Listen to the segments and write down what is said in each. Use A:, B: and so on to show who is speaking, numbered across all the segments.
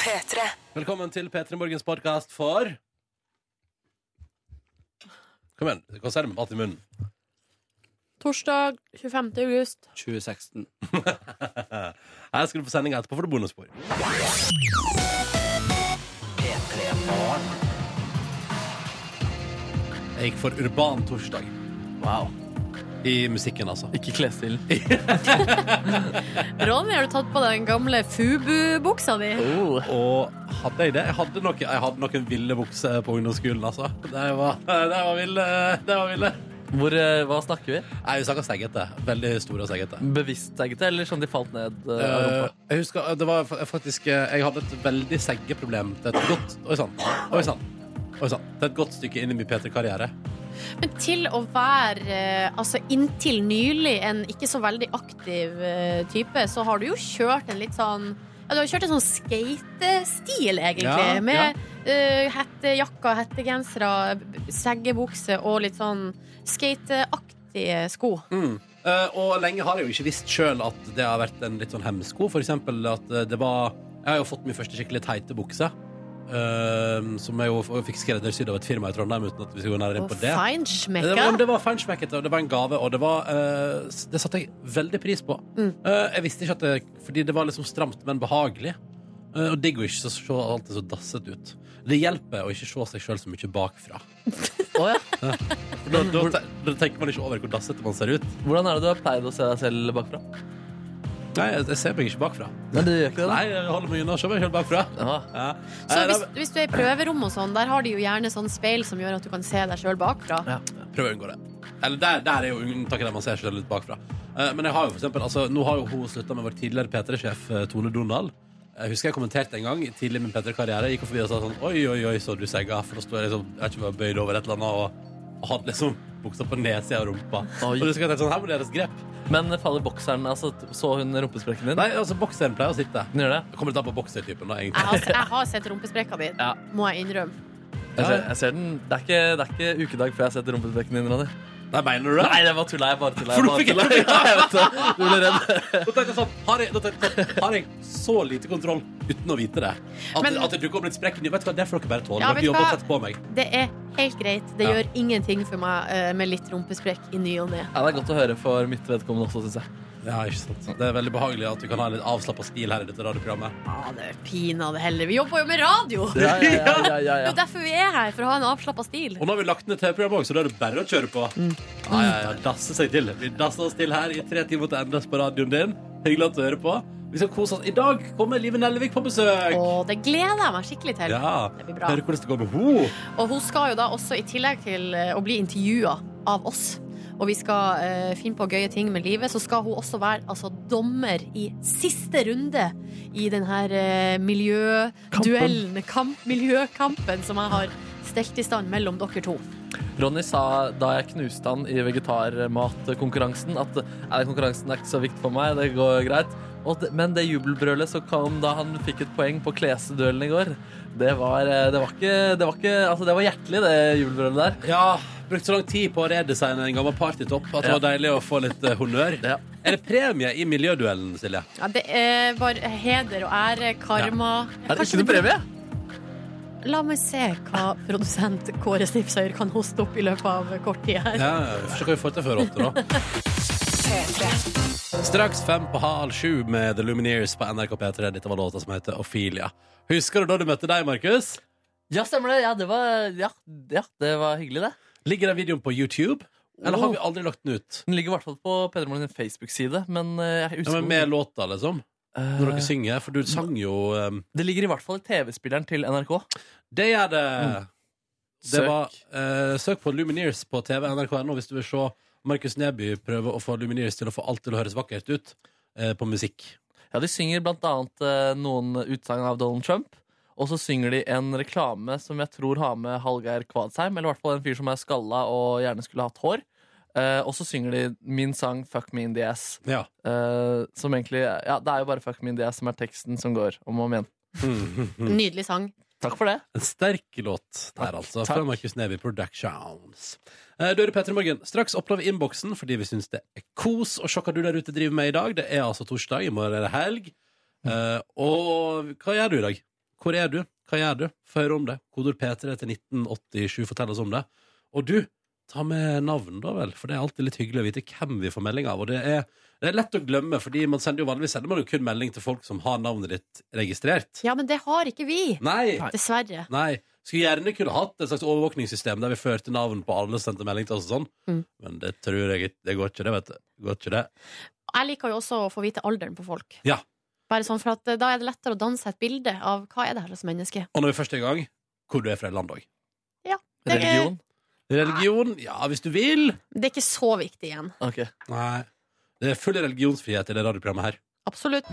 A: P3.
B: Velkommen til P3 Morgens podkast for Kom igjen, du kan si det med mat i munnen.
C: Torsdag 25. august.
D: 2016.
B: Her skal du få sendinga etterpå, for det er bonusspor. Jeg gikk for urban torsdag
D: Wow.
B: i musikken, altså.
D: Ikke klesstilen.
C: Ronny, har du tatt på deg den gamle Fubu-buksa di?
D: Oh.
B: Og hadde jeg det? Jeg hadde, noe, jeg hadde noen ville bukser på ungdomsskolen, altså. Det var, det var ville. Det var ville.
D: Hvor, eh, hva snakker vi?
B: Nei, vi snakka seggete. Veldig store og seggete.
D: Bevisst taggete, eller sånn de falt ned? eh, av
B: Eh,
D: rumpa?
B: jeg husker eh, det var fa- faktisk eh, Jeg hadde et veldig seggeproblem til et godt Oi sann. Oi sann. Oi sann. Til et godt stykke inn i min P3-karriere.
C: Men til å være, eh, altså inntil nylig, en ikke så veldig aktiv eh, type, så har du jo kjørt en litt sånn ja, Du har kjørt en sånn skatestil, egentlig.
B: Ja,
C: med eh, hettejakker, hettegensere, b- seggebukse og litt sånn skateaktige sko.
B: Eh, og lenge har jeg jo ikke visst sjøl at det har vært en litt sånn hemsko. For eksempel at eh, det var Jeg har jo fått min første skikkelig teite bukse. eh, som jeg jo f- fikk skreddersydd av et firma i Trondheim, uten at vi skal gå nærmere inn
C: Og
B: på det. Det
C: feinschmecka.
B: var, det var feinschmeckete, og det var en gave, og det, var, eh, s- det satte jeg veldig pris på.
C: Mm.
B: Eh, jeg visste ikke at det Fordi det var liksom stramt, men behagelig. Eh, og digg å ikke se alltid så dasset ut. Det hjelper å ikke se seg sjøl så mye bakfra.
D: Å ja.
B: For Da, da, te- da tenker man ikke over hvor dassete man ser ut.
D: Hvordan er det du har pleid å se deg selv bakfra?
B: Nei, jeg, jeg ser meg ikke bakfra.
D: Men du gjør ikke det,
B: Nei, jeg holder meg unna å se meg sjøl bakfra.
D: da? Ja.
B: Ja.
C: Så
B: Nei,
C: hvis,
B: da-
C: hvis du er i prøverom og sånn, der har de jo gjerne sånn speil som gjør at du kan se deg sjøl bakfra.
D: Ja.
B: Prøv å unngå det. Eller der, der er jo unntaket der man ser seg litt bakfra. Eh, men jeg har jo for eksempel, altså, nå har jo hun slutta med vår tidligere P3-sjef eh, Tone Donald. Jeg husker jeg kommenterte en gang tidlig i min P3-karriere. Gikk hun forbi og sa sånn Oi, oi, oi, så du segga? For da sto jeg liksom jeg vet ikke, om jeg var bøyd over et eller annet og, og hadde liksom buksa på nedsida av rumpa.
D: Oi.
B: Og du skal tenke sånn Her må det gjøres grep.
D: Men faller bokseren altså, Så hun rumpesprekken din?
B: Nei, altså, bokseren pleier å sitte.
D: Hun gjør det?
B: Det kommer litt an på boksertypen, da,
C: Jeg
B: egentlig.
C: har, jeg har sett rumpesprekka di,
D: Ja.
C: må jeg innrømme.
D: Jeg ser, jeg ser den. Det er, ikke, det er ikke ukedag før jeg har sett rumpesprekken din, Ronny.
B: Nei, mener du det?
D: Nei, det var tulla. Jeg bare tulla.
B: For
D: Jeg
B: du
D: bare
B: fikk
D: tulla.
B: ikke-
D: Ja, jeg vet det. Du ble redd.
B: Da tenkte jeg sånn, har jeg, da tenkte jeg sånn, har jeg så lite kontroll uten å vite det? At,
C: Men-
B: at det dukker opp litt sprekk i ny- Vet du hva, det får dere bare tåle.
C: Ja, vet
B: dere
C: du
B: jobber
C: hva?
B: tett på meg.
C: Det er helt greit. Det
B: Ja.
C: gjør ingenting for meg eh, med litt rumpesprekk i ny og ne.
D: Ja, det er godt å høre for mitt vedkommende også, syns jeg.
B: Ja, ikke sant. Det er veldig behagelig at vi kan ha en litt avslappa stil her i dette radioprogrammet.
C: Ja, det er pinadø heller. Vi jobber jo med radio! Det
D: Ja, ja, ja, ja, ja,
C: er
D: ja.
C: jo derfor vi er her, for å ha en avslappa stil.
B: Og nå har vi lagt ned TV-programmet òg, så da er det bare å kjøre på.
C: Mm.
B: Ja, ja, ja, dasse seg til. Vi dasser oss til her i tre timer til endes på radioen din. Hyggelig at du hører på. Vi skal kose oss. I dag kommer Live Nelvik på besøk.
C: Og det gleder jeg meg skikkelig til.
B: Ja.
C: Det blir bra.
B: Høre hvordan det går med henne.
C: Og hun skal jo da også, i tillegg til eh, å bli intervjua av oss, og vi skal eh, finne på gøye ting med livet, så skal hun også være altså, dommer i siste runde i den her eh, miljøduellen, kamp, miljøkampen, som jeg har stelt i stand mellom dere to.
D: Ronny sa da jeg knuste han i vegetarmatkonkurransen, at «Nei, den konkurransen er ikke så viktig for meg, det går greit. Og det, men det jubelbrølet som kom da han fikk et poeng på klesduellen i går, det var, eh, det var, ikke, det var, ikke, altså det var hjertelig, det jubelbrølet der.
B: Ja, brukt så lang tid på å redesigne en gammel partytopp at det
D: Ja.
B: var deilig å få litt eh, honnør.
D: Ja.
B: Er det premie i miljøduellen, Silje?
C: Ja, det er bare heder og ære, karma
D: Er det
C: Kanskje
D: ikke noe
C: blir-
D: premie?
C: La meg se hva produsent Kåre Snipsøyer kan hoste opp i løpet av kort tid her.
B: Ja, vi får se hva vi får til før åtte, da. Straks fem på halv sju med The Lumineers på NRK P3. Dette var låta som heter Ophelia. Husker du da du møtte deg, Markus?
D: Ja, stemmer det. Ja, det var, ja, ja, det var hyggelig, det.
B: Ligger den videoen på YouTube? Eller har vi aldri lagt den ut?
D: Den ligger i hvert fall på Peder Morgen sin Facebook-side, men eh, jeg
B: Ja,
D: husker
B: men Med låta, liksom?
D: Eh,
B: Når dere synger? For du sang jo um,
D: Det ligger i hvert fall i TV-spilleren til NRK.
B: Det gjør det! Det
D: Mm. Søk.
B: var, eh, søk på Lumineers på TV NRK.no hvis du vil se Markus Neby prøve å få Lumineers til å få alt til å høres vakkert ut eh, på musikk.
D: Ja, De synger blant annet eh, noen utsagn av Donald Trump. Og så synger de en reklame som jeg tror har med Hallgeir Kvadsheim. Eller i hvert fall en fyr som er skalla og gjerne skulle hatt hår. Eh, og så synger de min sang 'Fuck me in the ass'.
B: Ja.
D: Eh, som egentlig, ja, Det er jo bare 'Fuck me in the ass' som er teksten som går om og om igjen. Mm.
C: Nydelig sang.
D: Takk for det.
B: En sterk låt der, altså. Fra
D: takk.
B: Markus Neby Productions. Eh, Du hører Petter i Morgen. Straks opplever innboksen fordi vi syns det er kos og sjokk hva du der ute driver med i dag. Det er altså torsdag, i morgen er det helg. Eh, og hva gjør du i dag? Hvor er du? Hva gjør du? Få høre om det. Kodord P3 til 1987, fortell oss om det. Og du, ta med navn, da vel, for det er alltid litt hyggelig å vite hvem vi får melding av. Og det er, det er lett å glemme, fordi man sender jo vanligvis sender man jo kun melding til folk som har navnet ditt registrert.
C: Ja, men det har ikke vi,
B: Nei!
C: dessverre.
B: Nei. Skulle gjerne kunne hatt et slags overvåkningssystem der vi førte navn på alle og sendte melding til oss og sånn,
C: Mm.
B: men det tror jeg ikke Det går ikke, det, vet du. Det Går ikke det.
C: Jeg liker jo også å få vite alderen på folk.
B: Ja.
C: Bare sånn, for at eh, Da er det lettere å danse et bilde av hva er det her slags menneske.
B: Og når vi først er i gang, hvor du er fra i landet òg.
C: Det er-
D: Religion?
B: Religion? Ja, hvis du vil.
C: Det er ikke så viktig igjen.
D: Ok.
B: Nei. Det er full religionsfrihet i det radioprogrammet her.
C: Absolutt.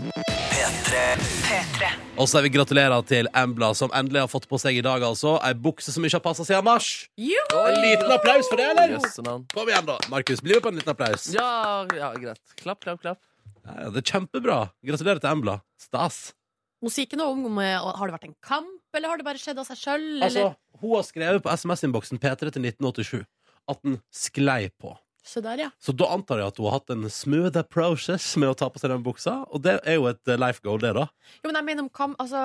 B: Og så vil vi gratulere til Embla, som endelig har fått på seg i dag altså ei bukse som ikke har passa siden mars.
C: Juhu!
B: En liten applaus for det, eller?
D: Jøssenavn.
B: Kom igjen, da. Markus, bli med på en liten applaus. Ja.
D: Ja, ja, greit. Klapp, klapp, klapp.
B: Ja, det er kjempebra. Gratulerer til Embla. Stas.
C: Hun sier ikke noe om om, eh, har det vært en kamp, eller har det bare skjedd av seg sjøl?
B: Altså, hun har skrevet på SMS-innboksen P3 til 1987 at den sklei på.
C: Så der, ja.
B: Så da antar jeg at hun har hatt en smooth process med å ta på seg den buksa, og det er jo et eh, life goal, det, da.
C: Jo, men jeg mener om kam, altså,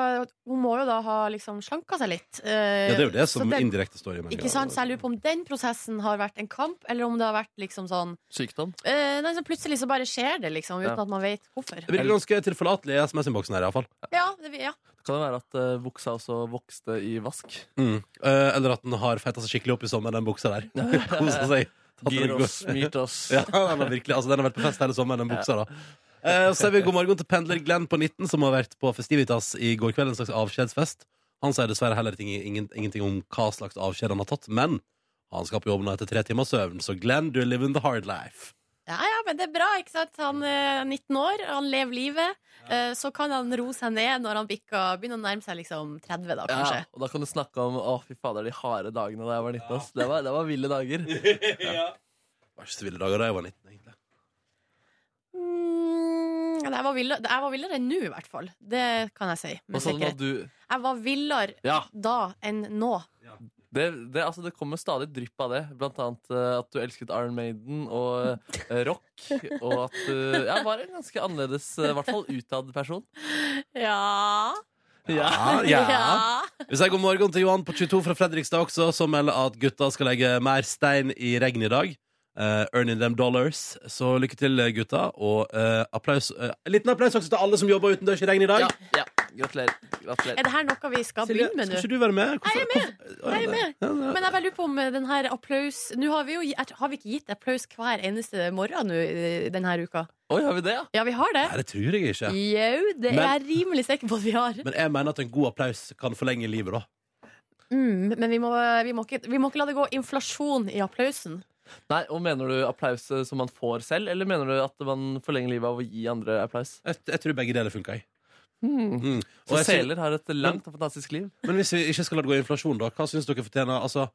C: Hun må jo da ha liksom slanka seg litt.
B: Ja,
C: eh,
B: det er jo det som indirekte står i
C: Ikke sant, Så jeg lurer på om den prosessen har vært en kamp, eller om det har vært liksom sånn
D: Sykdom.
C: eh, nei, så Plutselig så bare skjer det, liksom, uten
D: Ja.
C: at man vet hvorfor.
B: Det blir ganske tilforlatelig i SMS-innboksen her, iallfall.
C: Ja, det, ja.
D: Kan det være at eh, buksa også vokste i vask?
B: Mm. Eh, eller at den har feita seg skikkelig opp i sommer, den buksa der. Kosa seg. Tatt den
D: Gir
B: en
D: oss,
B: god-
D: myrt oss.
B: Ja, den har virkelig, altså, den har vært på fest hele sommeren, den buksa, da. Eh, så sier vi god morgen til pendler Glenn på 19, som har vært på Festivitas i går kveld, en slags avskjedsfest. Han sier dessverre heller ting, ingen, ingenting om hva slags avskjed han har tatt, men han skal på jobb nå etter tre timers søvn, så Glenn, du er living the hard life.
C: ja, ja, men det er bra, ikke sant? Han er 19 år, han lever livet. eh, Så kan han roe seg ned når han bikker, begynner å nærme seg liksom 30, da, kanskje.
D: Ja, og da kan du snakke om å fy fader, de harde dagene da jeg var 19. ass. Det, var, det var ville dager.
B: Det var ikke så ville dager da jeg var 19, egentlig.
C: Mm, det her var villere, det her var villere enn nå, i hvert fall. Det kan jeg si. Med
D: Hva sa du nå?
C: sikkerhet.
D: sånn Du,
C: Jeg var villere
D: ja,
C: da enn nå.
D: det, det, altså, det kommer stadig drypp av det. Blant annet eh, at du elsket Iron Maiden og eh, rock. Og at du ja, var en ganske annerledes, eh, i hvert fall utad person.
C: Ja.
B: ja. ja. Vi sier god morgen til Johan på 22 fra Fredrikstad også, som melder at gutta skal legge mer stein i regnet i dag. Eh, earning them dollars. Så lykke til, gutta. Og eh, applaus eh, En liten applaus også til alle som jobber utendørs i regn i dag.
D: Ja, ja. Gratulerer. Gratulerer.
C: Er det her noe vi skal
B: Silje,
C: begynne med
B: skal
C: nå?
B: ikke du være med?
C: Jeg er med. Jeg er med.
B: Ja, ja.
C: Men jeg bare lurer på om eh, den her applaus Nå har vi jo gi- har vi ikke gitt applaus hver eneste morgen nå, eh, denne uka.
D: Oi, har vi det, ja?
C: Ja, vi har det.
B: Nei, det tror jeg ikke.
C: Jau, det er
B: Men-
C: jeg rimelig sikker på at vi har.
B: Men jeg mener at en god applaus kan forlenge livet, da.
C: Mm, men vi må, vi, må ikke, vi må ikke la det gå inflasjon i applausen.
D: Nei, og Mener du applaus eh, som man får selv, eller mener du at man forlenger livet av å gi andre applaus?
B: Jeg, jeg tror begge deler funker. jeg.
D: Hmm.
B: Mm.
D: Så
B: jeg synes-
D: seler har et langt og fantastisk liv.
B: Men hvis vi ikke skal la det gå i inflasjon, da, hva syns dere fortjener altså,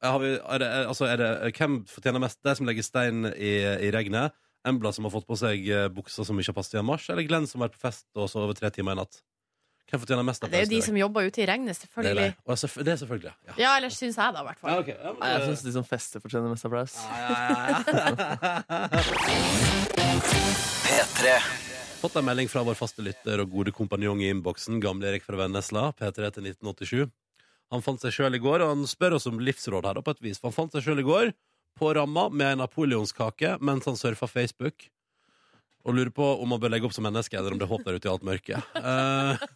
B: har vi, er det, er- altså, er det, Hvem fortjener mest? De som legger stein i, i regnet? Embla som har fått på seg eh, buksa som ikke har passet i en marsj? Eller Glenn som har vært på fest og sovet tre timer i natt? Hvem fortjener mest?
C: Det er jo de
B: applaus i dag?
C: som jobber ute i regnet,
B: det er,
C: selvfølgelig.
B: det. Og selvfø- det er selvfølgelig. Ja.
C: Ja, eller syns jeg, da, i hvert fall.
B: Ja, ok. Ja, men,
D: Nei, jeg
B: eh,
D: syns de som fester, fortjener mest applaus.
B: Fått en melding fra vår faste lytter og gode kompanjong i innboksen, gamle Erik fra Vennesla, P3 til 1987. Han fant seg sjøl i går, og han spør oss om livsråd her, da, på et vis. For han fant seg sjøl i går på ramma med en napoleonskake mens han surfa Facebook. Og lurer på om han bør legge opp som menneske, eller om det er håp der ute i alt mørket. Eh,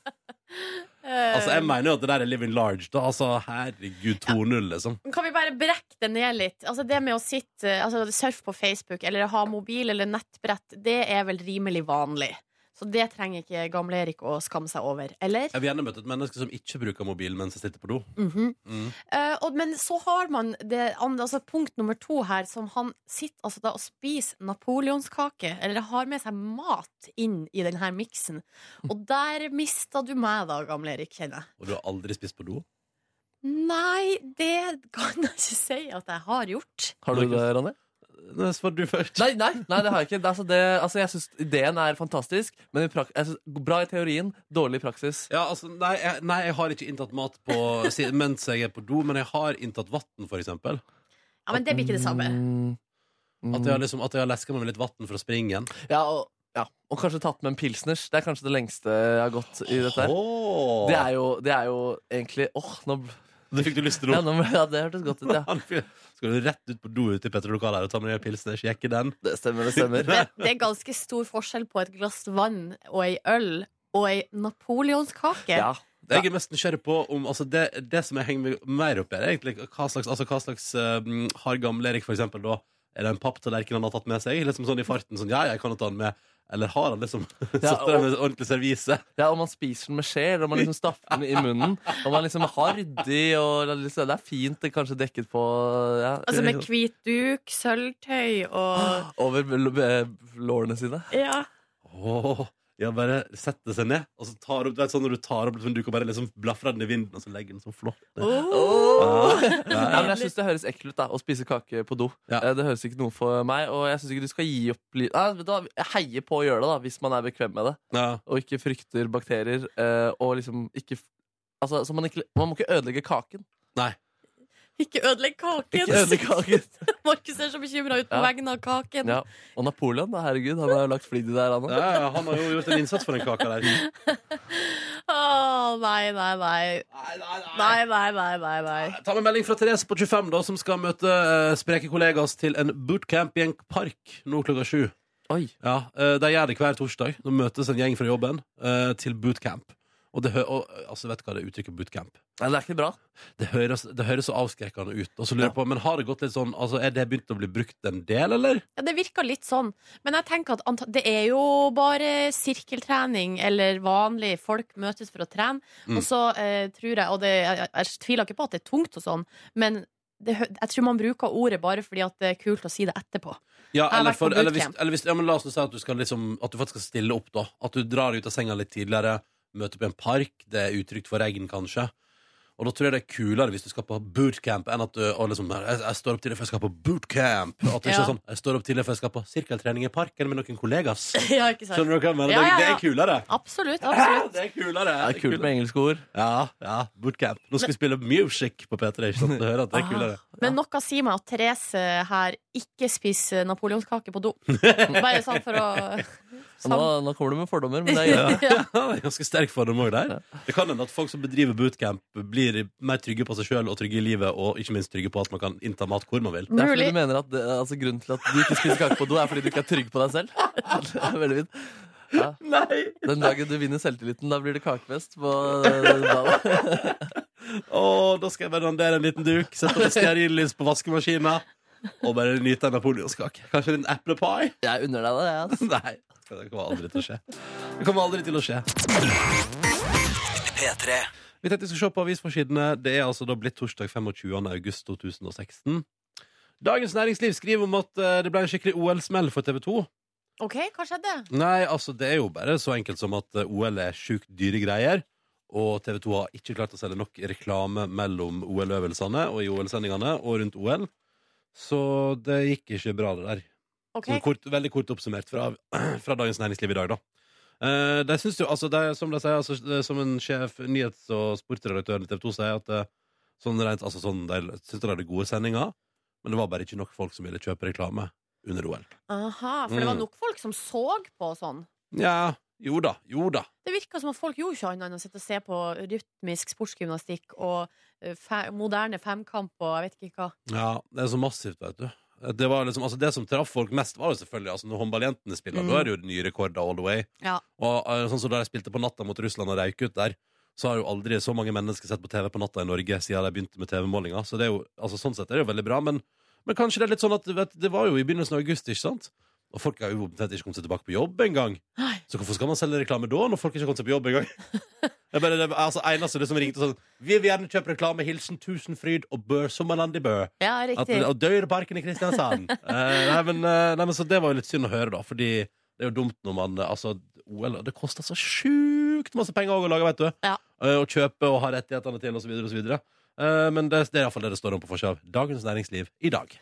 C: Eh,
B: altså, jeg mener jo at det der er living large, da. Altså, herregud, 2-0, liksom.
C: Kan vi bare brekke det ned litt? Altså Det med å sitte, altså surfe på Facebook eller ha mobil eller nettbrett, det er vel rimelig vanlig. Så det trenger ikke Gamle-Erik å skamme seg over, eller?
B: Jeg vil gjerne møte et menneske som ikke bruker mobil mens jeg sitter på do.
C: Mhm.
B: Mm.
C: Eh, og, men så har man det, an- altså punkt nummer to her, som han sitter altså da og spiser napoleonskake, eller har med seg mat inn i denne miksen.
D: Hm.
C: Og der mista du meg da, Gamle-Erik, kjenner jeg.
B: Og du har aldri spist på do?
C: Nei, det kan jeg ikke si at jeg har gjort.
D: Har du det, Ronny?
B: Nå svarer du først.
D: Nei, nei, nei, det har jeg ikke. Det, altså, det, altså, jeg syns ideen er fantastisk, men i prak jeg synes, bra i teorien, dårlig i praksis.
B: Ja, altså, nei, jeg, nei, jeg har ikke inntatt mat på, si- mens jeg er på do, men jeg har inntatt vann, for eksempel.
C: Ja, Men det blir ikke det samme.
D: Mm.
B: At jeg har, liksom, at jeg har leska meg med litt vann for å springe igjen.
D: Ja, og Ja, og kanskje tatt med en pilsners. Det er kanskje det lengste jeg har gått i dette. her
B: Åh.
D: Det er jo, det er jo egentlig Åh, nå, bl-
B: Det fikk du lyst til
D: ja,
B: nå.
D: nå ble- ja, det hørtes godt ut, ja.
B: Han fyr- Skal du rett ut på do ute i Petter-lokalet her og ta med deg pilsen og sjekke den?
D: Det stemmer, det stemmer.
C: Det, det er ganske stor forskjell på et glass vann og ei øl og ei napoleonskake.
D: Ja.
B: Det jeg er mest nysgjerrig på om, altså det, det som jeg henger meg mer opp i, er egentlig hva slags, altså hva slags eh, har gamle Erik for eksempel da, er det en papptallerken han har tatt med seg? Liksom sånn i farten, sånn, ja, jeg kan jo ta den med. Eller har han liksom satt der med ordentlig servise?
D: ja, Om man spiser den med skje, eller om man liksom stapper den i munnen. Om man liksom har ryddig og liksom, Det er fint, det er kanskje dekket på ja.
C: Altså med hvit duk, sølvtøy og
D: Over l- eh, lårene sine.
C: Ja.
B: Åh, ja, bare setter seg ned, og så tar opp, du vet sånn når du tar opp en duk og bare liksom blaffer den i vinden, og så legger den så flott. ned.
D: Åh.
B: Ja,
D: Nei, men jeg syns det høres ekkelt ut da, å spise kake på do.
B: Ja.
D: Eh, Det høres ikke noe for meg, og jeg syns ikke du skal gi opp li- Nei, vet du hva, Jeg heier på å gjøre det, da, hvis man er bekvem med det.
B: ja.
D: og ikke frykter bakterier. eh, og liksom ikke f- Altså, så man, ikke, man må ikke ødelegge kaken.
B: Nei.
C: Ikke ødelegg kaken!
D: Ikke ødelegge kaken.
C: Markus er så bekymra ut på
D: Ja.
C: vegne av kaken.
D: Ja. Og Napoleon, da, herregud, han har jo lagt flid i det her, han
B: Ja,
D: òg.
B: ja, han har jo gjort en innsats for den kaka der.
C: Å, nei, nei, nei.
B: Nei, nei,
C: Nei, nei, nei, nei, nei.
B: Ta med melding fra Therese på 25 da, som skal møte eh, spreke kollegaer til en bootcamp i en park nå klokka sju.
D: Oi.
B: Ja, eh, De gjør det hver torsdag. Nå møtes en gjeng fra jobben eh, til bootcamp. Og, det hø og eh, altså, vet du hva det uttrykket bootcamp
D: Nei, det er ikke bra.
B: det høres, det høres så avskrekkende ut. Og så lurer jeg på, men har det gått litt sånn altså, Er det begynt å bli brukt en del, eller?
C: Ja, det virker litt sånn. Men jeg tenker at anta- det er jo bare sirkeltrening eller vanlig. Folk møtes for å trene.
B: Mm.
C: Og så eh, tror jeg, og det, jeg, jeg tviler ikke på at det er tungt og sånn, men det, hø- jeg tror man bruker ordet bare fordi at det er kult å si det etterpå.
B: Ja,
C: Jeg har
B: eller,
C: vært på
B: for, eller, hvis,
C: bootcamp.
B: eller hvis, ja, men La oss nå si at du, skal liksom, at du faktisk skal stille opp, da. At du drar ut av senga litt tidligere, møter opp i en park, det er utrygt for regn, kanskje. Og da tror jeg det er kulere hvis du skal på bootcamp, enn at du og liksom, jeg, jeg står opp tidlig for jeg skal på bootcamp. At det ikke
C: Ja.
B: er sånn jeg står opp tidlig for jeg skal på sirkeltrening i parken med noen kollegas.
C: ja, ikke sant?
B: Skjønner du hva jeg mener?
C: Ja, ja,
B: Det, det
C: ja.
B: er kulere.
C: Absolutt. absolutt.
B: Det er kulere.
D: Det er kult med engelske ord.
B: Ja, ja, bootcamp. Nå skal vi spille music på P3, ikke sant? Du hører
C: Ah.
B: at det er kulere.
C: Men noe sier meg at Therese eh, her ikke spiser napoleonskake på do. Bare sånn for å Sånn
D: Og Nå, nå kommer du med fordommer, men det er greit.
C: Ja.
B: Ja, det er Ganske sterk fordom òg der. Det kan hende at folk som bedriver bootcamp, blir mer trygge på seg sjøl og trygge i livet, og ikke minst trygge på at man kan innta mat hvor man vil.
D: Det er fordi
C: Mulig.
D: du mener at det, altså, Grunnen til at du ikke spiser kake på do, er fordi du ikke er trygg på deg selv? Det er veldig fint. Ja. Den dagen du vinner selvtilliten, da blir det kakefest på eh, da.
B: Å, da skal jeg bare dandere en liten duk, sette opp et stearinlys på vaskemaskina og bare nyte en napoleonskake. Kanskje en liten apple pie?
D: Jeg unner deg det, jeg. altså. ass.
B: Nei. Det kommer aldri til å skje. Det kommer aldri til å skje. Vi tenkte vi skulle se på avisforsidene. Det er altså da blitt torsdag 25. august 2016. Dagens Næringsliv skriver om at eh, det ble en skikkelig OL-smell for TV 2.
C: OK, hva skjedde?
B: Nei, altså det er jo bare så enkelt som at eh, OL er sjukt dyre greier. Og TV 2 har ikke klart å selge nok reklame mellom OL-øvelsene og i OL-sendingene og rundt OL. Så det gikk ikke bra, det der.
C: Ok,
B: Så kort, veldig kort oppsummert fra, fra Dagens Næringsliv i dag, da. Eh, de syns jo, altså, de, som de sier, altså, det er som en sjef, nyhets- og sportsredaktøren i TV 2 sier, at eh, sånn rent, altså, sånn, de syns de hadde gode sendinger, men det var bare ikke nok folk som ville kjøpe reklame under OL.
C: Aha, For det var
B: Mm.
C: nok folk som så på og sånn.
B: Ja, jo da, jo da.
C: Det virka som at folk gjorde ikke annet enn å sitte og se på rytmisk sportsgymnastikk og eh, fe moderne femkamp og jeg vet ikke hva.
B: Ja, det er så massivt, vet du. Det, var liksom, altså det som traff folk mest, var jo selvfølgelig altså når håndballjentene spiller.
C: Mm.
B: Da er det jo nye rekorder all the way.
C: Ja.
B: Og eh, sånn som Da de spilte på natta mot Russland og røyk ut der, så har jo aldri så mange mennesker sett på TV på natta i Norge siden de begynte med TV-målinga. Så det er jo, altså sånn sett er det jo veldig bra. Men, men kanskje det er litt sånn at du vet, det var jo i begynnelsen av august, ikke sant? Og folk har jo omtrent ikke kommet seg tilbake på jobb engang.
C: Nei.
B: Så hvorfor skal man selge reklame da, når folk ikke har kommet seg på jobb engang? Det er bare det altså, eneste det som ringte sånn Vi vil gjerne kjøpe reklame. Hilsen Tusenfryd og Bø Sommerland i Bø.
C: Ja,
B: At,
C: riktig.
B: og Døyreparken i Kristiansand. Eh, nei, men, eh, nei, men så Det var jo litt synd å høre, da. Fordi det er jo dumt når man eh, Altså, OL Det koster så sjukt masse penger også å lage, vet du.
C: Ja.
B: Eh, å kjøpe og ha rettighetene til, osv., osv. Uh, men det, det er iallfall det det står om på forsida av Dagens Næringsliv i dag.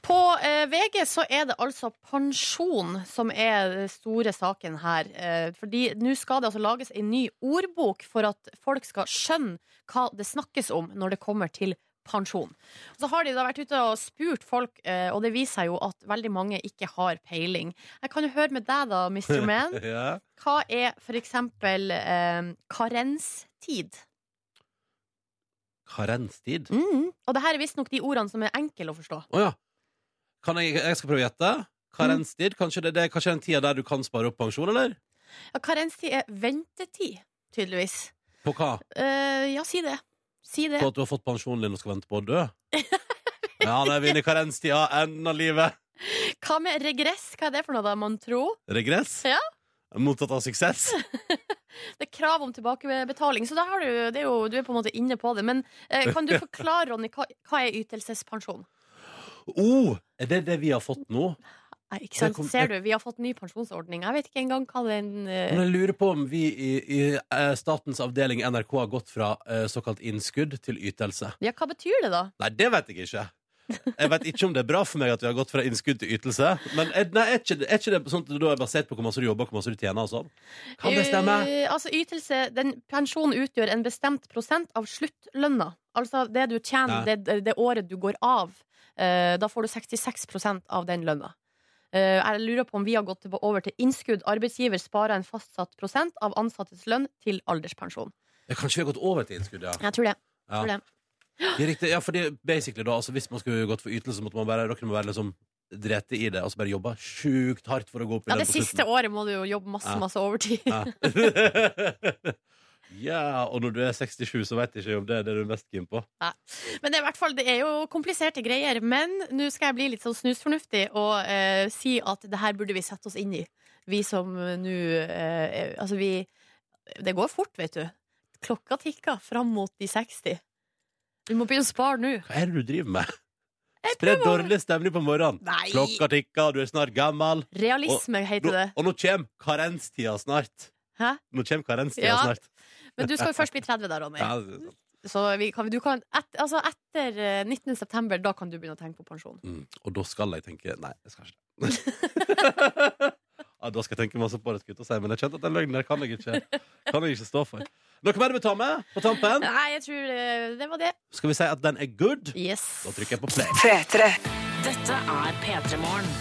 C: På eh, VG så er det altså pensjon som er den store saken her. Eh, fordi nå skal det altså lages en ny ordbok for at folk skal skjønne hva det snakkes om når det kommer til pensjon. Og så har de da vært ute og spurt folk, eh, og det viser seg jo at veldig mange ikke har peiling. Jeg kan jo høre med deg da, Mr. Man.
B: Ja.
C: Hva er for eksempel eh, karenstid?
B: Karenstid? Å
C: Mm. Og det her er visstnok de ordene som er enkle å forstå.
B: ja. Kan jeg, jeg skal prøve å gjette. Karenstid?
C: Mm.
B: Kanskje det, det er kanskje den tida der du kan spare opp pensjon, eller?
C: Ja, karenstid er ventetid, tydeligvis.
B: På hva?
C: Eh, ja, si det. Si det.
B: På at du har fått pensjonen din og skal vente på å dø? Ja, der vinner karenstida. Enden av livet.
C: Hva med regress? Hva er det for noe, da, mon tro?
B: Regress?
C: Ja.
B: Mottatt av suksess?
C: Det er krav om tilbakebetaling, så da har du, det er jo, du er på en måte inne på det. Men eh, kan du forklare, Ronny, hva, hva er ytelsespensjon?
B: Oh, er det det vi har fått nå?
C: Nei, ikke
B: Det
C: sant?
B: kom-
C: Ser du, vi har fått ny pensjonsordning. Jeg vet ikke engang hva den eh,
B: Men jeg lurer på om vi i, i eh, statens avdeling NRK har gått fra eh, såkalt innskudd til ytelse.
C: Ja, hva betyr det, da?
B: Nei, det vet jeg ikke. Jeg vet ikke om det er bra for meg at vi har gått fra innskudd til ytelse. Men er, nei, er, ikke, det- er ikke det sånn at det da er basert på hvor masse du jobber, hvor masse du tjener og sånn? Kan det stemme?
C: Eh, altså, ytelse den, Pensjon utgjør en bestemt prosent av sluttlønna. Altså det du
B: Ja.
C: tjener det, det året du går av. eh, da får du 66 av den lønna. Eh, jeg lurer på om vi har gått tilba- over til innskudd. Arbeidsgiver sparer en fastsatt prosent av ansattes lønn til alderspensjon.
B: Ja, kanskje vi har gått over til innskudd, ja.
C: Jeg tror det.
B: Ja,
C: tror det.
B: Det er riktig. Ja, fordi basically da, altså Hvis man skulle gått for ytelse, så måtte man bare, dere må være liksom drete i det. Altså bare jobbe sjukt hardt for å gå opp i
C: Ja,
B: lønn
C: det
B: på
C: siste
B: slutten.
C: året må du jo jobbe masse,
B: Ja.
C: masse overtid.
B: Ja. ja, og når du er 67, så veit ikke jeg om det er det du er mest keen på.
C: Men det er, i hvert fall, det er jo kompliserte greier. Men nå skal jeg bli litt sånn snusfornuftig og eh, si at det her burde vi sette oss inn i. Vi som eh, nå eh, er- Altså, vi Det går fort, vet du. Klokka tikker fram mot de 60. Vi må begynne å spare nå.
B: Hva er det du driver med?
C: Jeg
B: Spre
C: prøver å-
B: dårlig stemning på morgenen.
C: Nei!
B: Klokka tikker, du er snart gammel.
C: Realisme
B: Nå,
C: heter det.
B: og nå kommer karenstida snart.
C: Hæ?
B: Nå kommer karenstida
C: Ja.
B: snart.
C: Men du skal jo først bli 30 da, Ronny.
B: Ja, det er sant.
C: Så vi kan, du kan et, Altså, etter eh, 19. september, da kan du begynne å tenke på pensjon.
B: mm. Og da skal jeg tenke Nei, jeg skal ikke det. ja, da skal jeg tenke masse på det, skulle jeg til å si, men jeg kjente at den løgnen der kan jeg ikke, kan jeg ikke stå for. Noe mer du vil ta med på tampen?
C: Nei, jeg tror eh, det var det.
B: Skal vi si at den er good?
C: Yes.
B: Da trykker jeg på play.
A: Dette er P3 Morgen.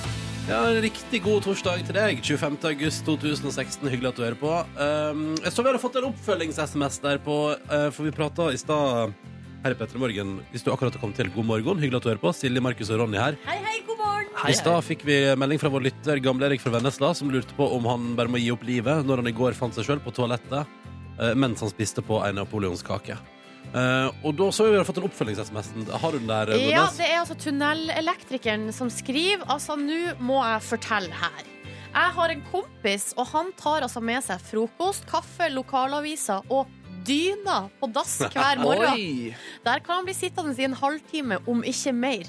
B: Ja, en Riktig god torsdag til deg. 25. august 2016. Hyggelig at du hører på. Um, jeg så vi hadde fått en oppfølgings-SMS der på uh, For vi prata i stad her i Petter Morgen. Hvis du akkurat har kommet til, god morgen. Hyggelig at du hører på. Silje, Markus og Ronny her.
C: Hei, hei, god morgen!
B: I stad fikk vi melding fra vår lytter Gamle-Erik fra Vennesla, som lurte på om han bare må gi opp livet når han i går fant seg sjøl på toalettet eh, mens han spiste på en napoleonskake. Eh, og da så vi vi hadde fått en oppfølgings-SMS. Har du den der,
C: Ja,
B: Nordnes?
C: det er altså tunnelelektrikeren som skriver. Altså, nå må jeg fortelle her. Jeg har en kompis, og han tar altså med seg frokost, kaffe, lokalaviser og dyna på dass hver morgen.
D: Oi!
C: Der kan han bli sittende i en halvtime, om ikke mer.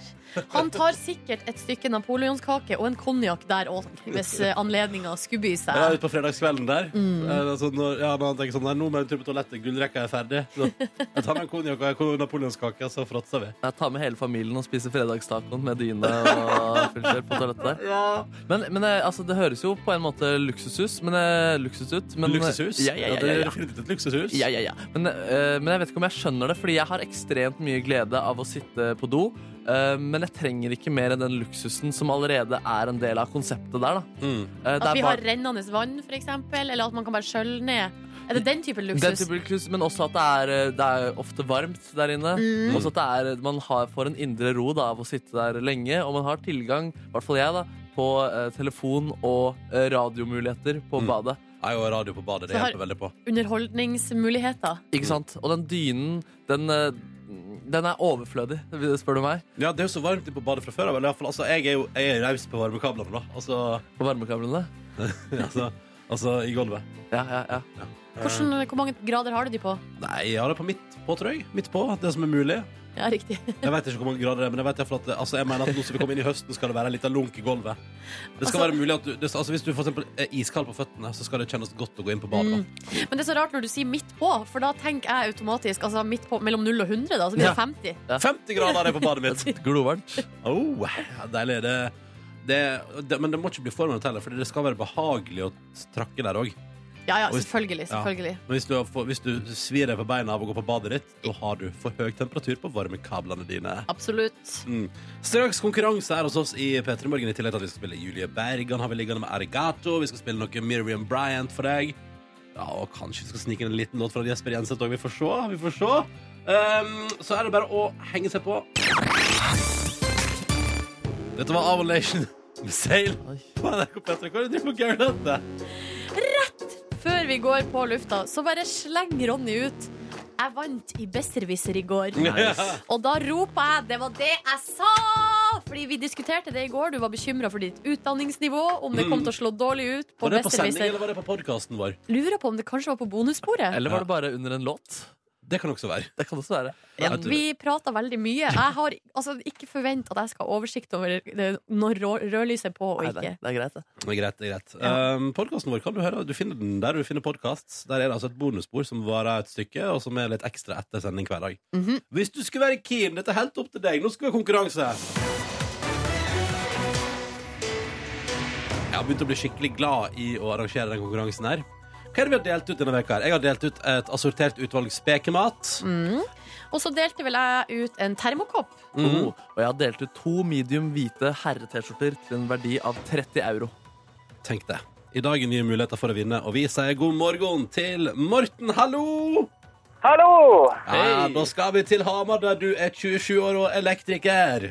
C: Han tar sikkert et stykke napoleonskake og en konjakk der òg, hvis anledninga skulle by seg.
B: Ja, ute på fredagskvelden der. Eh, Altså, når, ja, når han tenker sånn, nei, nå må jeg en tur på toalettet, gullrekka er ferdig. Så, jeg tar meg en konjakk og en kon- napoleonskake, så fråtser vi.
D: Jeg tar med hele familien og spiser fredagstacoen med dyne og fullt kjør på toalettet der. Men, men eh, altså, det høres jo på en måte luksushus, men, eh, luksus ut. Men,
B: luksushus.
D: Ja, ja, ja,
B: det
D: ja,
B: er
D: ja.
B: definitivt et luksushus.
D: Ja, ja, ja. Men, eh, men jeg vet ikke om jeg skjønner det, fordi jeg har ekstremt mye glede av å sitte på do. eh, men jeg trenger ikke mer enn den luksusen som allerede er en del av konseptet der. Da.
B: Mm.
D: Eh, det
C: At
D: er
C: vi
D: bare-
C: har rennende vann, f.eks., eller at man kan bare skjølle ned. Er det den type
D: den
C: luksus?
D: type luksus, men også at det er, eh, det er ofte varmt der inne.
C: Mm.
D: Også at det er, man har, får en indre ro da, av å sitte der lenge, og man har tilgang, i hvert fall jeg, da, på eh, telefon og eh, radiomuligheter på
B: Mm.
D: badet.
B: Jeg og radio på badet, det
C: Så har-
B: hjelper veldig på.
C: Underholdningsmuligheter.
D: Ikke sant? Og den dynen, den, eh, den er overflødig, spør du meg,
B: Ja, det er jo så varmt på badet fra før, vel? i hvert fall. Altså, jeg er jo jeg er raus på varmekablene, da. Altså,
D: på varmekablene.
B: altså, altså i gulvet.
D: Ja, ja, ja.
C: Hvordan, hvor mange grader har du de på?
B: Nei, jeg har det på midt på, tror jeg. Midt på, det som er mulig.
C: Ja, riktig.
B: Jeg vet ikke hvor mange grader det er, men jeg vet i hvert fall at det- altså, jeg mener at nå som vi kommer inn i høsten, skal det være en liten lunk i gulvet. Det skal
C: Altså-
B: være mulig at du, det, altså, Hvis du for eksempel er iskald på føttene, så skal det kjennes godt å gå inn på badet. da.
C: Men det er så rart når du sier midt på, for da tenker jeg automatisk altså midt på mellom 0 og 100, da, så blir det
D: Ja.
C: 50.
D: Ja.
B: 50 grader er det på badet mitt!
D: Glovarmt.
B: Oh, ja, deilig. Det, det, det, men det må ikke bli for mye til, for det skal være behagelig å trakke der òg.
C: Ja, ja,
B: Og hvis-
C: selvfølgelig.
B: Ja.
C: selvfølgelig.
B: Men hvis du, har for- hvis du svir deg på beina av å gå på badet ditt, da har du for høy temperatur på varmekablene dine.
C: Absolutt.
B: Mm. Straks konkurranse her hos oss i P3 Morgen, i tillegg til at vi skal spille Julie Bergan, har vi liggende med Arigato, vi skal spille noe Miriam Bryant for deg. Ja, og kanskje vi skal snike inn en liten låt fra Jesper Jenseth òg, vi får se. Vi får se. Um, så er det bare å henge seg på. Dette var Avalation med Sail
D: Oi.
B: på NRK P3. Hva er det du driver med, Gaulette?
C: Før vi går på lufta, så bare sleng Ronny ut. Jeg vant i Besserwisser i går.
B: Nice.
C: Og da ropa jeg 'det var det jeg sa'! Fordi vi diskuterte det i går. Du var bekymra for ditt utdanningsnivå, om det kom til å slå dårlig ut på
B: Mm. Var det på sending,
C: Besserwisser.
B: eller var det på podkasten vår?
C: Lurer på om det kanskje var på bonussporet.
D: Eller var det bare under en låt?
B: Det kan også være.
D: Det kan også være.
C: Ja,
B: Jeg tror-
C: vi prata veldig mye. Jeg har altså, ikke forvent at jeg skal ha oversikt over det- når rå- rødlyset er på og
D: Nei, det,
C: ikke.
D: det er greit, det.
B: Det er greit, det er greit. Um, podcasten vår kan du høre. Du finner den der du finner podkast. Der er det altså et bonusspor som varer et stykke, og som er litt ekstra etter sending hver dag. Hvis du skulle være keen, dette er helt opp til deg. Nå skal vi ha konkurranse. Jeg har begynt å bli skikkelig glad i å arrangere den konkurransen her. Hva er det vi har delt ut denne veka her? Jeg har delt ut et assortert utvalg spekemat.
C: Og så delte vel jeg ut en termokopp.
D: Oh, og jeg har delt ut to medium hvite herre-T-skjorter til en verdi av 30 euro.
B: Tenk det. I dag er nye muligheter for å vinne, og vi sier god morgen til Morten. Hallo!
E: Hallo!
B: Ja, da skal vi til Hamar, der du er 27 år og elektriker.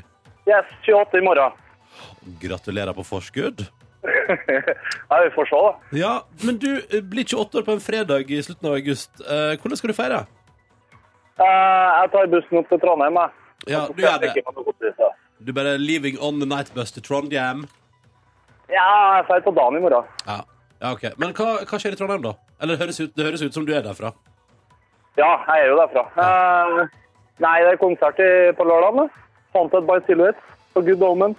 E: Yes, 28 i morgen.
B: Gratulerer på forskudd.
E: Nei, vi får se, da.
B: Ja, men du eh, blir 28 år på en fredag i slutten av august. Eh, hvordan skal du feire?
E: Eh, jeg tar bussen opp til Trondheim, jeg.
B: Ja, du
E: Så skal
B: gjør
E: jeg
B: det.
E: stikke på noe godteri, så.
B: Du bare leaving on the night bus til Trondheim.
E: Ja, jeg drar på dagen i morgen.
B: Ja, ja ok. Men hva, hva skjer i Trondheim, da? Eller det høres ut, det høres ut som du er derfra.
E: Ja, jeg er jo derfra. Eh, nei, det er konsert i, på lørdag. Haunted by Silhouette på Good Omen.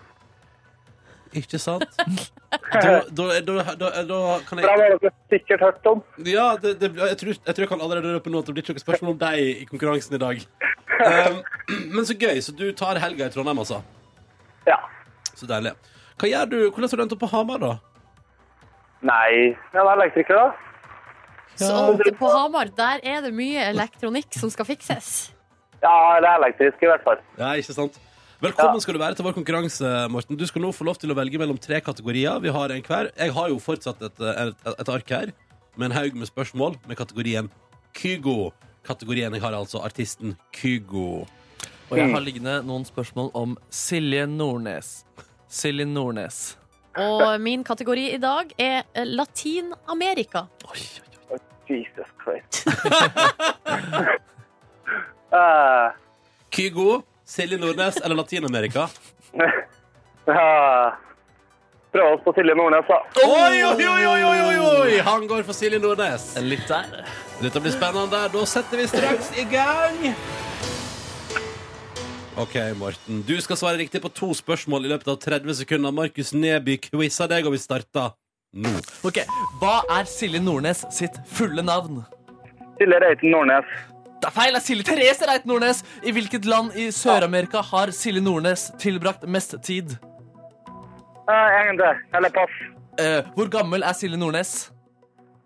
B: Ikke sant? Da, da, da, da, da kan
E: For det
B: jeg
E: har dere sikkert hørt om.
B: Ja, det, det, jeg, tror, jeg tror jeg kan allerede røpe nå at det blir ikke noe spørsmål om deg i konkurransen i dag. Um, men så gøy. Så du tar helga i Trondheim, altså?
E: Ja.
B: Så deilig. Hva gjør du? Hvordan har du endt opp på Hamar, da?
E: Nei, jeg er elektriker, da.
C: Så det- på Hamar der er det mye elektronikk som skal fikses.
E: Ja, eller elektrisk i hvert fall.
B: Ja, ikke sant? Velkommen
E: Ja.
B: skal du være til vår konkurranse, Morten. Du skal nå få lov til å velge mellom tre kategorier. Vi har en hver. Jeg har jo fortsatt et, et, et ark her med en haug med spørsmål med kategorien Kygo. Kategorien jeg har, er altså artisten Kygo.
D: Og
C: Mm.
D: jeg har liggende noen spørsmål om Silje Nordnes. Silje Nordnes.
C: Og min kategori i dag er eh, Latin-Amerika.
D: Oi, oi, oi.
E: Jesus Christ. Eh,
B: Kygo, Silje Nordnes eller Latin-Amerika?
E: eh, prøv oss på Silje Nordnes, da.
B: Oi, oi, oi, oi, oi, oi, oi! Han går for Silje Nordnes.
D: Litt der.
B: Dette blir spennende. Da setter vi straks i gang. OK, Morten. Du skal svare riktig på to spørsmål i løpet av 30 sekunder. Markus Neby quiza deg, og vi starter nå.
D: Ok, Hva er Silje Nordnes sitt fulle navn?
E: Silje Reiten Nordnes.
D: Det er feil! det er Silje Therese Reit Nordnes! I hvilket land i Sør-Amerika har Silje Nordnes tilbrakt mest tid?
E: Eh, egentlig. Eller pass.
D: Eh, hvor gammel er Silje Nordnes?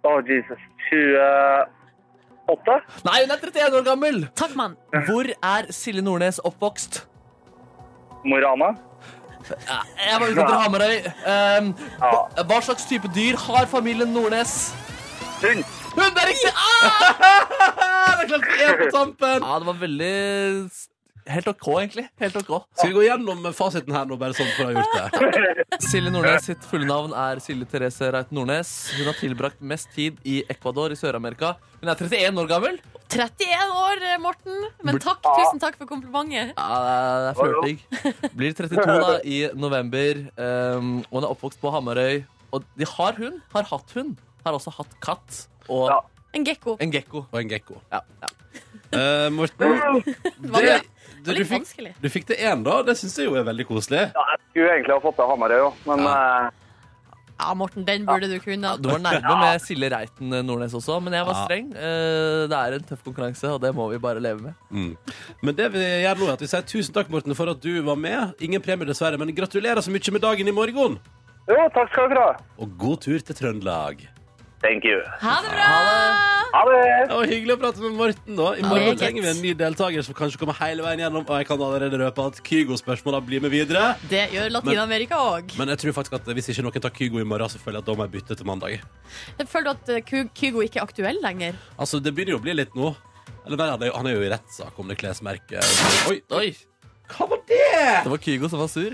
E: Å, Jesus. 28?
D: Nei, hun er 31 år gammel!
C: Takk, mann.
D: Hvor er Silje Nordnes oppvokst?
E: Mo i Rana?
D: Jeg var ute etter Hamarøy. Um, hva, hva slags type dyr har familien Nordnes?
E: Hund.
D: Hund er riktig! Ah!
B: Det er klart én på tampen!
D: Ja, det var veldig s- Helt OK, egentlig. Helt ok.
B: Skal vi gå gjennom fasiten her nå, bare sånn for å ha gjort det?
D: Silje Nordnes sitt fulle navn er Silje Therese Reit Nordnes. Hun har tilbrakt mest tid i Ecuador i Sør-Amerika. Hun er 31 år gammel.
C: 31 år, eh, Morten. Men takk, tusen takk for komplimentet.
D: Ja, det er flørting. Blir 32 da i november. Um, og hun er oppvokst på Hamarøy. Og de har hund. Har hatt hund. Har også hatt katt. Og
E: Ja.
C: En gekko.
D: en gekko.
B: Og en gekko.
D: Ja, ja.
B: Eh, Morten,
C: Var det,
B: du,
C: var
B: du,
C: litt
B: fikk,
C: vanskelig.
B: du fikk det én, da. Det syns jeg jo er veldig koselig.
E: Ja, jeg skulle egentlig ha fått til Hamarøy òg, men eh,
C: Ja, Morten, den burde du kunne.
D: Du var nærme med Silje Reiten eh, Nordnes også, men jeg var
B: Ja.
D: streng. Eh, Det er en tøff konkurranse, og det må vi bare leve med.
B: Men det vi gjør nå er at vi sier tusen takk Morten, for at du var med. Ingen premie, dessverre, men gratulerer så mye med dagen i morgen.
E: Jo, takk skal dere ha.
B: Og god tur til Trøndelag.
E: Thank you.
C: Ha det bra!
E: Ha det!
B: Det var hyggelig å prate med Morten, da. I morgen
C: Meget.
B: trenger vi en ny deltaker som kanskje kommer hele veien gjennom. Og jeg kan allerede røpe at Kygo-spørsmåla blir med videre.
C: Det gjør Latin-Amerika òg.
B: Men jeg tror faktisk at hvis ikke noen tar Kygo i morgen, så føler jeg at da må jeg bytte til mandag.
C: Føler du at eh, Ky- Kygo ikke er aktuell lenger?
B: Altså, det begynner jo å bli litt nå. Eller verre, han er jo- han er jo i rettssak om det klesmerket. Oi,
D: Oi!
B: hva var det?!
D: Det var Kygo som var sur.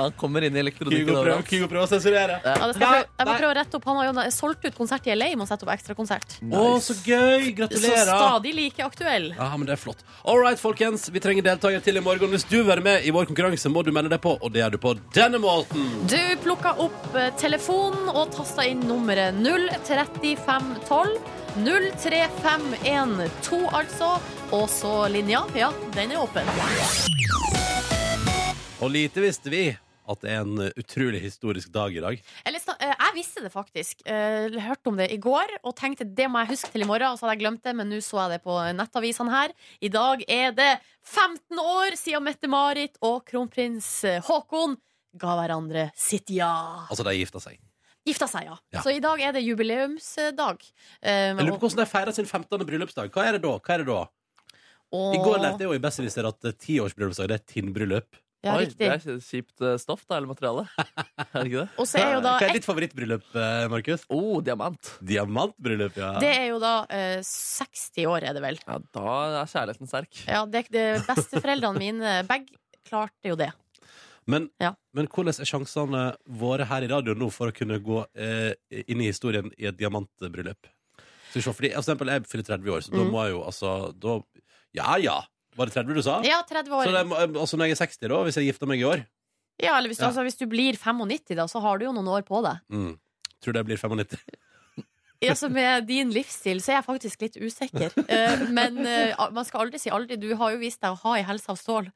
D: Han kommer inn i elektronikken
B: Kygo prøver,
D: overalt.
B: Kygo prøver å sensurere.
C: Ja, det skal jeg, prøve, jeg må prøve å rette opp. Han har jo na- solgt ut konsert i LA med å sette opp ekstrakonsert.
B: Å, så gøy!
C: Så
B: Gratulerer.
C: stadig like aktuell.
B: Ja, men det er flott. All right, folkens. Vi trenger deltakere til i morgen. Hvis du vil være med i vår konkurranse, må du melde deg på, og det gjør du på denne måten.
C: Du plukka opp eh, telefonen og tasta inn nummeret 03512. 03512, altså. Og så linja. Ja, den er åpen.
B: Og lite visste vi at det er en eh, utrolig historisk dag i dag.
C: Eller, sna- eh, jeg visste det faktisk. Eh, Hørte om det i går og tenkte det må jeg huske til i morgen. Og så hadde jeg glemt det, men nå så jeg det på nettavisene her. I dag er det 15 år siden Mette-Marit og kronprins eh, Haakon ga hverandre sitt ja.
B: Altså, de gifta seg.
C: Gifta seg, ja.
B: Ja.
C: Så i dag er det jubileumsdag. Eh,
B: Jeg lurer på hvordan de feirer sin 15. bryllupsdag. Hva er det da? Hva er det da?
C: og-
B: I går lærte jeg jo i Besserwisser at eh, tiårsbryllupsdag, det er tinnbryllup.
C: Ja,
D: Oi,
C: riktig.
D: det er ikke kjipt eh, stoff, da, eller materiale. Er det ikke det?
C: Og så er jo da
B: Hva er
C: ett
B: ditt favorittbryllup, eh, Markus?
D: Oh, diamant.
B: Diamantbryllup, ja.
C: Det er jo da eh, 60 år, er det vel.
D: Ja, da er kjærligheten sterk.
C: Ja, det, det Besteforeldrene mine begge klarte jo det.
B: Men,
C: Ja.
B: men hvordan er sjansene våre her i radioen nå for å kunne gå eh, inn i historien i et diamantbryllup? Skal vi se, fordi, for eksempel, jeg fyller 30 år, så da
C: Mm.
B: må jeg jo altså da, Ja ja! Var det 30 du sa?
C: Ja, 30
B: Så
C: år.
B: det, må- altså når jeg er 60, da, hvis jeg gifter meg i år
C: Ja, eller hvis du,
B: Ja.
C: altså, hvis du blir 95, da, så har du jo noen år på deg.
B: mm, Tror det blir 95.
C: Ja, så med din livsstil så er jeg faktisk litt usikker. Eh, men eh, al- man skal aldri si aldri. Du har jo vist deg å ha ei helse av stål.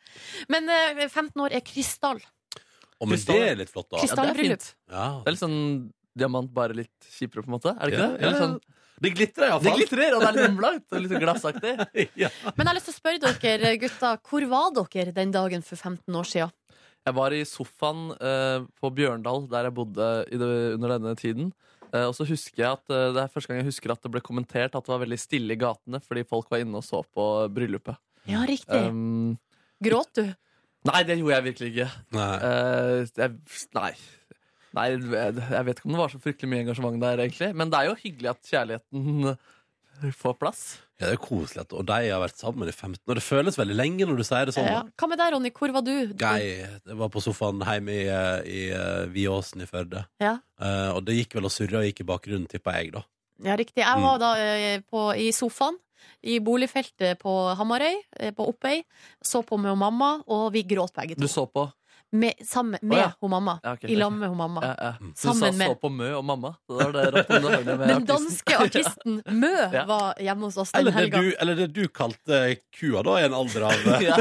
C: Men eh, 15 år er krystall.
B: Og men det er litt flott, da.
C: Kristall.
D: det er
C: Krystallbryllup.
D: fint.
B: Ja.
D: Det er litt sånn diamant, bare litt kjipere, på en måte. Er det ikke
B: Ja,
D: det? Eller
B: ja.
D: sånn,
B: Det glitrer
D: det
B: iallfall.
D: glitrer, og det er litt omlangt. Og litt sånn glassaktig.
B: ja.
C: Men jeg har lyst til å spørre dere, eh, gutta, hvor var dere den dagen for 15 år siden?
D: Jeg var i sofaen eh, på Bjørndal, der jeg bodde i det, under denne tiden. Eh, og så husker jeg at eh, Det er første gang jeg husker at det ble kommentert at det var veldig stille i gatene fordi folk var inne og så på bryllupet.
C: Ja, riktig.
D: Um,
C: Gråt du?
D: nei, det gjorde jeg virkelig ikke.
B: Nei.
D: Eh, jeg, nei. nei. Jeg jeg vet ikke om det var så fryktelig mye engasjement der, egentlig. Men det er jo hyggelig at kjærligheten får plass.
B: Ja, det er koselig. at- Og de har vært sammen i 15 år. Det føles veldig lenge når du sier det sånn.
C: Ja.
B: da.
C: Hva med deg, Ronny? Hvor var du?
B: Guy det var på sofaen hjemme i, eh, i eh, Viåsen i Førde.
C: Ja.
B: Eh, og det gikk vel og surra og gikk i bakgrunnen, tippa jeg, da.
C: Ja, riktig. Jeg
B: Mm.
C: var da eh, på, i sofaen i boligfeltet på Hamarøy, eh, på Oppøy. Så på med hun mamma, og vi gråt begge
D: Du
C: to.
D: så på
C: Med, sammen med
D: Å, ja.
C: hun mamma.
D: Ja, ok,
C: I
D: ok.
C: lag med hun mamma.
D: ja, ja. Mm. Du sa
C: Sammen med-
D: så på Mø og mamma. Så da var det rart om det hang
C: Den
D: med artisten.
C: danske artisten Mø
D: Ja.
C: var hjemme hos oss den
B: Eller det,
C: helga.
B: du, eller det du kalte kua, da, i en alder av
D: Ja.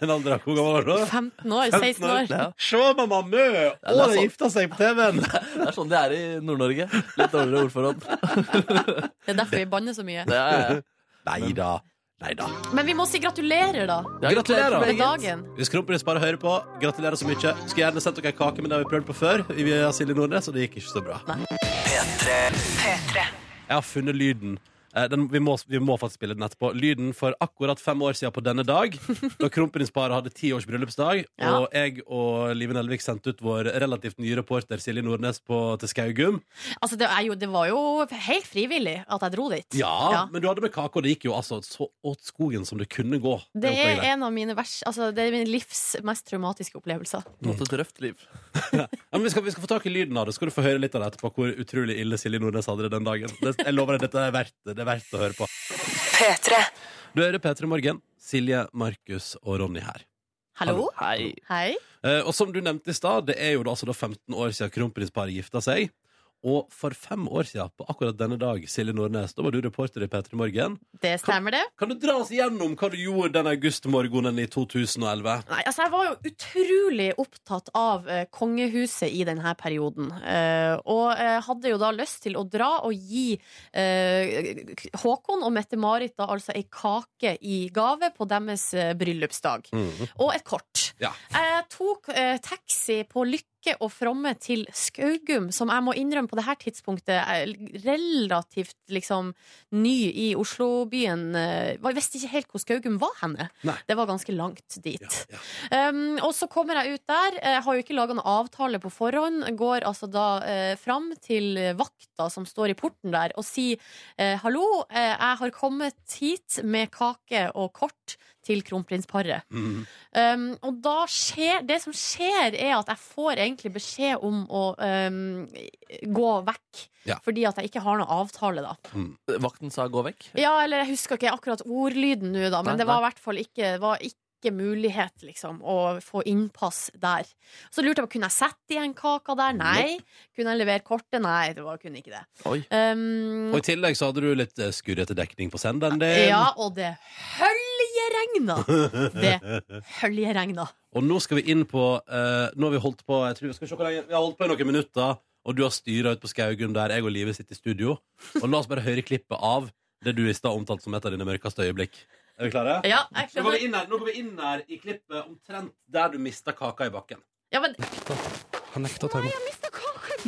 B: En alder av hvor gammel var du? da?
C: 15 år, 16 år.
D: Ja.
B: Se, mamma Mø! Å,
D: det er
B: de
D: sånn.
B: gifta seg på TV-en!
D: Det er sånn det er i Nord-Norge. Litt dårligere ordforråd.
C: Det er derfor vi banner så mye.
D: Ja, ja, ja.
B: Nei da. Nei da.
C: Men vi må si gratulerer, da,
D: Ja,
B: Gratulerer.
C: med
D: folkens.
C: dagen.
B: Hvis Kronprins bare hører på, gratulerer så mye. Skulle gjerne sendt dere en kake, men det har vi prøvd på før. Vi har Silje Nordnes, og det gikk ikke så bra. Jeg har funnet lyden. Eh, Den, vi, må, vi må faktisk spille den etterpå. Lyden for akkurat fem år siden på denne dag, da kronprinsparet hadde ti års bryllupsdag,
C: Ja.
B: og jeg og Live Nelvik sendte ut vår relativt nye reporter Silje Nordnes på, til Skaugum.
C: Altså, det, er jo, det var jo helt frivillig at jeg dro dit.
B: Ja, men du hadde med kake, og det gikk jo altså så åt skogen som det kunne gå.
C: Det er
B: opplegget.
C: en av mine vers, altså, det er min livs mest traumatiske opplevelser.
D: Mot et røft liv.
B: Ja, men vi, skal, vi skal få tak i lyden av det, så skal du få høre litt av det etterpå. Hvor utrolig ille Silje Nordnes hadde det den dagen. Det, jeg lover deg, dette er verdt det. Det er verdt å høre på. Du hører P3 Morgen. Silje, Markus og Ronny her.
C: Hallo?
D: Hei.
C: Hei.
B: Eh, og som du nevnte i stad, det er jo da, altså da 15 år siden kronprinsparet gifta seg. Og for fem år siden, på akkurat denne dag, Silje Nordnes, da var du reporter i P3 Morgen.
C: Det stemmer, det.
B: Kan du dra oss gjennom hva du gjorde den augustmorgenen i 2011?
C: Nei, altså Jeg var jo utrolig opptatt av eh, kongehuset i denne perioden. Eh, og eh, hadde jo da lyst til å dra og gi eh, Håkon og Mette-Marit da altså ei kake i gave på deres eh, bryllupsdag.
B: Mhm.
C: Og et kort.
B: Ja.
C: Jeg tok eh, taxi på Lykke takke og fromme til Skaugum, som jeg må innrømme på det her tidspunktet er relativt liksom, ny i Oslobyen. Eh, Jeg visste ikke helt hvor Skaugum var henne.
B: Nei.
C: Det var ganske langt dit.
B: Ja, ja.
C: Um, og så kommer jeg ut der. Jeg har jo ikke laga noen avtale på forhånd. Går altså da eh, fram til vakta som står i porten der, og sier eh, hallo, eh, jeg har kommet hit med kake og kort til kronprinsparet.
B: Mhm.
C: Um, og da skjer Det som skjer, er at jeg får egentlig beskjed om å um, gå vekk.
B: Ja.
C: Fordi at jeg ikke har noen avtale, da.
D: Vakten sa gå vekk.
C: Ja, eller jeg husker ikke akkurat ordlyden nå, da, men
D: Nei,
C: det var i
D: nei.
C: hvert fall ikke, det var ikke mulighet, liksom, å få innpass der. Så lurte jeg på, kunne jeg sette igjen kaka der? Nei. Kunne jeg levere kortet? Nei, det var, kunne ikke det.
D: Oi.
C: Um,
B: Og i tillegg så hadde du litt eh, skurrete dekning på senderen din.
C: ja, og det høljeregna! Det høljeregna.
B: Og nå skal vi inn på eh, Nå har vi holdt på jeg tror, skal vi, se hvor lenge, vi har holdt på i noen minutter, og du har styra ut på Skaugum der jeg og Live sitter i studio. Og la oss bare høre klippet av det du i stad omtalte som et av dine mørkeste øyeblikk. Er vi klare?
C: Ja, jeg
B: Nå går, vi
C: skjønner.
B: inn her, nå går vi inn her i klippet omtrent der du mista kaka i bakken.
C: Ja, men
F: Han nekta å ta imot.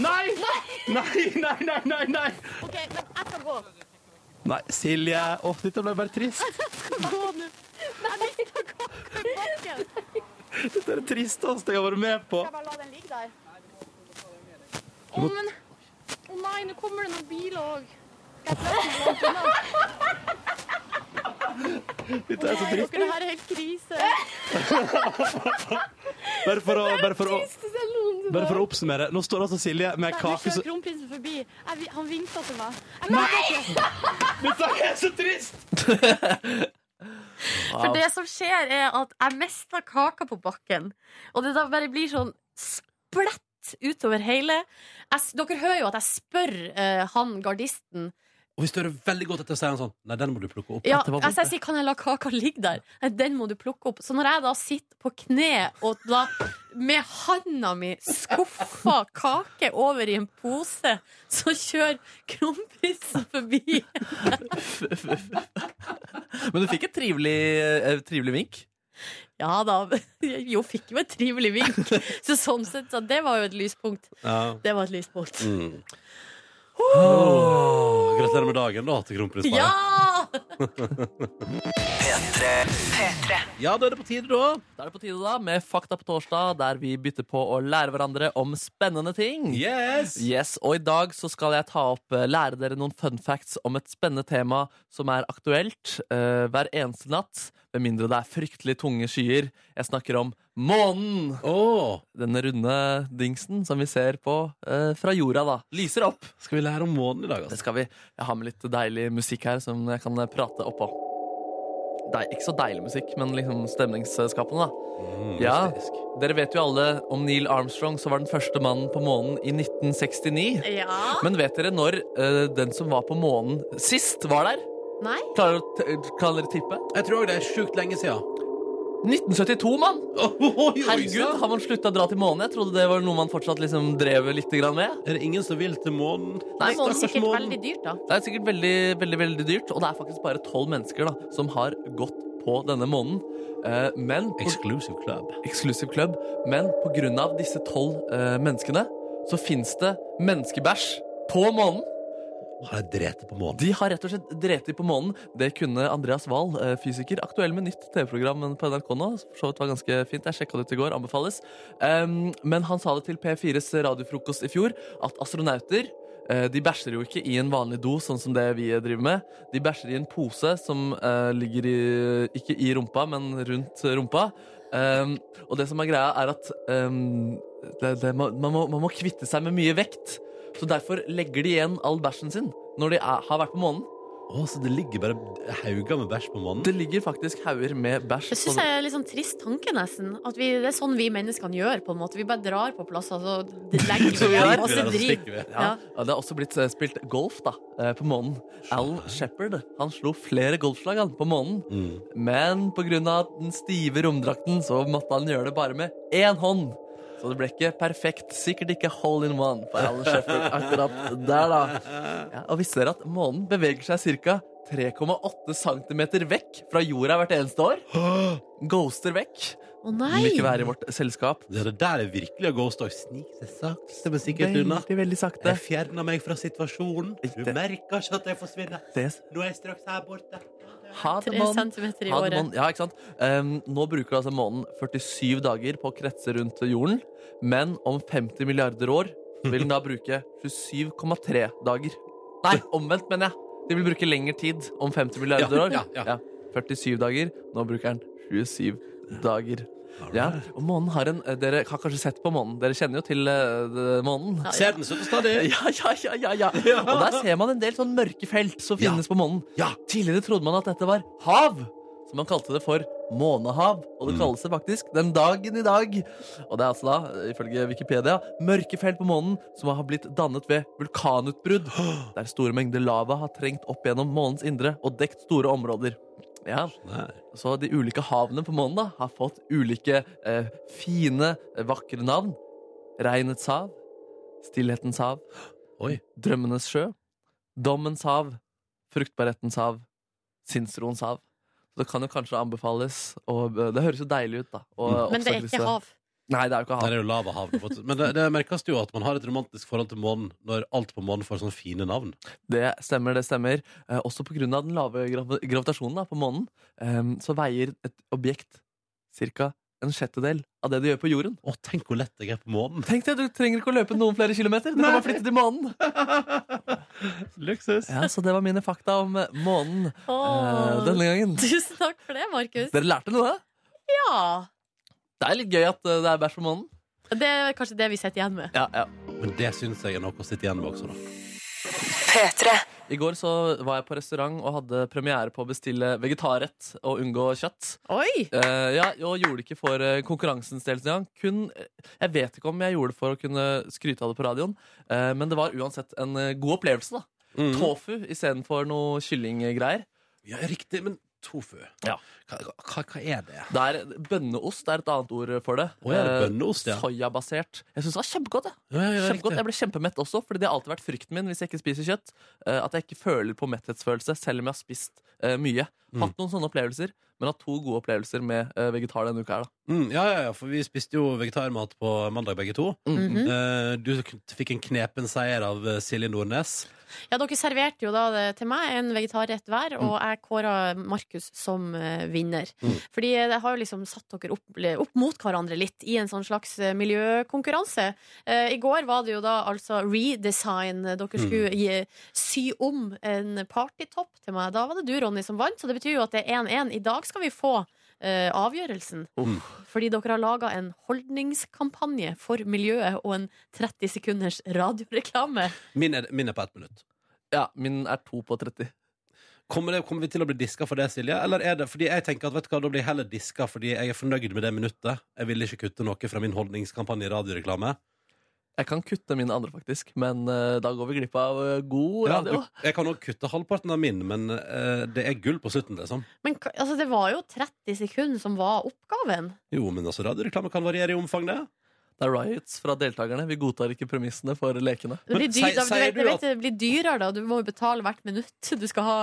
G: Nei! Nei, nei, nei, nei! Nei,
C: OK, men jeg skal gå.
G: nei Silje. Å, dette ble bare trist.
C: Gå nå. Nei, jeg skal gå i bakken.
G: Dette er det tristeste jeg har vært med på.
H: Jeg bare la den ligge der. Å, men Å nei, nå kommer det noen biler òg.
G: Dette er så trist.
C: Dere, det her er helt krise.
G: Bare for å, bare for å, bare for å oppsummere. Nå står altså Silje med
H: Nå
G: kake
H: kjører
G: som
H: kronprinsen forbi. Jeg, vi- han vinka til meg.
G: Dette er så trist!
C: For det som skjer er at jeg mista kaka på bakken, og det da bare blir sånn splett utover hele. Jeg, s- dere hører jo at jeg spør eh, han gardisten.
B: Og vi stører veldig godt etter å si han sånn Nei, den må du plukke opp.
C: Ja,
D: Dette var vondt,
C: altså jeg sier 'kan jeg la kaka ligge der?' Nei, den må du plukke opp. Så når jeg da sitter på kne og da med handa mi skuffer kake over i en pose, så kjører kronprinsen forbi.
D: Men du fikk et trivelig, eh, trivelig vink.
C: Ja da. Jo, fikk jo et trivelig vink. Så sånn sett, så det var jo et lyspunkt.
B: Ja.
C: Det var et lyspunkt.
B: Mm. Åh, gratulerer med dagen, da, til
D: Mm.
B: kronprinsparet.
C: Ja!
B: ja, da er det på tide, da.
D: Da er det på tide da med Fakta på torsdag, der vi bytter på å lære hverandre om spennende ting.
B: Yes!
D: Yes, og i dag så skal jeg ta opp, eh, lære dere noen fun facts om et spennende tema som er aktuelt eh, hver eneste natt, med mindre det er fryktelig tunge skyer. Jeg snakker om månen!
B: Åh,
D: Denne runde dingsen som vi ser på eh, fra jorda, da. Lyser opp!
B: skal vi lære om månen i dag,
D: Det
B: altså?
D: skal vi. Jeg har med litt deilig musikk her som jeg kan eh, prate oppå. Dei, ikke så deilig musikk, men liksom stemningsskapende, da.
B: Mm.
D: ja. Dere vet jo alle om Neil Armstrong, som var den første mannen på månen i 1969.
C: Ja.
D: Men vet dere når eh, den som var på månen sist, var der?
C: Nei.
D: Klarer dere å t- kan dere tippe?
B: Jeg tror òg det er sjukt lenge siden.
D: 1972, mann! Herregud,
B: Herregud!
D: har man slutta å dra til månen? Jeg trodde det var noe man fortsatt liksom drev litt grann med.
B: Er det ingen som vil til månen?
C: Det
D: Nei, altså,
C: må
B: stakkars
C: sikkert
B: månen.
C: veldig dyrt, da.
D: Det er sikkert veldig, veldig, veldig dyrt, og det er faktisk bare tolv mennesker da, som har gått på denne måneden. Eh, men på,
B: Exclusive club.
D: Exclusive Club. Men på grunn av disse tolv eh, menneskene, så finnes det menneskebæsj på månen.
B: Har jeg drept på månen?
D: De har rett og slett dreti på månen. Det kunne Andreas Wahl, eh, fysiker, aktuell med nytt TV-program på NRK nå. som For så vidt var ganske fint. Jeg sjekka det ut i går. Anbefales. Em, men han sa det til P4s radiofrokost i fjor, at astronauter eh, de bæsjer jo ikke i en vanlig do, sånn som det vi driver med. De bæsjer i en pose som eh, ligger i, ikke i rumpa, men rundt rumpa. Em, og det som er greia, er at em, det, det, man, man, må, man må kvitte seg med mye vekt. Så derfor legger de igjen all bæsjen sin når de er, har vært på månen.
B: Å, så det ligger bare hauger med bæsj på månen?
D: Det ligger faktisk hauger med bæsj.
C: Det syns
D: på-
C: jeg er litt sånn trist tanke, nesten. At vi, det er sånn vi menneskene gjør, på en måte. Vi bare drar på plasser, så d- legger altså,
B: Driter
C: vi igjen
B: vi der, og
C: og så
B: så stikker
C: driver
B: vi.
D: ja. Ja, Det har også blitt eh, spilt golf da, eh, på månen. Alan Shepherd han slo flere golfslag han, på månen.
B: Mm.
D: Men pga. den stive romdrakten så måtte han gjøre det bare med én hånd. Så det ble ikke perfekt. Sikkert ikke hole in one for Alan Shepherd akkurat der, da. Ja, og visste dere at månen beveger seg ca. 3,8 cm vekk fra jorda hvert eneste år. Ghoster vekk.
C: Å nei!
D: Vil ikke være i vårt selskap.
B: Det det der er virkelig å ghost og snike seg sakte, men sikkert unna.
D: Veldig, veldig sakte.
B: Jeg fjerner meg fra situasjonen. Du
D: Det-
B: merker ikke at jeg forsvinner.
D: Det-
B: Nå er jeg straks her borte.
D: Ha det,
C: Tre
D: mann.
C: centimeter i
D: Ha det,
C: året.
D: mann. Ja, ikke sant? Ehm, nå bruker altså månen 47 dager på å kretse rundt jorden, men om 50 milliarder år vil den da bruke 27,3 dager. Nei, omvendt, mener jeg. De vil bruke lengre tid om 50 milliarder
B: Ja,
D: år.
B: ja, ja.
D: 47 dager. Nå bruker den 27 dager. Ja, og månen har en eh, Dere har kanskje sett på månen? Dere kjenner jo til eh, det- månen?
C: Ja,
B: Ser den støtte stadig?
D: Ja, ja, ja, ja, ja. Og der ser man en del sånn mørke felt som
B: Ja.
D: finnes på månen.
B: Ja.
D: Tidligere trodde man at dette var hav, så man kalte det for månehav. Og det kalles det faktisk den dagen i dag. Og det er altså da, ifølge Wikipedia, mørke felt på månen som har blitt dannet ved vulkanutbrudd, der store mengder lava har trengt opp gjennom månens indre og dekt store områder. Ja, så de ulike havene på månen da, har fått ulike eh, fine, eh, vakre navn. Regnets hav, Stillhetens hav,
B: Oi.
D: Drømmenes sjø, Dommens hav, Fruktbarhetens hav, Sinnsroens hav. Så det kan jo kanskje anbefales. Og eh, det høres jo deilig ut, da. å
C: Men det er
D: oppsøke disse-
C: ikke hav.
D: Nei, det er jo ikke
B: Der
D: hav.
B: er jo lavahav. Men det, det merkes jo at man har et romantisk forhold til månen når alt på månen får sånne fine navn.
D: Det stemmer, det stemmer. Eh, også pga. den lave grav gravitasjonen da, på månen, eh, så veier et objekt ca. en sjettedel av det det gjør på jorden.
B: Å, tenk hvor lett jeg er på månen!
D: Tenk deg, Du trenger ikke å løpe noen flere kilometer. Du kan bare flytte til månen.
G: Luksus.
D: Ja, Så det var mine fakta om eh, månen eh,
C: Åh,
D: denne gangen.
C: Tusen takk for det, Markus.
D: Dere lærte noe?
C: Ja.
D: Det er litt gøy at eh, det er bæsj på månen.
C: Det er kanskje det vi sitter igjen med.
D: Ja, ja.
B: Men det syns jeg er noe å sitte igjen med også, da.
D: I går så var jeg på restaurant og hadde premiere på å bestille vegetarrett og unngå kjøtt.
C: Oi!
D: Eh, ja, og gjorde det ikke for eh, konkurransens del. Stian. Kun, eh, jeg vet ikke om jeg gjorde det for å kunne skryte av det på radioen, eh, men det var uansett en eh, god opplevelse. da.
B: Mm.
D: Tofu istedenfor noe kyllinggreier.
B: Ja, riktig. Men tofu
D: Ja.
B: hva, hva, hva er det?
D: Det er Bønneost det er et annet ord for det.
B: Å, er det
D: Eh,
B: bønneost, ja?
D: Soyabasert. Jeg syns det var kjempegodt. Jeg.
B: Ja, ja, ja,
D: Kjempegodt.
B: riktig.
D: jeg ble kjempemett også, Fordi det har alltid vært frykten min hvis jeg ikke spiser kjøtt. eh, At jeg ikke føler på metthetsfølelse selv om jeg har spist eh, mye.
B: Mm.
D: Hatt noen sånne opplevelser, men hatt to gode opplevelser med eh, vegetar denne uka. her da
B: Mm, ja, ja, ja, for vi spiste jo vegetarmat på mandag, begge to.
D: Mm.
C: Mhm.
B: Eh, du fikk en knepen seier av eh, Silje Nordnes.
C: Ja, dere serverte jo da det, til meg en vegetarrett hver, og jeg kåra Markus som eh, vinner. Fordi jeg har jo liksom satt dere opp, opp mot hverandre litt i en sånn slags eh, miljøkonkurranse. Eh, I går var det jo da altså redesign. Dere skulle gi, sy om en partytopp til meg. Da var det du, Ronny, som vant, så det betyr jo at det er 1-1. I dag skal vi få eh, avgjørelsen. Fordi dere har laga en holdningskampanje for miljøet og en 30 sekunders radioreklame.
B: Min er, min er på ett minutt.
D: Ja, Min er to på 30.
B: Kommer, det, kommer vi til å bli diska for det, Silje? Eller er det fordi jeg tenker at vet du hva, da blir jeg heller diska fordi jeg er fornøyd med det minuttet? Jeg ville ikke kutte noe fra min holdningskampanje i radioreklame.
D: Jeg kan kutte mine andre, faktisk, men eh, da går vi glipp av eh, god
B: Ja,
D: radio.
B: du, jeg kan òg kutte halvparten av min, men eh, det er gull på slutten, liksom.
C: Men ka- altså, det var jo 30 sekunder som var oppgaven.
B: Jo, men altså, radioreklame kan variere i omfang, det.
D: Det er riots fra deltakerne. Vi godtar ikke premissene for lekene.
C: Det blir,
B: Men
C: dyr,
B: sier-
C: da, du
B: sier
C: vet,
B: du
C: du vet,
B: at-
C: det blir dyrere, da. Du må jo betale hvert minutt. Du skal ha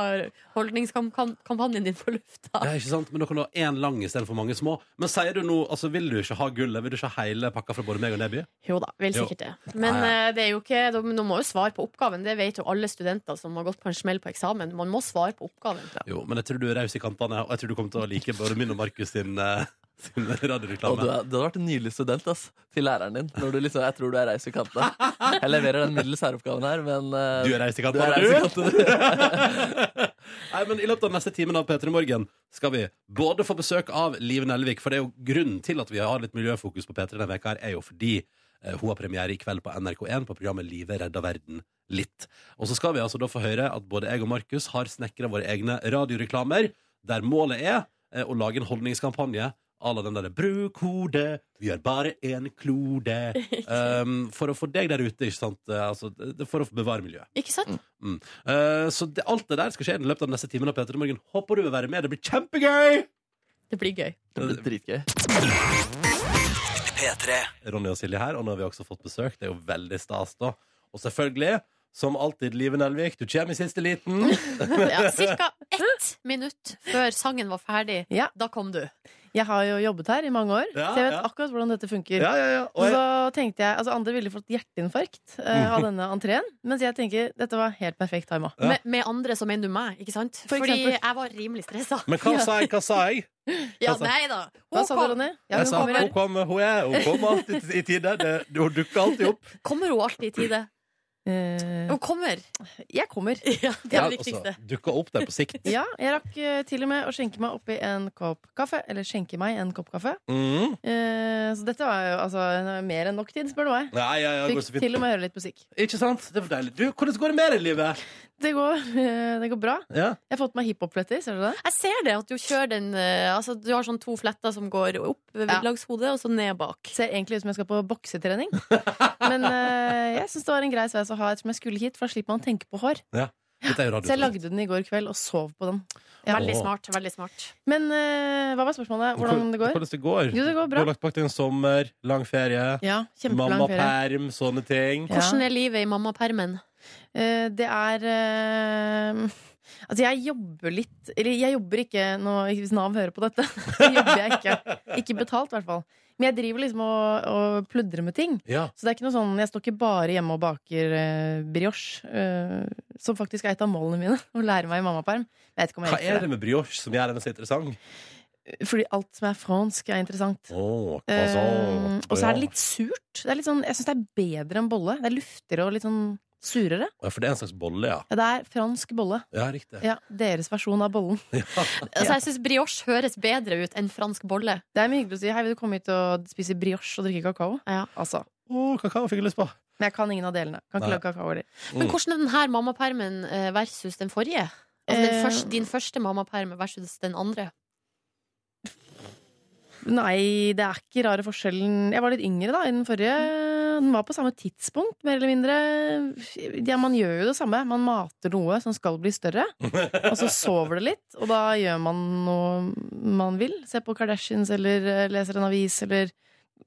C: holdningskampanjen din på lufta.
B: Ja, ikke sant? Men da kan du ha én lang istedenfor mange små. Men sier du nå, altså vil du ikke ha gullet? Vil du ikke ha hele pakka fra både meg og Neby?
C: Jo da, vel
B: Jo.
C: sikkert det. Men
B: Ja,
C: eh, det er jo ikke da- Nå må jo svare på oppgaven. Det vet jo alle studenter som har gått på en smell på eksamen. Man må svare på oppgaven.
B: Jo, men jeg tror du er raus i kantene, og jeg tror du kommer til å like både min og Markus sin, eh, sin
D: Og du,
B: radioreklame.
D: er, du hadde vært en nydelig student ass, til læreren din. Når du liksom, jeg tror du er reis i kantene. Jeg leverer den middels særoppgaven her, men eh,
B: Du er raus i
D: du er
B: kantene,
D: reis i
B: du!
D: kantene.
B: Nei, men I løpet av den neste timen av P3 Morgen skal vi både få besøk av Liv Nelvik, for det er jo grunnen til at vi har litt miljøfokus på P3 denne veka her, er jo fordi eh, hun har premiere i kveld på NRK1 på programmet Livet redder verden litt. Og så skal vi altså da få høre at både jeg og Markus har snekra våre egne radioreklamer, der målet er eh, å lage en holdningskampanje à la den derre 'Bruk hodet, vi har bare én klode'. Um, for å få deg der ute, ikke sant? eh, Altså, det- for å bevare miljøet.
C: Ikke sant?
B: Mm. Eh, så det, alt det der skal skje i løpet av den neste timen av Peter i morgen. Håper du vil være med. Det blir kjempegøy!
C: Det blir gøy.
D: Det blir dritgøy.
B: Ronny og Silje her, og nå har vi også fått besøk. Det er jo veldig stas, da. Og selvfølgelig, som alltid, Live Nelvik, du kommer i siste liten.
C: Ja, cirka. ett minutt før sangen var ferdig.
I: Ja.
C: Da kom du.
I: Jeg har jo jobbet her i mange år,
G: Ja,
I: så jeg vet
G: ja.
I: akkurat hvordan dette funker.
G: Ja, ja, ja. Og
I: Så
G: jeg, Mhm.
I: tenkte jeg, altså Andre ville fått hjerteinfarkt eh, av denne entreen, mens jeg tenker dette var helt perfekt tima.
G: Ja.
C: Med, med andre så mener du meg, ikke sant?
I: For
C: Fordi
I: eksempel.
C: jeg var rimelig stressa.
G: men hva sa jeg? Hva sa jeg?
C: Ja,
B: altså-
G: sa-
C: nei da.
I: Hva
C: Hun
I: sa du,
C: kom,
I: Ronny? Ja,
G: Jeg
I: hun
G: sa
I: kommer.
G: hun kom, hun er, hun kom alltid i tide. Det, hun dukker alltid opp.
C: kommer hun alltid i tide?
I: Eh,
C: Hun kommer.
I: jeg kommer.
C: Ja, det er det
B: altså,
C: viktigste.
B: dukker opp der på sikt.
I: Ja, jeg rakk eh, til og med å skjenke meg oppi en kopp kaffe. Eller skjenke meg en kopp kaffe.
B: Mm.
I: Eh, så dette var jo altså mer enn nok tid, spør du meg.
B: Ja, ja, ja, det går
I: Fikk
B: så fint.
I: til og med høre litt musikk.
B: Ikke sant? Det var deilig. Du, hvordan går det med deg i livet?
I: Det går, eh, det går bra.
B: Ja.
I: Jeg har fått meg hiphop-fletter, ser du det?
C: Jeg ser det, at du kjører den eh, Altså, du har sånn to fletter som går opp ved
I: Ja.
C: langs hodet, og så ned bak.
I: Ser egentlig ut som jeg skal på boksetrening. Men eh, jeg syns det var en grei sveis å ha ettersom jeg skulle hit, for da slipper man å tenke på hår.
B: Dette er jo
I: Så jeg
B: radio.
I: lagde den i går kveld og sov på den. Ja.
C: Veldig
B: Åh.
C: smart. veldig smart
I: Men eh, hva var spørsmålet? Hvordan det går?
B: Hvordan det går?
I: Jo, det
B: Du
I: går bra.
B: har lagt bak deg en sommer, lang ferie,
I: Ja, kjempelang ferie.
B: mammaperm, sånne ting.
I: Ja.
C: Hvordan er livet i mammapermen?
I: Eh, det er eh, Altså, jeg jobber litt Eller jeg jobber ikke nå, hvis Nav hører på dette. Så jobber jeg ikke. Ikke betalt, i hvert fall. Men jeg driver liksom og, og pludrer med ting.
B: Ja.
I: Så det er ikke noe sånn, jeg står ikke bare hjemme og baker eh, brioche, eh, som faktisk er et av målene mine, å lære meg i mammaperm. Jeg vet ikke om jeg
B: Hva er
I: rekker det.
B: det med brioche som gjør den så interessant?
I: Fordi alt som er fransk, er interessant.
B: Åh,
I: Eh,
B: croissant.
I: og så er det litt surt. Det er litt sånn, jeg syns det er bedre enn bolle. Det er luftigere og litt sånn surere.
B: Ja, For det er en slags bolle, ja.
I: Ja, det er fransk bolle.
B: Ja, riktig.
I: Ja, Deres versjon av bollen.
C: Altså, jeg syns brioche høres bedre ut enn fransk bolle.
I: Det er mye hyggelig å si 'hei, vil du komme hit og spise brioche og drikke kakao'?
C: Ja.
I: Altså.
B: Åh, kakao fikk jeg lyst på.
I: Men jeg kan ingen av delene. Kan ikke
B: Nei.
I: lage kakao heller.
C: Men
B: Mm.
C: hvordan er denne mammapermen eh, versus den forrige? Altså, den
I: Eh.
C: første, din første mammaperm versus den andre.
I: Nei, det er ikke rare forskjellen. Jeg var litt yngre da i den forrige. Den var på samme tidspunkt, mer eller mindre. Ja, man gjør jo det samme. Man mater noe som skal bli større, og så sover det litt. Og da gjør man noe man vil. Ser på Kardashians eller eh, leser en avis eller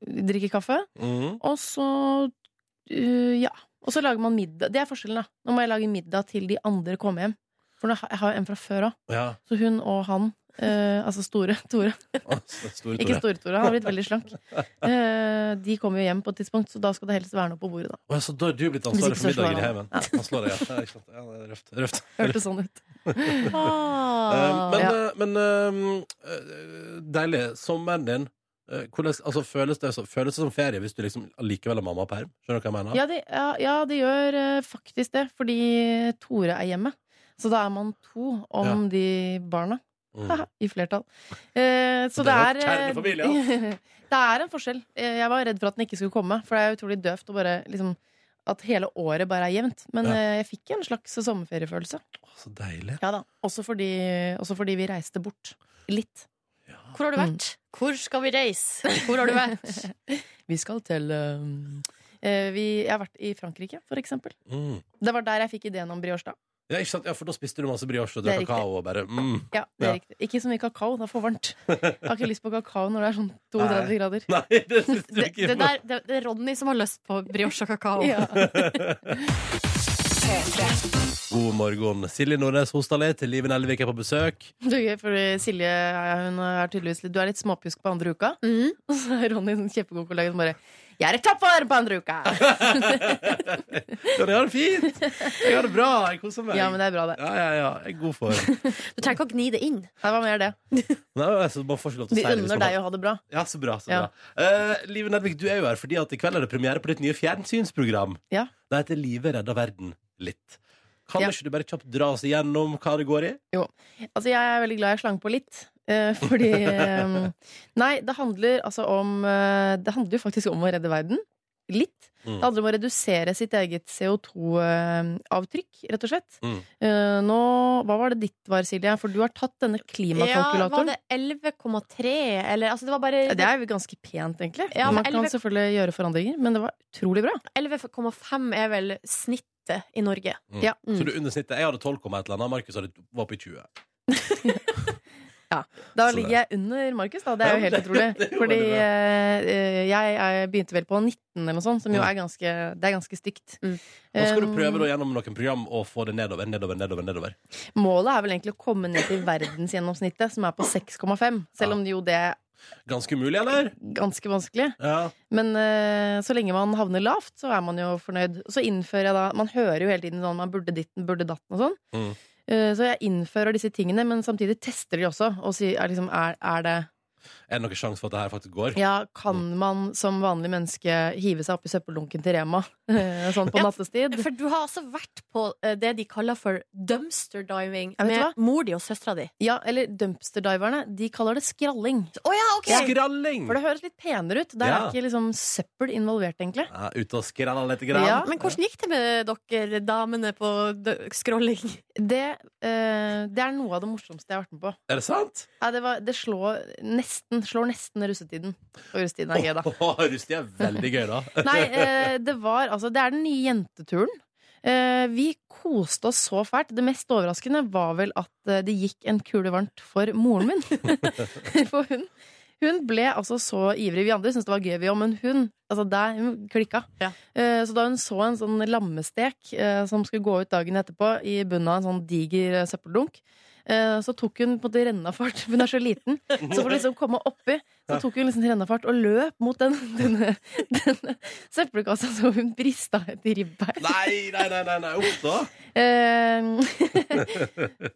I: drikker kaffe.
B: Mm.
I: Og så eh, Ja. Og så lager man middag. Det er forskjellen, da. Nå må jeg lage middag til de andre kommer hjem. For nå, har- jeg har jo en fra før òg.
B: Ja.
I: Så hun og han, eh, altså store Tore
B: Åh, Store
I: ikke
B: Tore.
I: Store-Tore. Han har blitt veldig slank. Eh, de kommer jo hjem på et tidspunkt, så da skal det helst være noe på bordet. da
B: Åh, så da har du blitt
I: Hvis ikke
B: ansvarlig for
I: så slår
B: middagen i
I: han.
B: heimen. Han slår deg, ja. Ja, ikke sant. ja. Det er røft. røft.
I: Hørtes sånn ut.
B: Eh,
C: Ah.
B: men
I: Ja.
B: eh, men eh, eh, deilig. Sommeren din eh, hvordan, altså, føles, det som, føles det som ferie hvis du liksom likevel har mammaperm? Skjønner du hva jeg mener?
I: Ja, det, ja, ja, det gjør eh, faktisk det, fordi Tore er hjemme. Så da er man to om
B: Ja.
I: de barna.
B: Mm.
I: I flertall. Eh, så det
B: Det
I: er
B: er
I: eh,
B: jo kjernefamilie,
I: Det er en forskjell. Eh, Jeg var redd for at den ikke skulle komme, for det er utrolig døvt å bare liksom at hele året bare er jevnt. Men
B: Ja.
I: eh, jeg fikk en slags sommerferiefølelse.
B: Åh, Så deilig.
I: Ja da. Også fordi, også fordi vi reiste bort. Litt.
C: Hvor har du vært? Hvor skal vi reise? Hvor har du vært?
I: Vi skal til um, eh, vi, Jeg har vært i Frankrike, for eksempel.
B: Mm.
I: Det var der jeg fikk ideen om brioche, da.
B: Ja, ikke sant? ja, for da spiste du masse brioche og
I: Det er
B: drakk kakao og bare mm.
I: Ja, det
B: Ja.
I: er riktig. Ikke så mye kakao, det er for varmt. Jeg har ikke lyst på kakao når det er sånn 32
B: Nei.
I: grader.
B: Nei, det syns du
C: Det,
B: ikke.
C: det, der, det, det er Ronny som har lyst på brioche og kakao.
I: Ja.
B: God morgen. Silje Nordnes Hostadli til Liven Elvik er på besøk.
I: Det er gøy, for Silje ja, hun er tydeligvis litt Du er litt småpjusk på andre uka.
C: Mm.
I: Og så er Ronny en kjempegod kollega som bare 'Jeg er i toppvarm på andre uka!'
B: Ja, jeg har det fint! Jeg har det bra. Jeg koser meg.
I: Ja, men det er bra, det.
B: ja, ja, ja. Jeg er god for det.
C: Du trenger ikke å gni det inn.
I: Det var mer det.
B: Nei, altså, man får ikke lov til å
I: Vi
B: si det. hvis
I: unner
B: man
I: deg å ha det bra.
B: Ja, så bra, så
I: Ja.
B: bra. Eh, Live Nedvik, du er jo her fordi at i kveld er det premiere på ditt nye fjernsynsprogram.
I: Ja.
B: Det heter Livet redder verden litt. Kan
I: Ja.
B: ikke du bare kjapt dra oss igjennom hva det går i?
I: Altså, jeg er veldig glad jeg slang på litt. eh, fordi eh, Nei, det handler altså om eh, Det handler jo faktisk om å redde verden. Litt.
B: Mm.
I: Det handler om å redusere sitt eget CO2-avtrykk, eh, rett og slett.
B: Mm.
I: Eh, nå Hva var det ditt var, Silje? For du har tatt denne
C: Ja, var
I: klimakalkulatoren.
C: det 11,3? Eller altså, det var bare
I: Ja, det er jo ganske pent, egentlig.
C: Ja,
I: Man
C: men
I: kan
C: 11
I: selvfølgelig gjøre forandringer, men det var utrolig bra.
C: 11,5 er vel snittet i Norge.
B: Mm.
I: Ja.
B: Så du undersnittet. Jeg hadde 12,1 eller annet, Markus hadde- var på 20.
I: Da
B: Så det-
I: ligger jeg under Markus, da. Det er jo helt utrolig.
B: det er jo
I: Fordi
B: veldig bra.
I: eh, eh, jeg er, begynte vel på 19 eller noe sånt, som jo
B: Mm.
I: er ganske, det er ganske stygt.
C: Mm.
B: Nå skal du
I: Um,
B: prøve da gjennom noen program å få det nedover, nedover, nedover. nedover
I: Målet er vel egentlig å komme ned til verdensgjennomsnittet, som er på 6,5.
B: Ja.
I: Selv om jo det er
B: Ganske umulig, eller?
I: ganske vanskelig.
B: Ja.
I: Men eh, så lenge man havner lavt, så er man jo fornøyd. Så innfører jeg da Man hører jo hele tiden sånn man burde ditten, burde datten og sånn.
B: Mm.
I: Eh, så jeg innfører disse tingene, men samtidig tester de også. Og sier er, liksom, er, er det
B: Er det noen sjanse for at det her faktisk går?
I: Ja, kan man som vanlig menneske hive seg opp i søppeldunken til Rema sånn på
C: Ja,
I: nattestid?
C: For du har altså vært på eh, det de kaller for dumpster diving
I: Ja, vet du hva?
C: med mor di og søstera di.
I: Ja, eller dumpsterdiverne. De kaller det skralling.
C: Å ja, ok!
B: Skralling!
I: For det høres litt penere ut. Der
B: Ja.
I: er ikke liksom søppel involvert, egentlig.
B: Ja, ute og skralla litt. Grann.
I: Ja.
C: Men hvordan gikk det med dere damene på dø- scrolling?
I: Det, eh, det er noe av det morsomste jeg har vært med på.
B: Er det sant?
I: Ja, det, var, det slår nesten, slår nesten russetiden. Og russetiden er gøy, da.
B: Rusti er veldig gøy, da.
I: Nei, eh, det var altså Det er den nye jenteturen. Eh, vi koste oss så fælt. Det mest overraskende var vel at eh, det gikk en kule varmt for moren min. for hun hun ble altså så ivrig. Vi andre syntes det var gøy, vi òg, men hun altså der, hun klikka.
C: Ja.
I: Eh, så da hun så en sånn lammestek eh, som skulle gå ut dagen etterpå, i bunnen av en sånn diger eh, søppeldunk, eh, så tok hun på en måte rennafart. Hun er så liten. Så for å liksom komme oppi, så tok hun liksom rennafart og løp mot den, denne, denne søppelkassa så hun brista et ribbein.
B: Nei, nei, nei, nei, nei. Uff, da.
I: Eh,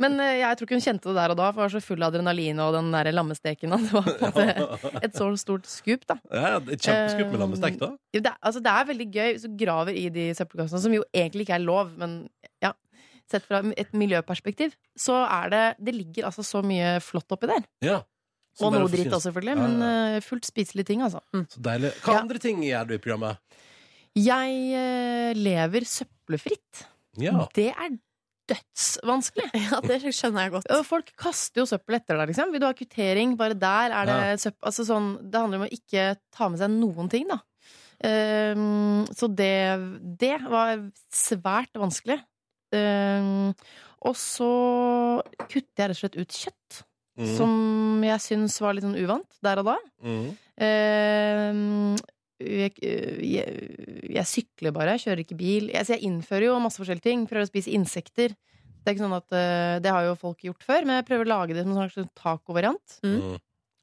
I: Men eh, jeg tror ikke hun kjente det der og da, for hun var så full av adrenalin og den der lammesteken. at Det var på en måte et så stort skup, da.
B: Ja, det er Kjempeskummelt
I: Eh,
B: med lammestek, da.
I: Jo, Det, er- altså, det er veldig gøy hvis du graver i de søppelkassene, som jo egentlig ikke er lov, men ja. Sett fra et miljøperspektiv, så er det Det ligger altså så mye flott oppi der.
B: Ja. Så
I: Og
B: bare
I: noe
B: forsyn-
I: dritt også, selvfølgelig,
B: Ja, ja, ja.
I: men eh, fullt spiselige ting, altså. Mm.
B: Så deilig. Hva
I: Ja.
B: andre ting gjør du i programmet?
I: Jeg eh, lever søppelfritt.
B: Ja.
I: Det er dødsvanskelig.
C: Ja, det skjønner jeg godt.
I: Og Folk kaster jo søppel etter deg, liksom. Vil du ha kvittering? Bare der er det søppel Altså sånn Det handler om å ikke ta med seg noen ting, da. Ehm, så det Det var svært vanskelig. Ehm, og så kutter jeg rett og slett ut kjøtt,
B: Mm.
I: som jeg syns var litt sånn uvant der og da.
B: Mm.
I: Ehm, jeg, eh, jeg, jeg sykler bare, jeg kjører ikke bil. Jeg, så jeg innfører jo masse forskjellige ting. Prøver å spise insekter. Det er ikke sånn at eh, Det har jo folk gjort før, men jeg prøver å lage det som en slags sånn tacovariant.
C: Mm.
B: Mm.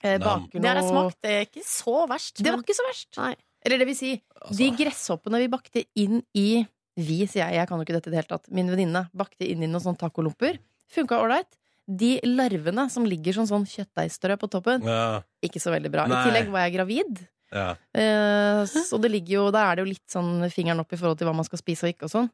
I: Eh,
B: Nam.
I: baker
C: Det har jeg
I: noe-
C: smakt. Det er ikke så verst.
I: Det
C: men-
I: var ikke så verst.
C: Nei.
I: Eller det vil si,
B: Altså,
I: de gresshoppene vi bakte inn i Vi, sier jeg, jeg kan jo ikke dette i det hele tatt. Min venninne bakte inn i noen sånne tacolomper. Funka ålreit. De larvene som ligger som sånn kjøttdeigstrø på toppen,
B: ja,
I: ikke så veldig bra.
B: Nei.
I: I tillegg var jeg gravid.
B: ja.
I: Eh, Så det ligger jo, da er det jo litt sånn fingeren opp i forhold til hva man skal spise og ikke og sånn.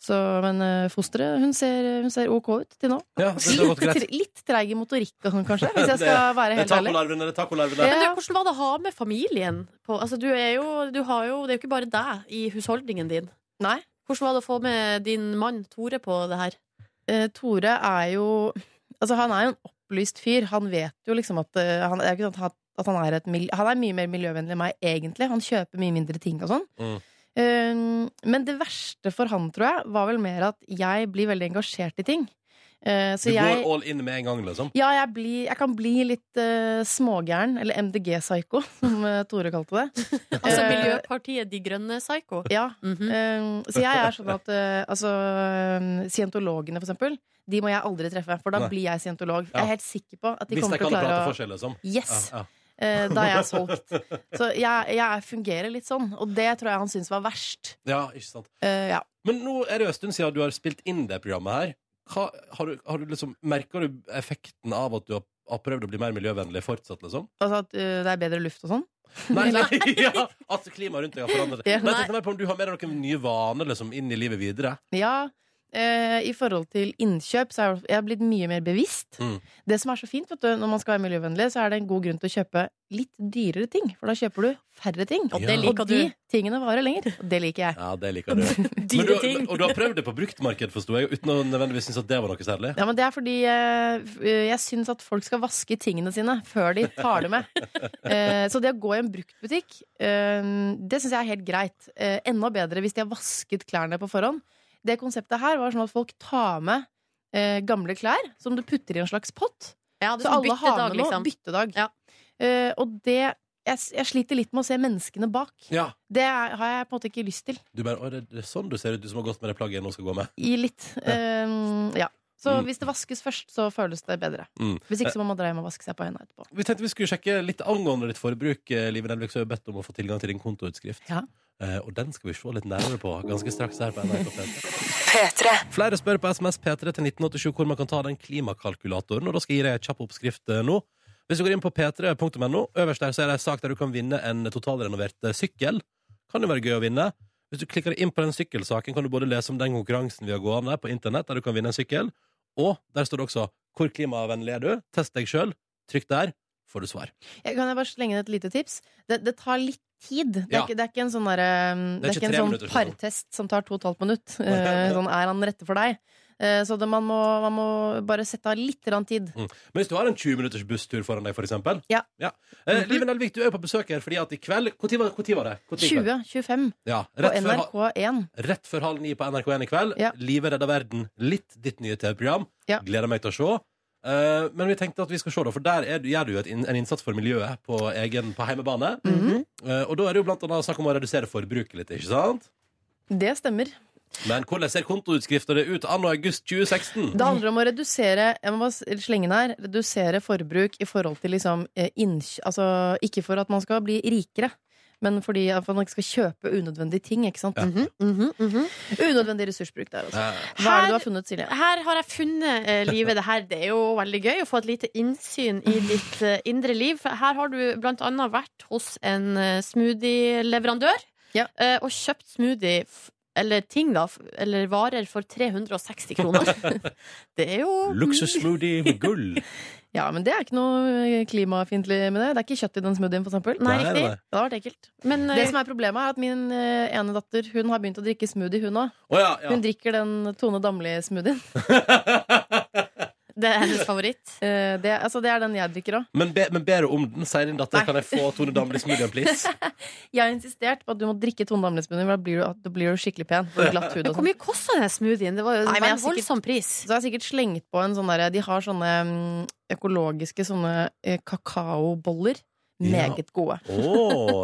I: Så, men eh, fosteret, hun ser, hun ser ok ut til nå.
B: ja det, det har
I: Litt,
B: gått greit.
I: tre- litt treig i motorikk og sånn, kanskje, hvis jeg
B: Det-
I: skal være
B: Det er
I: helt ærlig.
B: tacolarven, det er tacolarven.
I: Ja.
B: Ja.
C: Men du, hvordan var det å ha med familien? På, altså, du er jo, du har jo, det er jo ikke bare deg i husholdningen din.
I: Nei.
C: Hvordan var det å få med din mann Tore på det her?
I: Eh, Tore er jo Altså, han er jo en opplyst fyr. Han vet jo liksom at eh, han, det er ikke sant at, at han, er et, mil- han er mye mer miljøvennlig enn meg, egentlig. Han kjøper mye mindre ting og sånn.
B: Mm.
I: Eh, men det verste for han, tror jeg, var vel mer at jeg blir veldig engasjert i ting. Eh,
B: Du
I: så jeg
B: går all in med en gang, liksom.
I: Ja, jeg, blir, jeg kan bli litt eh, smågæren, eller MDG-psyko, som eh, Tore kalte det.
C: Altså
I: Eh,
C: Miljøpartiet De Grønne Psycho?
I: Ja.
C: Mhm.
I: eh, så jeg er sånn at eh, altså, eh, Scientologene, for eksempel, de må jeg aldri treffe, for da
B: Nei.
I: blir jeg scientolog.
B: Ja.
I: Jeg er helt sikker på at de
B: Hvis
I: kommer
B: de
I: til
B: kan
I: å klare
B: prate
I: å
B: forskjell, liksom. Ja,
I: Yes!
B: ja.
I: eh, da er jeg solgt. Så jeg, jeg fungerer litt sånn, og det tror jeg han syns var verst.
B: ja, ikke sant.
I: Eh, ja.
B: Men nå er det jo en stund siden du har spilt inn det programmet her. Hva, har du, har du liksom, merker du effekten av at du har, har prøvd å bli mer miljøvennlig fortsatt, liksom?
I: Altså at eh, det er bedre luft og sånn.
B: Nei, nei, ja, At klimaet rundt deg har forandret
I: Ja,
B: seg. Nei, jeg tenkte mer på om du har med deg noen nye vaner liksom, inn i livet videre.
I: Ja, eh, i forhold til innkjøp så er jeg- jeg har blitt mye mer bevisst.
B: Mm.
I: Det som er så fint vet du, når man skal være miljøvennlig, så er det en god grunn til å kjøpe litt dyrere ting. For da kjøper du færre ting.
B: Og det
C: liker
I: og de
C: du.
I: tingene varer lenger. Og det liker jeg.
B: Ja, det liker du. Men du
C: Dyre ting.
B: og du har prøvd det på bruktmarked, forsto jeg, uten å nødvendigvis synes at det var noe særlig.
I: Ja, men Det er fordi eh, f- eh, jeg syns at folk skal vaske tingene sine før de tar det med. Eh, så det å gå i en bruktbutikk, eh, det syns jeg er helt greit. Eh, enda bedre hvis de har vasket klærne på forhånd. Det konseptet her var sånn at folk tar med eh, gamle klær som du putter i en slags pott.
C: Ja, det er
I: Så
C: sånn
I: alle har
C: byttedag,
I: med noe.
C: liksom.
I: Byttedag.
C: Ja.
I: Eh, og det jeg, s- jeg sliter litt med å se menneskene bak.
B: Ja.
I: Det er- har jeg på en måte ikke lyst til.
B: Du bare, «Å, det er sånn du ser ut, du som har gått med det plagget jeg nå skal gå med.
I: I litt. Eh, ja. Så
B: Mm.
I: hvis det vaskes først, så føles det bedre.
B: Mm.
I: Hvis ikke så må man dra hjem og vaske seg på hendene etterpå.
B: Vi tenkte vi skulle sjekke litt angående ditt forbruk. eh, Live Nelvik, så har vi bedt om å få tilgang til din kontoutskrift.
I: Ja.
B: Eh, og den skal vi se litt nærmere på ganske straks her på NRK P3. Flere spør på SMS P3 til 1987 hvor man kan ta den klimakalkulatoren. Og da skal jeg gi deg en kjapp oppskrift eh, nå. Hvis du går inn på p3.no, øverst der så er det en sak der du kan vinne en totalrenovert eh, sykkel. Kan jo være gøy å vinne. Hvis du klikker inn på den sykkelsaken, kan du både lese om den konkurransen vi har gående på internett, der du kan vinne en sykkel, og der står det også 'Hvor klimavennlig er du?' Test deg sjøl. Trykk der, får du svar.
I: Jeg kan jeg bare slenge inn et lite tips? Det, det tar litt tid. Det er,
B: Ja.
I: ikke, det er ikke en sånn, derre, um, det er ikke
B: tre
I: en
B: minutter,
I: sånn
B: sånn.
I: partest som tar to og et halvt minutt. Eh, sånn, er han rette for deg? Eh, så det, man, må, man må bare sette av litt grann tid.
B: Men hvis du har en 20 minutters busstur foran deg, for eksempel
I: Ja. Mhm.
B: Eh, Liven Elvik, du er jo på besøk her fordi at i kveld Når var, hvor tid var det? Hvor tid i kveld?
I: 20-25
B: Ja,
I: på
B: rett, før, ha-
I: NRK1.
B: rett før halv ni på NRK1 i kveld.
I: Ja.
B: Livet redder verden. Litt ditt nye TV-program.
I: Ja.
B: Gleder meg til å se. Eh, men vi tenkte at vi skal se, da, for der er, du- gjør du jo et, inn- en innsats for miljøet på, egen, på heimebane.
I: Mhm.
B: Eh, og da er det jo blant annet snakk om å redusere forbruket litt, ikke sant?
I: Det stemmer.
B: Men hvordan ser kontoutskrifta di ut anno august 2016?
I: Det handler om å redusere jeg må bare s- slenge inn her, redusere forbruk i forhold til liksom, eh, innkj- altså, Ikke for at man skal bli rikere, men fordi at man ikke skal kjøpe unødvendige ting. Ikke sant? mhm, Unødvendig ressursbruk der, altså.
B: Eh,
I: Hva er det
C: Her-
I: du har funnet, Silje?
C: Her har jeg funnet eh, livet. Det her det er jo veldig gøy å få et lite innsyn i ditt eh, indre liv. Her har du blant annet vært hos en eh, smoothie-leverandør
I: Ja.
C: eh, og kjøpt smoothie f eller ting, da. f- Eller varer for 360 kroner. det er jo
B: Luksussmoothie med gull.
I: Ja, men det er ikke noe eh, klimafiendtlig med det. Det er ikke kjøtt i den smoothien, for eksempel.
C: Nei,
B: Nei,
C: riktig.
B: nei.
I: Det har vært ekkelt.
C: Men eh,
I: Det som er problemet, er at min eh, ene datter hun har begynt å drikke smoothie, hun òg.
B: Å ja, ja.
I: Hun drikker den Tone Damli-smoothien.
C: det er hennes favoritt.
I: Eh, det, altså, det er den jeg drikker òg.
B: Men, be, men ber du om den? Sier din datter
I: Nei.
B: kan jeg få Tone Damli-smoothien, please?
I: Jeg har insistert på at du må drikke Tone Damli-smoothien, for da blir, du, da blir du skikkelig pen. Og glatt hud og
C: Hvor
I: sånn.
C: mye kosta den smoothien? Det var jo
I: Nei,
C: en
I: men jeg har
C: voldsom pris.
I: Så har jeg sikkert slengt på en sånn derre De har sånne mm, økologiske sånne eh, kakaoboller.
B: Ja.
I: Meget gode.
B: Å,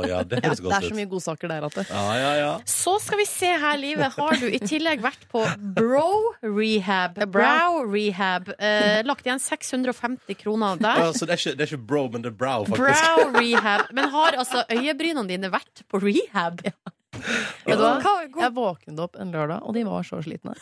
B: ja, det
I: Ja,
B: høres
I: det
B: godt
I: er så
B: ut.
I: mye godsaker der at det
B: Ja, ja, ja.
C: Så skal vi se her, livet. Har du i tillegg vært på bro rehab? Brow rehab. Eh, lagt igjen 650 kroner
B: Ja,
C: der.
B: så det er, ikke, det er ikke bro, men det er brow, faktisk.
C: Brow rehab. Men har altså øyebrynene dine vært på rehab?
I: Vet du hva?
C: Hva- hva-
I: Jeg våknet opp en lørdag, og de var så slitne.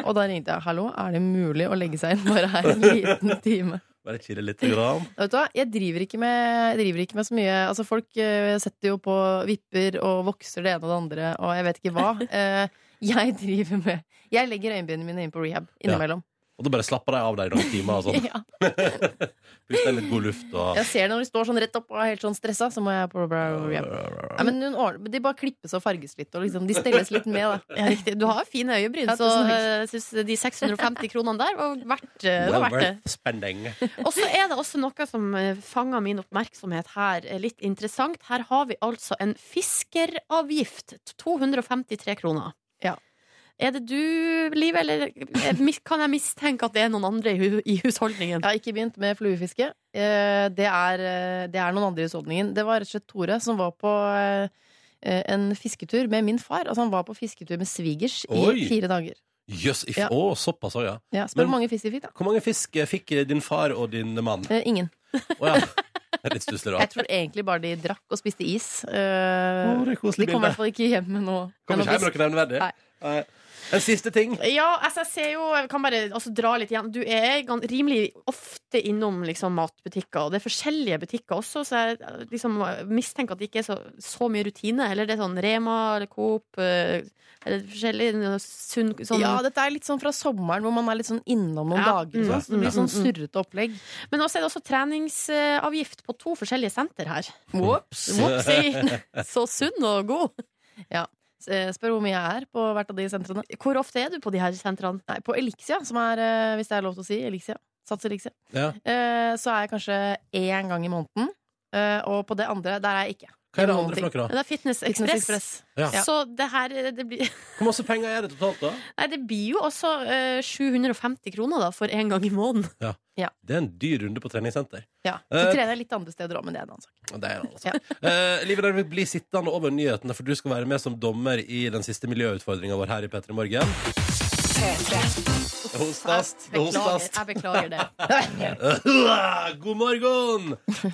I: og da ringte jeg 'hallo, er det mulig å legge seg inn bare her en liten time'?
B: Bare chille litt. Grann.
I: Og Vet du hva, jeg driver ikke med, jeg driver ikke med så mye Altså Folk eh, setter jo på vipper og vokser det ene og det andre, og jeg vet ikke hva. Eh, jeg driver med Jeg legger øyenbrynene mine inn på rehab innimellom.
B: Og da bare slapper de av deg i noen timer og sånn.
I: Ja.
B: Puster litt god luft og
I: Jeg ser det når de står sånn rett opp og er helt sånn stressa, så må jeg på rehab. Nei, men hun ordner, de bare klippes og farges litt, og liksom, de stelles litt med, da.
C: Ja, riktig. Du har fine øyebryn,
I: Ja,
C: så
I: tusen takk.
C: eh, jeg synes de 650 kronene der var verdt, eh, det var
B: Well
C: verdt det.
B: worth spending.
C: Og så er det også noe som eh, fanger min oppmerksomhet her. eh, Litt interessant. Her har vi altså en fiskeravgift. 253 kroner.
I: Ja.
C: Er det du, Liv, eller eh, mis- kan jeg mistenke at det er noen andre i, hu i husholdningen?
I: Jeg har ikke begynt med fluefiske. Eh, Det er, eh, det er noen andre i husholdningen. Det var rett og slett Tore som var på eh, en fisketur med min far. Altså han var på fisketur med svigers
B: Oi.
I: i fire dager.
B: Jøss, if-
I: Ja.
B: Å, såpass òg, ja.
I: Ja, spør
B: Men-
I: hvor mange fisk de fikk, da.
B: Hvor mange fisk eh, fikk eh, din far og din mann?
I: Eh, Ingen.
B: Å ja. Det er litt stusslig, da.
I: Jeg tror egentlig bare de drakk og spiste is. Eh,
B: Å, det er et koselig
I: de kom
B: bilde.
I: i hvert fall ikke hjem med noe.
B: Kommer ikke hjem med noe nevneverdig.
I: Nei.
B: Nei. En siste ting.
C: Ja, altså, jeg ser jo Jeg kan bare altså, dra litt igjen. Du er gan- rimelig ofte innom liksom, matbutikker, og det er forskjellige butikker også, så jeg eh, liksom, mistenker at det ikke er så, så mye rutine. Eller det er sånn Rema eller Coop eh, eller forskjellig eh, sunn, sånn
I: Ja, dette er litt sånn fra sommeren hvor man er litt sånn innom noen
C: Ja.
I: dager.
C: Mm,
I: og Sånn, så det
C: mm,
I: blir sånn
C: mm, mm.
I: surrete opplegg.
C: Men også er det også treningsavgift på to forskjellige senter her.
I: Ops.
C: Whoopsie! Så sunn og god.
I: Eh, Spør hvor mye jeg er på hvert av de sentrene.
C: Hvor ofte er du på de her sentrene?
I: Nei, på Elixia, som er, eh, hvis det er lov til å si, Elixia. Sats Elixia.
B: Ja.
I: Eh, så er jeg kanskje én gang i måneden. Eh, og på det andre, der er jeg ikke.
B: Hva er det andre for dere, da?
C: Det er Fitness
I: Fitness
C: Express.
I: Express.
B: Ja.
C: Så det her det blir,
B: Hvor masse penger er det totalt, da?
C: Nei, det blir jo også eh, 750 kroner da, for én gang i måneden.
B: Det er en dyr runde på treningssenter.
I: Ja. Så
B: Eh,
I: trener jeg litt andre steder òg, men det er en annen sak.
B: Og Det er han, altså. Eh, Liv Nelvik, bli sittende over nyhetene, for du skal være med som dommer i den siste miljøutfordringa vår her i P3 Morgen. Det hostas. Det
C: Beklager,
B: hostas.
C: jeg beklager det.
B: God morgen!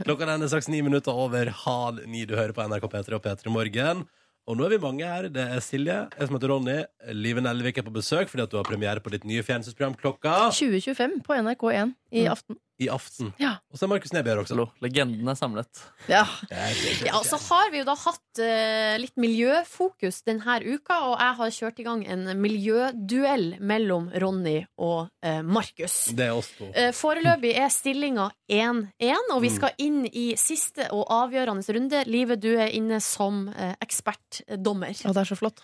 B: Klokka den er straks ni minutter over halv ni. Du hører på NRK P3 og P3 Morgen. Og nå er vi mange her. Det er Silje, jeg som heter Ronny. Live Nelvik er på besøk fordi at du har premiere på ditt nye fjernsynsprogram Klokka
I: 2025 på NRK1 i aften.
B: i aften.
I: Ja.
B: Og så er Markus Neby her også.
D: Hallo, legenden er samlet.
I: Ja.
C: Ja, altså. og så har vi jo da hatt eh, litt miljøfokus denne uka, og jeg har kjørt i gang en miljøduell mellom Ronny og eh, Markus.
B: Det er oss to.
C: Eh, Foreløpig er stillinga 1-1, og vi skal inn i siste og avgjørende runde. Live, du er inne som eh, ekspertdommer.
I: Og det er så flott.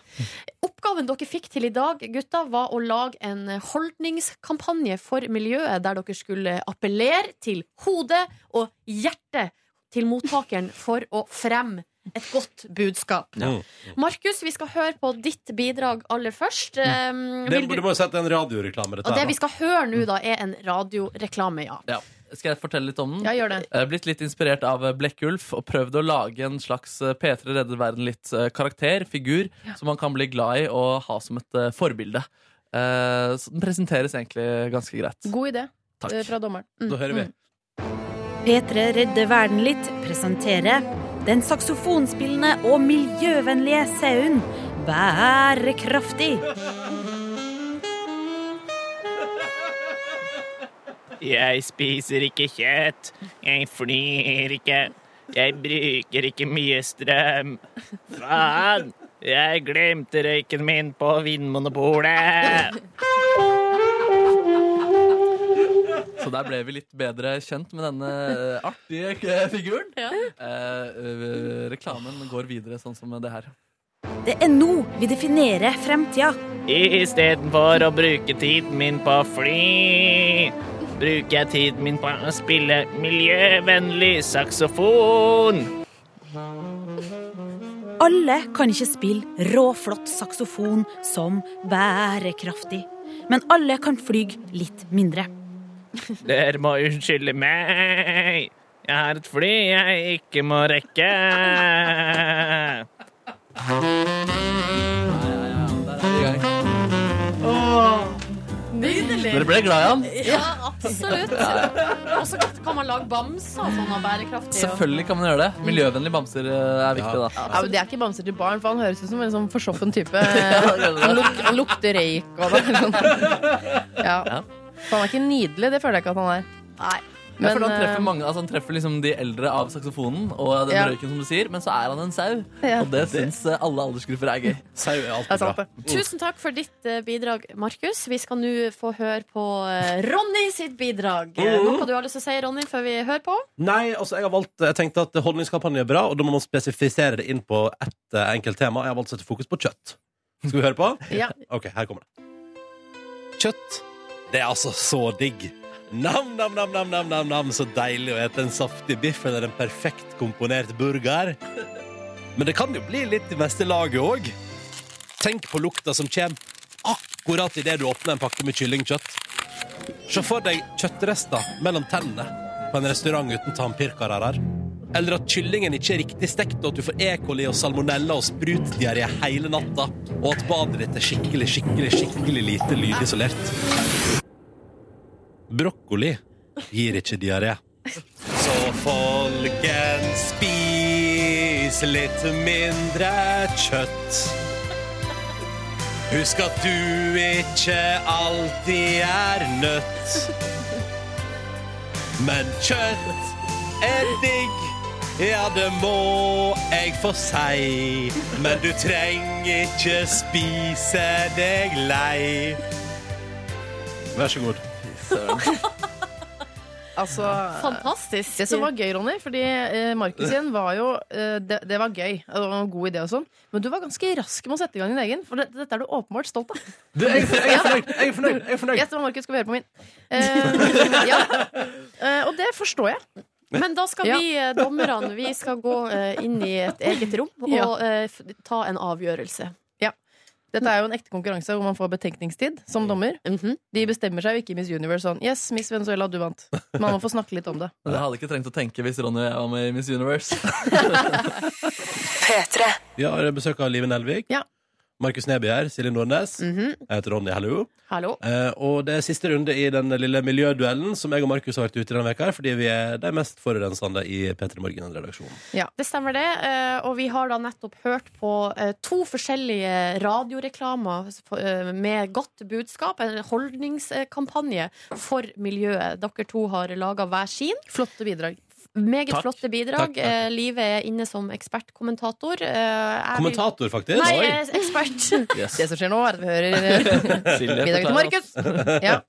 C: Oppgaven dere fikk til i dag, gutta, var å lage en holdningskampanje for miljøet, der dere skulle appellere til hodet og hjertet til mottakeren for å fremme et godt budskap.
B: Mm.
C: Markus, vi skal høre på ditt bidrag aller først. Um,
B: Det,
C: vil
B: du
C: du,
B: må jo si at det er en radioreklame,
C: og
B: dette
C: det
B: her.
C: vi skal høre nå, da, er en radioreklame, ja.
D: Skal jeg fortelle litt om den?
I: Ja, gjør det.
D: Jeg er blitt litt inspirert av eh, Blekkulf og prøvd å lage en slags eh, P3 redder verden litt eh, karakter, figur, som man kan bli glad i og ha som et eh, forbilde. Eh, Så den presenteres egentlig ganske greit.
I: God idé
D: Takk.
I: eh, fra dommeren.
B: da. Da hører vi.
J: P3 Redde verden litt presenterer den saksofonspillende og miljøvennlige sauen Bærekraftig.
K: Jeg spiser ikke kjøtt. Jeg flyr ikke. Jeg bruker ikke mye strøm. Faen! Jeg glemte røyken min på eh. Vinmonopolet.
D: Så der ble vi litt bedre kjent med denne eh, artige eh, figuren. Eh, eh, reklamen går videre sånn som det her.
J: Det er nå vi definerer fremtida.
K: Istedenfor å bruke tiden min på å fly, bruker jeg tiden min på å spille miljøvennlig saksofon.
J: Alle kan ikke spille råflott saksofon som bærekraftig. Men alle kan fly litt mindre.
K: Dere må unnskylde meg. Jeg har et fly jeg ikke må rekke.
D: Dere ble glad i han?
C: Ja, absolutt. Og så kan man lage bamser sånn av bærekraftig. og-
D: Selvfølgelig kan man gjøre det. Miljøvennlige bamser eh, er viktig, da.
I: Ja, men det er ikke bamser til barn, for han høres ut som en sånn forsoffen type.
D: gjør det.
I: Han, luk han lukter røyk og det. sånn. Ja.
D: Ja.
I: For han er ikke nydelig, det føler jeg ikke at han er.
C: Nei.
D: Ja, for
I: Men,
D: han treffer,
I: eh,
D: mange, altså han treffer liksom de eldre av saksofonen og den
I: Ja.
D: røyken, som du sier, men så er han en sau.
I: Ja.
D: Og det syns eh, alle aldersgrupper er gøy.
B: Sau er
I: Det
B: alltid
I: er sant,
B: bra.
I: det.
C: Tusen takk for ditt eh, bidrag, Markus. Vi skal nå få høre på eh, Ronny sitt bidrag. Eh, Noe du har lyst til å si, Ronny, før vi hører på?
B: Nei, altså jeg har valgt Jeg tenkte at holdningskampanje er bra, og da må man spesifisere det inn på ett eh, enkelt tema. Jeg har valgt å sette fokus på kjøtt. Skal vi høre på?
I: Ja.
B: Ok, her kommer det. Kjøtt, det er altså så digg. Nam, nam, nam, nam, nam, nam, nam. Så deilig å ete en saftig biff eller en perfekt komponert burger. Men det kan jo bli litt i meste laget òg. Tenk på lukta som kommer akkurat idet du åpner en pakke med kyllingkjøtt. Se for deg kjøttrester mellom tennene på en restaurant uten tannpirkere her. Eller at kyllingen ikke er riktig stekt, og at du får E. coli og salmonella og sprutdiaré hele natta. Og at badet ditt er skikkelig, skikkelig, skikkelig lite lydisolert. Brokkoli gir ikke diaré. Så folkens, spis litt mindre kjøtt. Husk at du ikke alltid er nødt. Men kjøtt er digg, ja, det må jeg få si. Men du trenger ikke spise deg lei. Vær så god.
I: Altså
C: Fantastisk.
I: det som var gøy, Ronny, fordi eh, Markus igjen var jo eh, det, det var gøy. og Det var en god idé og sånn. Men du var ganske rask med å sette i gang din egen, for det, dette er du åpenbart stolt av.
B: jeg, er fornøyd. Jeg er fornøyd.
I: Gjett hva Markus skal vi høre på min. Eh, ja. Eh, og det forstår jeg.
C: Men da skal vi eh, dommerne vi skal gå eh, inn i et eget rom og
I: Ja.
C: eh, f- ta en avgjørelse.
I: Ja. Dette er jo en ekte konkurranse hvor man får betenkningstid som dommer. De bestemmer seg jo ikke i Miss Universe sånn Yes, Miss Venezuela, du vant. Man må få snakke litt om det.
D: Men jeg hadde ikke trengt å tenke hvis Ronny og jeg var med i Miss Universe.
B: Vi har besøk av Live Nelvik.
I: Ja.
B: Markus Neby her. Silje Nordnes. Jeg heter Ronny. Hallo.
C: Hallo.
B: Eh, og det er siste runde i den lille miljøduellen som jeg og Markus har vært ute i denne veka her, fordi vi er de mest forurensende i P3 Morgen-redaksjonen.
C: Det stemmer det. eh, Og vi har da nettopp hørt på eh, to forskjellige radioreklamer for- eh, med godt budskap. En holdningskampanje for miljøet. Dere to har laga hver sin.
I: Flotte bidrag.
C: Meget
B: Takk.
C: flotte
B: Takk,
C: bidrag.
B: takk.
C: Eh, Live er inne som ekspertkommentator. Eh, jeg vil-
B: Kommentator, faktisk.
C: Nei,
B: Oi.
C: jeg er ekspert.
B: Yes.
I: Det som skjer nå, er at vi hører
B: Silje
I: bidraget til
B: forklarer
I: Markus. Ja.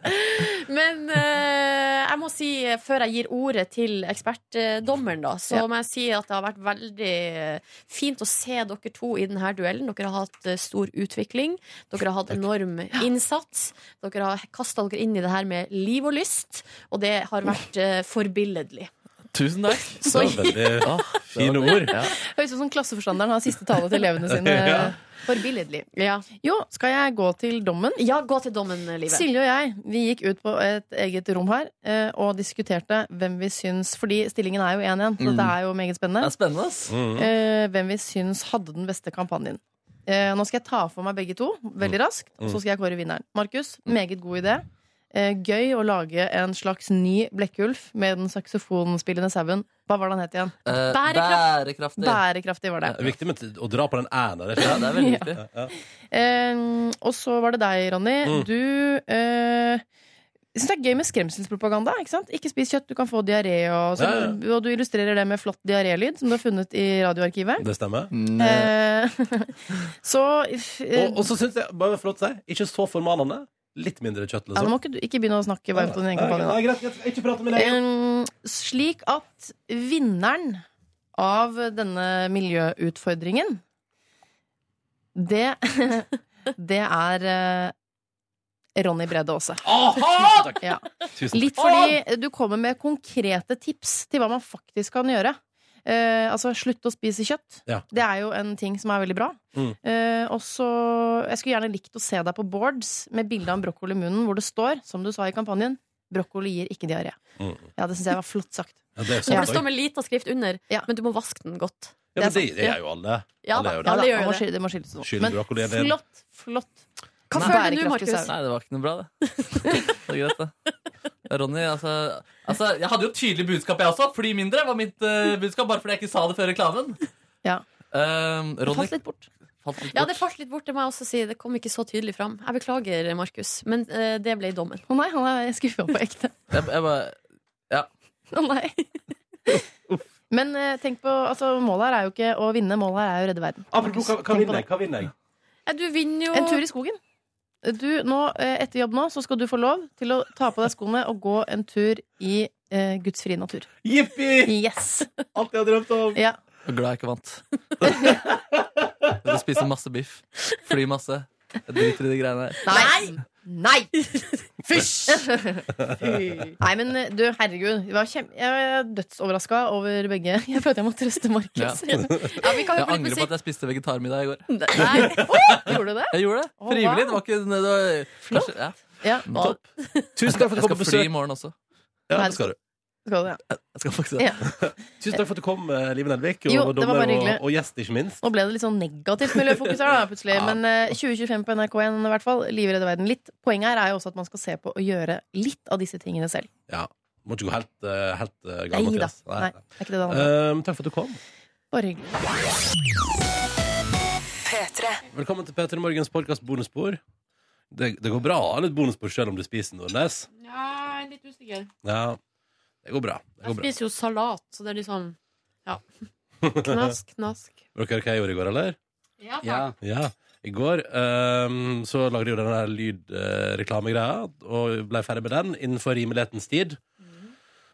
C: Men eh, jeg må si, eh, før jeg gir ordet til ekspertdommeren, da, så
I: Ja.
C: må jeg si at det har vært veldig eh, fint å se dere to i denne duellen. Dere har hatt eh, stor utvikling. Dere har hatt enorm innsats. Dere har kasta dere inn i det her med liv og lyst, og det har vært eh, forbilledlig.
D: Tusen takk.
C: Så- Det var veldig
B: fine ord.
I: Høres ut som klasseforstanderen har siste tale til elevene sine.
B: Ja.
I: Forbilledlig.
C: Ja.
I: Jo, skal jeg gå til dommen?
C: Ja, gå til dommen, Live.
I: Silje og jeg vi gikk ut på et eget rom her eh, og diskuterte hvem vi syns Fordi stillingen er jo 1-1, så
D: Mm.
I: det er jo meget
D: Det
I: spennende.
D: er spennende, ass.
B: Mm.
I: Eh, hvem vi syns hadde den beste kampanjen. Eh, nå skal jeg ta for meg begge to veldig
B: Mm.
I: raskt, og så skal jeg kåre vinneren. Markus, meget god idé. Eh, gøy å lage en slags ny Blekkulf med den saksofonspillende sauen. Hva var det han het igjen?
D: Eh,
B: Bærekraftig.
I: Bærekraftig var det.
B: Det er viktig med t- å dra på den æren der.
D: Ja, det er veldig
B: viktig. Ja.
I: Eh, og så var det deg, Ronny.
B: Mm.
I: Du eh, syns det er gøy med skremselspropaganda. Ikke sant? Ikke spis kjøtt, du kan få diaré. Og, så,
B: Ja,
I: og du illustrerer det med flott diarélyd som du har funnet i radioarkivet.
B: Det stemmer.
I: Mm. Eh, så eh,
B: Og, og så syns jeg, bare for å si, ikke så formanende. Litt mindre kjøtt,
I: ja, Nå
B: liksom.
I: må ikke du ikke begynne å snakke varmt om din egen kampanje.
B: Nei,
I: da.
B: greit, greit, ikke prate med deg.
I: Eh, slik at vinneren av denne miljøutfordringen, det Det er eh, Ronny Brede Aase.
B: Aha!
I: Ja.
B: Tusen takk.
I: Litt fordi du kommer med konkrete tips til hva man faktisk kan gjøre. Eh, altså slutte å spise kjøtt.
B: Ja.
I: Det er jo en ting som er veldig bra.
B: Mm.
I: Eh, og så Jeg skulle gjerne likt å se deg på boards med bilde av en brokkoli i munnen hvor det står, som du sa i kampanjen, 'brokkoli gir ikke diaré'.
B: Mm.
I: Ja, det syns jeg var flott sagt.
B: Ja, det er
C: For
B: sant,
C: det står med lita skrift under, men du må vaske den godt.
B: Ja, men det, det er jo alle.
C: Ja
B: alle
C: da,
B: er jo
C: ja,
B: det.
C: det gjør
I: Man
C: jo
I: må
C: det.
I: skille- det må skilles og sånn.
B: Skyld
I: Men
B: brokkoli, det-
I: flott, flott.
C: Hva
I: Nei.
C: føler du,
I: Bærekraftig
C: Markus?
I: sau.
D: Nei, det var ikke noe bra, det. Det er greit, det. Ronny, altså, altså Jeg hadde jo et tydelig budskap, jeg også. Fly mindre var mitt eh, budskap, bare fordi jeg ikke sa det før reklamen.
I: Ja.
D: Um, Ronny
I: Falt litt bort.
D: falt litt
C: Ja,
D: bort.
C: det falt litt bort, det må jeg også si. Det kom ikke så tydelig fram. Jeg beklager, Markus, men eh, det ble dommen.
I: Å nei, han er skuffa på ekte.
D: Jeg, jeg bare Ja.
I: Å nei. Men eh, tenk på altså, Målet her er jo ikke å vinne, målet her er jo å redde verden.
B: Apropos, hva, hva
I: Tenk på
B: vinner jeg? Hva vinner jeg?
C: Ja, du vinner jo
I: En tur i skogen. Du, nå, eh, etter jobb nå så skal du få lov til å ta på deg skoene og gå en tur i eh, gudsfri natur.
B: Jippi!
I: Yes!
B: Alt jeg har drømt om!
I: Ja.
D: Jeg er glad jeg ikke vant. Jeg skal spise masse biff. Fly masse. Jeg driter i de greiene her.
I: Nei! Nei! Fysj! Nei, men eh, du, herregud. Jeg var, kjem... jeg var dødsoverraska over begge. Jeg følte jeg måtte trøste Markus.
D: Ja.
C: Ja, vi kan høre på litt
D: Jeg angrer på at
C: musikk.
D: jeg spiste vegetarmiddag i går.
C: Nei.
I: Gjorde du det?
D: Jeg gjorde det.
I: Å,
D: Frivillig.
I: wow.
D: Det var ikke det var, Kanskje, ja.
I: Ja.
D: Topp.
B: Tusen takk for at du
D: Jeg
B: kom
D: skal
B: på
D: fly i
B: besøk.
D: morgen også.
B: Ja, det skal du.
I: Skal du, ja.
D: Jeg skal faktisk det.
I: ja.
B: Tusen takk for at du kom, eh, Live Nelvik, og,
I: Jo, det var
B: dommer
I: bare hyggelig.
B: og, og gjest, ikke minst.
I: Nå ble det litt sånn negativt miljøfokus her, da, plutselig. Men eh, 2025 på NRK1 i hvert fall. Liv redder verden litt. Poenget her er jo også at man skal se på og gjøre litt av disse tingene selv.
B: Ja. Må ikke gå helt, eh, helt eh, gal,
I: Nei da.
B: Mathias.
I: Nei, det er ikke det det handler om.
B: Eh, takk for at du kom.
I: Bare hyggelig.
B: Velkommen til P3 Morgens podkast bonusbord. Det, det går bra å ha litt bonusbord selv om du spiser Nordnes.
H: Ja, jeg er litt usikker.
B: Ja, det går bra. Det
C: Jeg
B: går bra.
C: spiser jo salat, så det er liksom Ja. Knask, knask.
B: Vil dere høre hva jeg gjorde i går, eller?
H: Ja, takk.
B: Ja. I går ehm, så lagde jeg jo den der lydreklamegreia, og ble ferdig med den innenfor rimelighetens tid.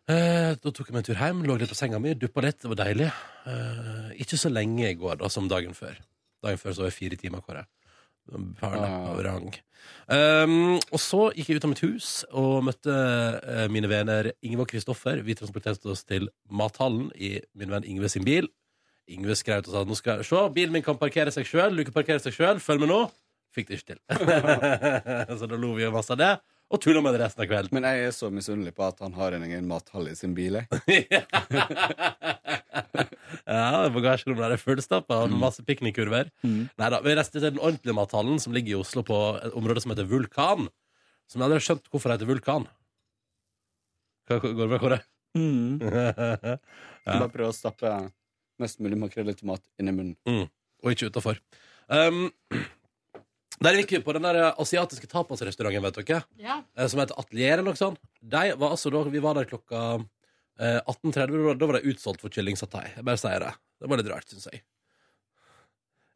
B: Eh, da tok jeg meg en tur hjem, lå litt på senga mi, duppa litt. Det var deilig. Eh, ikke så lenge i går da, som dagen før. Dagen før så var jeg fire timer, Kåre. Perle av rang. Um, og så gikk jeg ut av mitt hus og møtte eh, mine venner Ingve og Kristoffer. Vi transporterte oss til mathallen i min venn Ingve sin bil. Ingve skrev ut og sa nå skal jeg se, bilen min kan parkere seg sjøl, du kan parkere seg sjøl, følg med nå. Fikk det ikke til. så da lo vi jo masse av det, og tulla med det resten av kvelden.
L: Men jeg er så misunnelig på at han har en egen mathall i sin bil. jeg.
B: Ja, bagasjerommet der er fullstappa av masse piknikkurver. Neida, vi reiste til den ordentlige mathallen som ligger i Oslo, på et område som heter Vulkan. Som jeg aldri har skjønt hvorfor det heter Vulkan. Hva hva- går det bra, Kåre?
L: Bare prøve å stappe mest mulig makrell i tomat inn i munnen.
B: Mm. Og ikke utafor. Um, der gikk vi på den der eh, asiatiske tapasrestauranten, vet dere.
C: Ja.
B: eh, Som heter Atelier eller noe sånt. De var, altså, da, vi var der klokka eh, 18.30. da- Da var det utsolgt for kylling satai. Jeg bare sier det. Det var litt rart, syns jeg.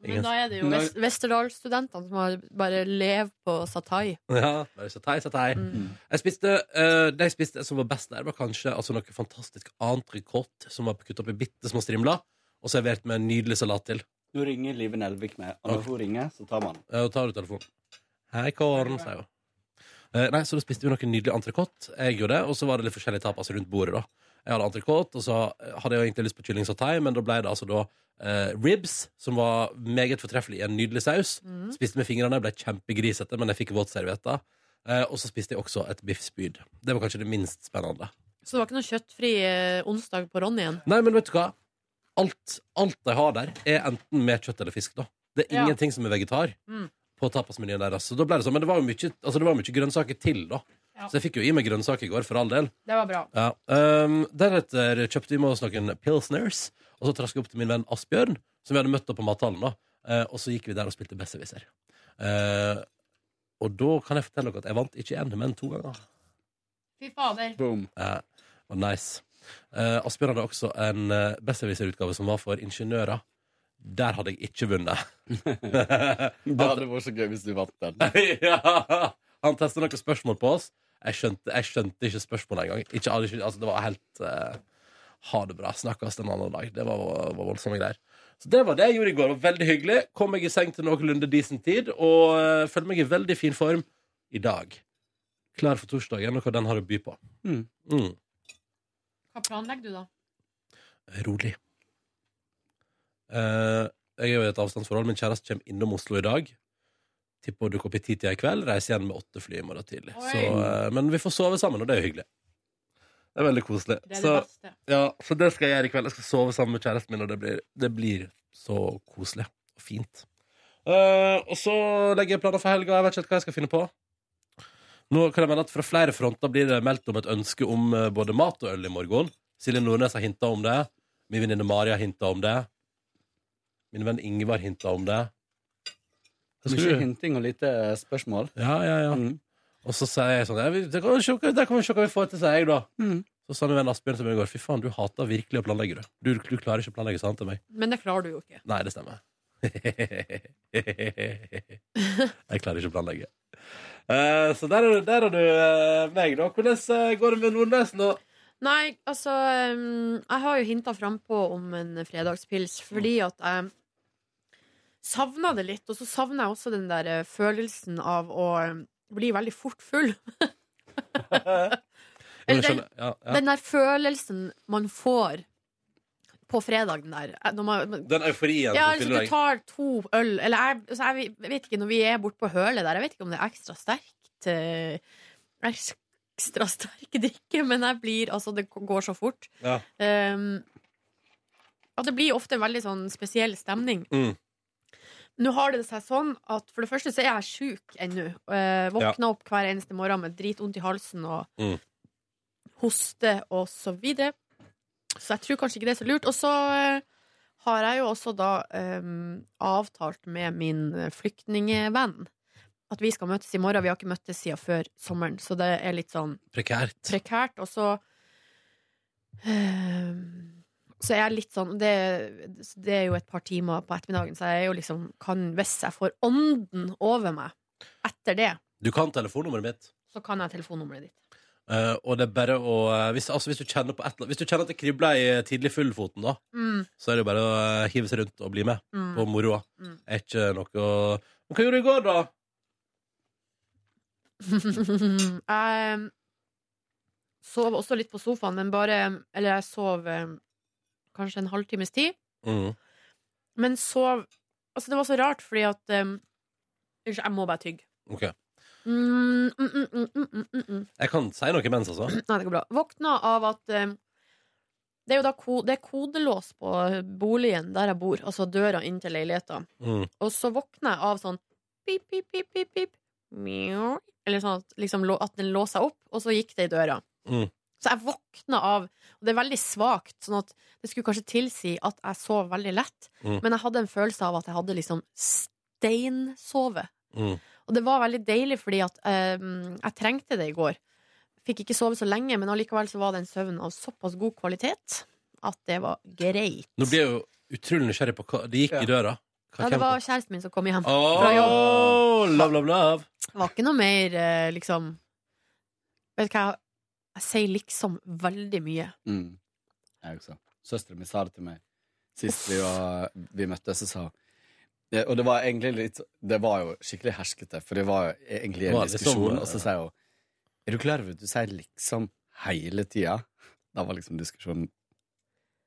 C: Men da er det jo
B: Nei.
C: Vest Westerdalsstudentene som har bare lever på satai.
B: Ja, bare satay, satay.
L: Mm.
B: Jeg spiste, eh, det jeg spiste som var best der, var kanskje altså, noe fantastisk entrecôte som var kuttet opp i bitte små strimler, og servert med en nydelig salat til.
L: Nå ringer Live Nelvik meg, og når hun ringer, så tar man.
B: Eh, Og tar du telefonen. Hei, Kåren, sier hun. Eh, nei, så da spiste vi noe nydelig entrecôte. Jeg gjorde det, og så var det litt forskjellige tapas rundt bordet, da. Jeg hadde entrecôte, og så hadde jeg jo egentlig lyst på kylling satay, men da ble det altså da eh, ribs, som var meget fortreffelig i en nydelig saus.
M: Mm.
B: Spiste med fingrene, ble kjempegrisete, men jeg fikk våtservietter. Eh, og så spiste jeg også et biffspyd. Det var kanskje det minst spennende.
C: Så det var ikke noe kjøttfri eh, onsdag på Ronnyen.
B: Nei, men vet du hva? Alt, alt de har der, er enten med kjøtt eller fisk, da. Det er
C: Ja. Mm.
B: ingenting som er vegetar. på tapasmenyen der. Altså. Da ble det sånn, men det var jo mye, altså, det var mye grønnsaker til, da.
C: Ja.
B: Så jeg fikk jo i meg grønnsaker i går, for all del.
I: Det var bra.
B: Ja. Um, deretter kjøpte vi med oss noen pilsners, og så traska jeg opp til min venn Asbjørn, som vi hadde møtt opp på mathallen. da. Eh, og så gikk vi der og spilte Besserwisser. Eh, og da kan jeg fortelle dere at jeg vant ikke én, men to ganger.
C: Fy fader.
B: Ja, og nice. Eh, Asbjørn hadde også en uh, Besserwisser-utgave som var for ingeniører. Der hadde jeg ikke vunnet.
L: Det hadde vært så gøy hvis du vant den.
B: ja. Han testa noen spørsmål på oss. Jeg skjønte, jeg skjønte ikke spørsmålet engang. Ikke, alle- ikke- altså, det var helt eh, Ha det bra. Snakkes en annen dag. Det var, var voldsomme greier. Så det var det jeg gjorde i går. Det var veldig hyggelig. Kom meg i seng til noenlunde decent tid, og eh, følte meg i veldig fin form i dag. Klar for torsdagen, og hva den har å by på. Mm.
C: Hva planlegger du, da?
B: rolig. Eh, jeg er jo i et avstandsforhold. Min kjæreste kommer innom Oslo i dag. Tipper å dukke opp i titida i kveld. Reiser igjen med åtte fly i morgen tidlig. Så, eh, men vi får sove sammen, og det er jo hyggelig. Det er veldig koselig.
M: Det er det
B: så, ja, så det skal jeg gjøre i kveld. Jeg skal sove sammen med kjæresten min, og det blir, det blir så koselig og fint. Eh, og så legger jeg planer for helga. Jeg vet ikke helt hva jeg skal finne på. Nå kan jeg mene at Fra flere fronter blir det meldt om et ønske om eh, både mat og øl i morgen. Silje Nordnes har hinta om det. Min venninne Mari har hinta om det. Min venn Ingvar hinta om det. Hva skal
L: Mye
B: du-
L: hinting og lite eh, spørsmål. Mm.
B: Ja, ja, ja. Og så sier jeg sånn ja, vi- Det kan vi se hva det kan vi se hva vi får til, sier jeg da.
L: Mm.
B: Så sa min venn Asbjørn til meg i går Fy faen, du hater virkelig å planlegge, du. Du, du klarer ikke å planlegge, sa han til meg.
C: Men det klarer du jo ikke.
B: Nei, det stemmer. jeg klarer ikke å planlegge. Eh, så der er, du- der er du eh, meg, da. Hvordan eh, går det med Nordnes nå?
C: Nei, altså um, Jeg har jo hinta frampå om en fredagspils fordi at jeg savna det litt. Og så savna jeg også den der eh, følelsen av å eh, bli veldig fort full.
B: Jo, jeg
C: Eller den,
B: skjønner. Ja, ja.
C: den der følelsen man får på fredag, den der eh, når man,
B: Den euforien
C: ja,
B: som
C: altså,
B: fyller
C: du
B: deg.
C: tar to øl Eller jeg, altså, jeg vet ikke, når vi er borte på hølet der Jeg vet ikke om det er ekstra sterkt eh, Ekstra sterk drikke Men jeg blir, altså det går så fort
B: Ja.
C: um, At det blir ofte en veldig sånn spesiell stemning
B: Mm.
C: nå har det seg sånn at for det første så er jeg syk ennå. Eh, våkna opp hver eneste morgen med dritvondt i halsen og
B: Mm.
C: hoste og så videre. Så jeg tror kanskje ikke det er så lurt. Og så eh, har jeg jo også da eh, avtalt med min eh, flyktningevenn at vi skal møtes i morgen. Vi har ikke møttes siden før sommeren, så det er litt sånn
B: Prekært.
C: prekært. Og så eh, Så er jeg litt sånn det, det er jo et par timer på ettermiddagen, så jeg er jo liksom kan, Hvis jeg får ånden over meg etter det,
B: Du kan telefonnummeret mitt.
C: så kan jeg telefonnummeret ditt.
B: Eh, og det er bare å eh, hvis, altså, hvis, du kjenner på et, eller- hvis du kjenner at det kribler i eh, tidlig fullfoten, da,
C: Mm.
B: så er det jo bare å eh, hive seg rundt og bli med
C: Mm.
B: på moroa.
C: Mm.
B: Er ikke noe å Men hva gjorde du i går, da?
C: jeg sov også litt på sofaen, men bare Eller jeg sov eh, kanskje en halvtimes tid.
B: Mm,
C: Men sov Altså, det var så rart, fordi at eh, Unnskyld, jeg må bare tygge.
B: OK.
C: Mm, mm, mm, mm, mm, mm, mm, mm.
B: Jeg kan si noe imens, altså.
C: Nei, det går bra. Våkna av at eh, Det er jo da ko det er kodelås på eh, boligen der jeg bor, altså døra inn til leiligheta.
B: Mm.
C: Og så våkner jeg av sånn pip, pip, pip, pip, pip. Mjau. Eller sånn at, liksom, lå- at den låser seg opp, og så gikk det i døra.
B: Mm.
C: Så jeg våkna av Og det er veldig svakt, sånn at det skulle kanskje tilsi at jeg sov veldig lett.
M: Mm.
C: Men jeg hadde en følelse av at jeg hadde liksom steinsove.
M: Mm.
C: Og det var veldig deilig, fordi at eh, jeg trengte det i går. Fikk ikke sove så lenge, men allikevel så var det en søvn av såpass god kvalitet at det var greit.
B: Nå blir jeg jo utrolig nysgjerrig på hva Det gikk i døra. Hva
C: Ja, det
B: kjem-
C: var kjæresten min som kom hjem fra jobb.
B: Åh, love, love, love.
C: Det var ikke noe mer eh, liksom Vet du hva, jeg, jeg sier liksom veldig mye.
L: Mm. Jeg også. Søsteren min sa det til meg sist vi, var, vi møttes, så sa hun det, Og det var egentlig litt Det var jo skikkelig herskete, for det var jo egentlig en
B: Var det
L: diskusjon,
B: sånn,
L: og
B: ja.
L: så sier hun Er du klar over at du sier liksom hele tida? Da var liksom diskusjonen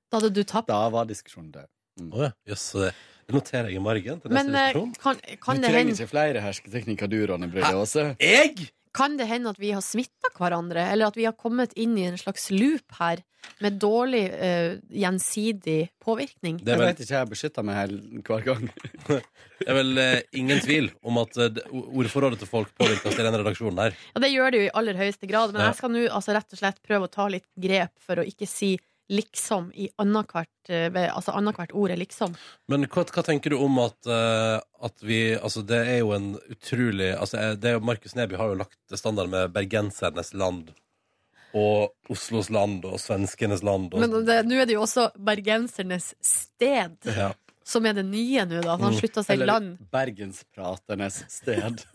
C: Da hadde du tapt.
L: Da var diskusjonen død. Mm.
B: Å ja. Jøss, det, det noterer jeg i margen. Til neste
C: Men eh,
B: diskusjon.
C: kan, kan,
L: du
C: det
L: trenger
C: hende,
L: ikke flere hersketeknikker du, Ronny Brødre Aase.
B: Jeg?!
C: kan det hende at vi har smitta hverandre, eller at vi har kommet inn i en slags loop her med dårlig eh, gjensidig påvirkning?
L: Jeg vet ikke, jeg beskytter meg hel- hver gang.
B: Det er vel eh, ingen tvil om at eh, det- ordforrådet til folk påvirkes i den redaksjonen her.
C: Ja, det gjør det jo i aller høyeste grad, men
B: Ja.
C: jeg skal nå altså, rett og slett prøve å ta litt grep for å ikke si liksom i annethvert eh, ved- altså, annethvert ord er liksom.
B: Men hva, hva tenker du om at, eh, at vi Altså, det er jo en utrolig altså, eh, det er jo, Markus Neby har jo lagt standard med bergensernes land. Og Oslos land og svenskenes land. Og,
C: Men det- nå er det jo også bergensernes sted
B: Ja.
C: som er det nye nå, da. at Han
L: Mm.
C: slutta seg
L: Eller
C: land.
L: Bergenspraternes sted.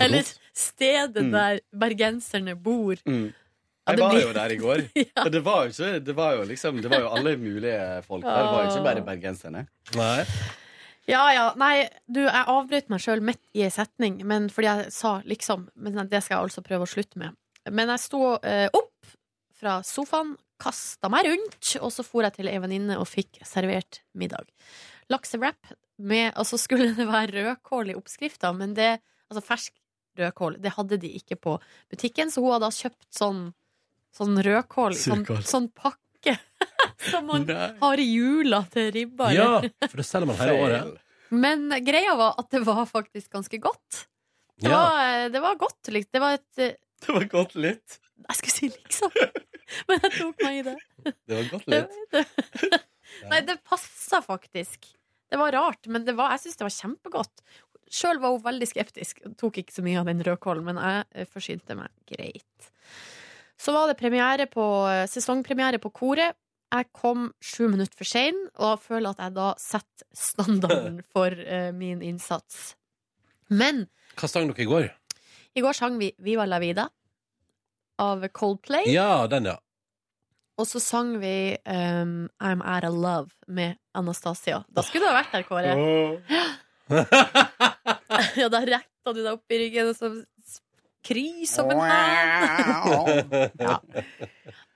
C: Eller stedet
L: Mm.
C: der bergenserne bor.
L: Mm.
C: Ja,
L: Jeg
C: det
L: var
C: blir-
L: jo der i går. Og det var jo ikke Det var jo liksom Det var jo alle mulige folk der. Det var jo ikke bare bergenserne.
B: Nei.
C: Ja ja, nei, du, jeg avbrøt meg sjøl midt i ei setning, men fordi jeg sa liksom. Men det skal jeg altså prøve å slutte med. Men jeg sto eh, opp fra sofaen, kasta meg rundt, og så for jeg til ei venninne og fikk servert middag. Laksewrap med Og så skulle det være rødkål i oppskrifta, men det Altså fersk rødkål, det hadde de ikke på butikken, så hun hadde da kjøpt sånn Sånn rødkål, sånn,
B: Surkål.
C: sånn pakke som man har i jula til ribba.
B: Ja,
C: eller-
B: for det selger man hele året.
C: men greia var at det var faktisk ganske godt. Det,
B: Ja.
C: var, eh, det var godt. lik- Det var et eh,
L: Det var godt litt.
C: Jeg skulle si liksom, men jeg tok meg i det.
L: Det var godt
C: det,
L: litt.
C: det. Nei, det passa faktisk. Det var rart, men det var, jeg syns det var kjempegodt. Sjøl var hun veldig skeptisk, og tok ikke så mye av den rødkålen, men jeg eh, forsynte meg greit. Så var det premiere på, eh, sesongpremiere på Koret. Jeg kom sju minutter for sein, og føler at jeg da setter standarden for eh, min innsats. Men
B: Hva sang dere i går?
C: i går sang vi Viva la vida av Coldplay.
B: Ja, den, ja.
C: Og så sang vi um, I'm Out of Love med Anastasia. Da skulle du ha vært der, Kåre. ja, da retta du deg opp i ryggen og så s- kry som en hær. ja.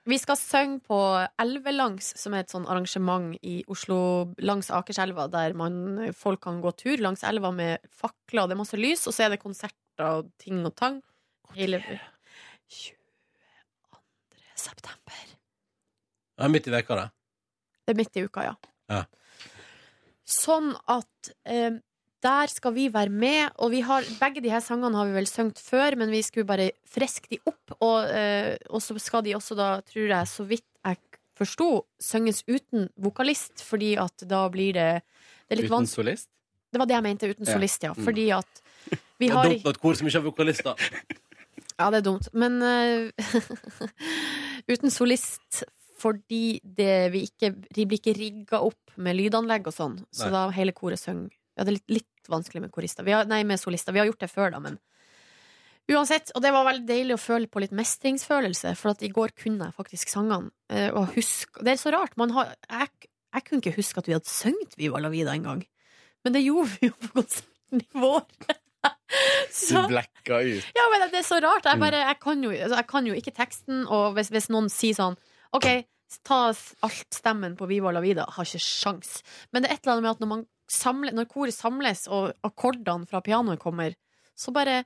C: Vi skal synge på Elvelangs, som er et sånn arrangement i Oslo langs Akerselva, der man, folk kan gå tur langs elva med fakler, og det er masse lys, og så er det konserter og ting og tang. Hele 22. september.
B: Ja, midt i veka, det.
C: Det er midt i uka, ja.
B: Ja.
C: Sånn at eh, der skal vi være med, og vi har, begge de her sangene har vi vel sunget før, men vi skulle bare freske de opp, og, eh, og så skal de også da, tror jeg, så vidt jeg forsto, synges uten vokalist, fordi at da blir det, det er litt
L: Uten
C: vanskelig.
L: solist.
C: Det var det jeg mente, uten
L: Ja.
C: solist, ja.
L: Mm.
C: Fordi at vi
B: Det er
C: har
B: dumt med et kor som ikke har vokalister.
C: ja, det er dumt. Men eh, uten solist fordi det vi ikke, de blir ikke rigga opp med lydanlegg og sånn. Så
M: Nei.
C: da hele koret synger. Ja, det er litt, litt vanskelig med korister. Vi har, nei, med solister. Vi har gjort det før, da, men Uansett, og det var veldig deilig å føle på litt mestringsfølelse, for at i går kunne jeg faktisk sangene. eh, Og husk Det er så rart. Man har, jeg, jeg kunne ikke huske at vi hadde sunget Viva la vida engang.
I: Men det gjorde vi jo på konserten i vår.
L: Du blacka ut.
I: Ja, men det er så rart. Jeg,
L: Mm.
I: bare, jeg, kan, jo, altså, jeg kan jo ikke teksten, og hvis, hvis noen sier sånn OK, ta s- alt stemmen på Viva la vida, har ikke sjans. Men det er et eller annet med at når, man samler, når koret samles, og akkordene fra pianoet kommer, så bare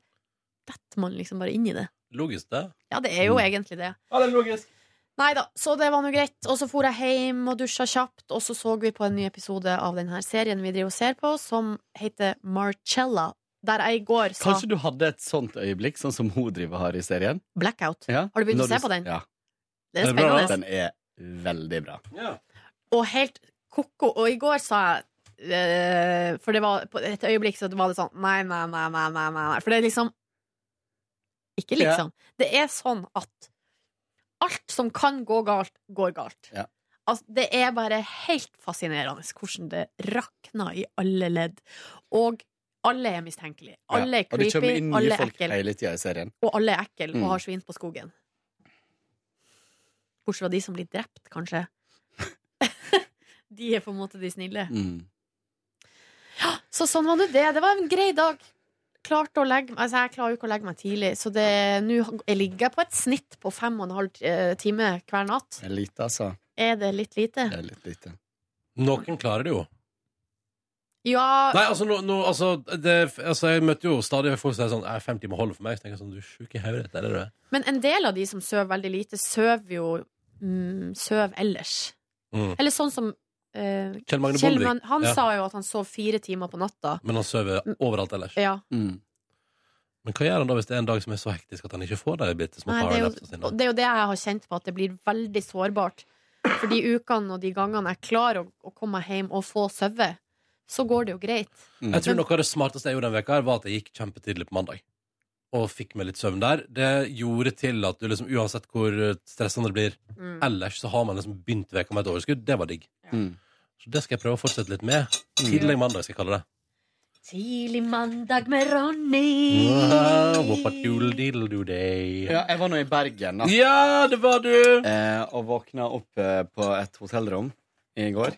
I: detter man liksom bare inn i det.
B: Logisk, det.
I: Ja, det er
L: Mm.
I: jo egentlig det.
B: Ja, det er logisk.
I: Nei da, så det var nå greit. Og så for jeg hjem og dusja kjapt, og så så vi på en ny episode av denne serien vi driver og ser på, som heter Marcella. Der jeg i går sa
L: Kanskje du hadde et sånt øyeblikk, sånn som hun driver har i serien?
I: Blackout.
L: Ja.
I: Har du begynt å
L: Når
I: se på den?
L: Ja.
I: Det er spennende.
L: Den er veldig bra.
I: Og helt koko. Og i går sa jeg eh, For det var på et øyeblikk så var det sånn Nei, nei, nei, nei, nei, nei. nei. For det er liksom Ikke liksom. Det er sånn at alt som kan gå galt, går galt.
L: Ja.
I: Altså, det er bare helt fascinerende hvordan det rakner i alle ledd. Og alle er mistenkelige. Alle er
L: Ja. Og det
I: creepy,
L: kommer inn nye
I: alle er
L: folk
I: ekle.
L: hele tida i serien.
I: Og alle er ekle
L: Mm.
I: og har svin på skogen. Bortsett fra de som blir drept, kanskje. de er på en måte de snille.
L: Mm.
I: Så sånn var nå det. Det var en grei dag. Klarte å legge meg Altså, jeg klarer jo ikke å legge meg tidlig, så det nå jeg ligger jeg på et snitt på fem og en halv eh, time hver natt.
L: Det er lite, altså.
I: Er det litt lite?
L: Det er litt lite.
B: Noen klarer det jo.
I: Ja
B: Nei, altså, nå, nå, altså, det, altså Jeg møtte jo stadig folk som sier sånn «Nei, Fem timer holder for meg. Så tenker jeg sånn, du er sjuk i hodet, eller? er det?
I: Men en del av de som sover veldig lite, sover jo mm, Sover ellers.
B: Mm.
I: Eller sånn som eh,
B: Kjell Magne Bondevik.
I: Magne- Han
B: Ja.
I: sa jo at han sov fire timer på natta.
B: Men han sover overalt ellers.
I: Ja.
L: Mm.
B: Men hva gjør han da hvis det er en dag som er så hektisk at han ikke får de bitte små
I: Nei, det, er
B: power-lapsene
I: jo,
B: sine?
I: og det er jo det jeg har kjent på, at det blir veldig sårbart. For de ukene og de gangene jeg klarer å, å komme meg hjem og få sove, så går det jo greit.
L: Mm.
B: Jeg tror noe av det smarteste jeg gjorde den veka her, var at jeg gikk kjempetidlig på mandag. Og fikk meg litt søvn der. Det gjorde til at du liksom, uansett hvor eh, stressende det blir
I: Mm.
B: ellers, så har man liksom begynt veka med et overskudd. Det var digg.
L: Mm.
B: Så det skal jeg prøve å fortsette litt med. Tidlig mandag skal jeg kalle det.
I: Tidlig mandag med Ronny.
L: Ja, jeg var nå i Bergen, da.
B: Ja, det var du!
L: Eh, og våkna opp eh, på et hotellrom i går.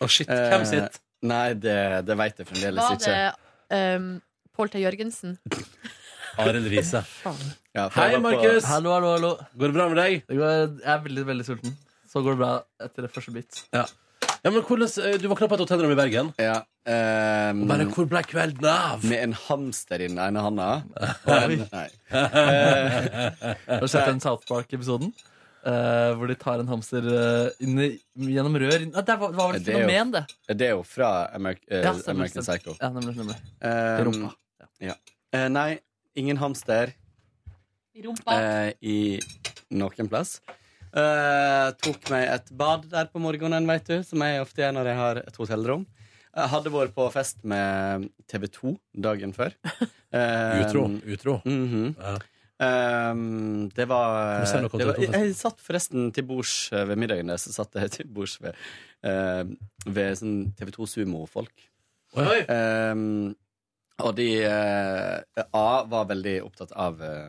B: Å, shit.
L: Eh,
B: Hvem sitt?
L: Nei, det, det veit jeg fremdeles
I: Var
L: ikke.
I: det um, Pål T. Jørgensen?
B: Arild Riise.
L: Ja, for
B: Hei,
L: jeg var på-
B: Markus!
D: Hallo, hallo, hallo.
B: Går det bra med deg?
D: Det går, jeg er veldig, veldig sulten. Så går det bra etter det første bit.
B: Ja. ja, men hvordan, eh, Du våkna på et hotellrom i Bergen.
L: Ja, ehm,
B: Bare hvor ble kvelden av?
L: Med en hamster i den ene handa. Og en, nei. Eh,
D: Har du sett den South Park-episoden? Eh, hvor de tar en hamster eh, inn i, gjennom rør inn. Nei, Det var, var vel et
L: Eh, Det er jo-
D: fenomen, det.
L: Det er jo fra Amer eh,
D: Ja, stemmer,
L: American
D: stemmer.
L: Psycho.
D: Ja, nemlig, nemlig.
L: Ehm,
D: I rumpa.
L: ja. Eh, nei, ingen hamster eh, i noen plass. Eh, tok meg et bad der på morgenen, vet du, som jeg ofte gjør når jeg har et hotellrom. Jeg hadde vært på fest med TV2 dagen før. Eh,
B: Utro. Mm, utro.
L: mhm.
B: Ja.
L: Ehm, det var,
B: Kan du si noe om
L: det var
B: TV2
L: jeg,
B: -festen?
L: jeg satt forresten til bords eh, ved middagen der, så satt jeg til bords ved, eh, ved sånn TV2 Sumo-folk. Ehm, og de eh, A var veldig opptatt av uh,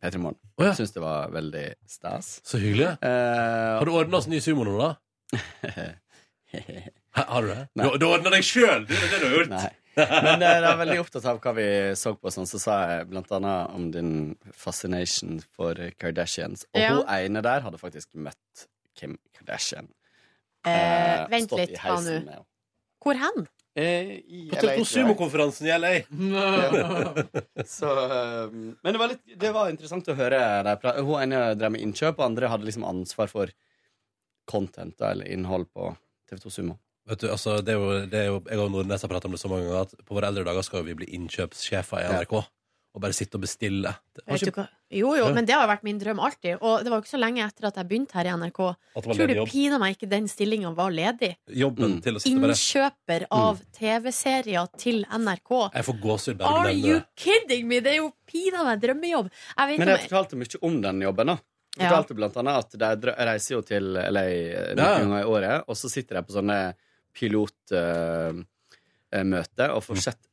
L: P3 Morgen. Syns det var veldig stas.
B: Så hyggelig.
L: Eh,
B: Har du ordna oss ny sumo nå, da? Hæ, Har du det?
L: Nei.
B: Du, du ordna deg sjøl! Det er det du har gjort.
L: Nei. Men jeg var veldig opptatt av hva vi så på, sånn, så sa jeg blant annet om din fascination for Kardashians. Og
I: Ja.
L: hun ene der hadde faktisk møtt Kim Kardashian.
I: Eh, vent
L: stått i
I: litt, ta
L: heisen
I: nå.
L: med henne.
I: Hvor hen?
B: På TV2 Sumo-konferansen i LA.
L: Så, eh, men det var, litt, det var interessant å høre deg prate. Hun ene drev med innkjøp, og andre hadde liksom ansvar for content da, eller innhold på TV2 Sumo.
B: Vet du, altså, det er jo, det er jo, jeg og Nordnes har pratet om det så mange ganger at på våre eldre dager skal jo vi bli innkjøpssjefer i NRK. Og bare sitte og bestille. Det- har
I: Vet du
B: ikke-
I: hva? Jo, jo,
B: Ja.
I: men det har jo vært min drøm alltid. Og det var jo ikke så lenge etter at jeg begynte her i NRK.
B: At det var ledig
I: Tror du Mm.
B: jobb.
I: pinadø meg ikke den stillinga var ledig?
B: Jobben til å sitte bare
I: Innkjøper
L: Mm.
I: av TV-serier til NRK.
B: Jeg får gåsehud bare
I: Are
B: med
I: you
B: den.
I: kidding me?! Det er jo pinadø meg drømmejobb. Jeg vet ikke
L: Men jeg
I: om jeg
L: fortalte mye om den jobben, da. Jeg
I: Ja.
L: fortalte blant annet at de dra- jeg reiser jo til LA Eh, noen
B: Ja, ja.
L: ganger i året, og så sitter jeg på sånne pilotmøter og får sett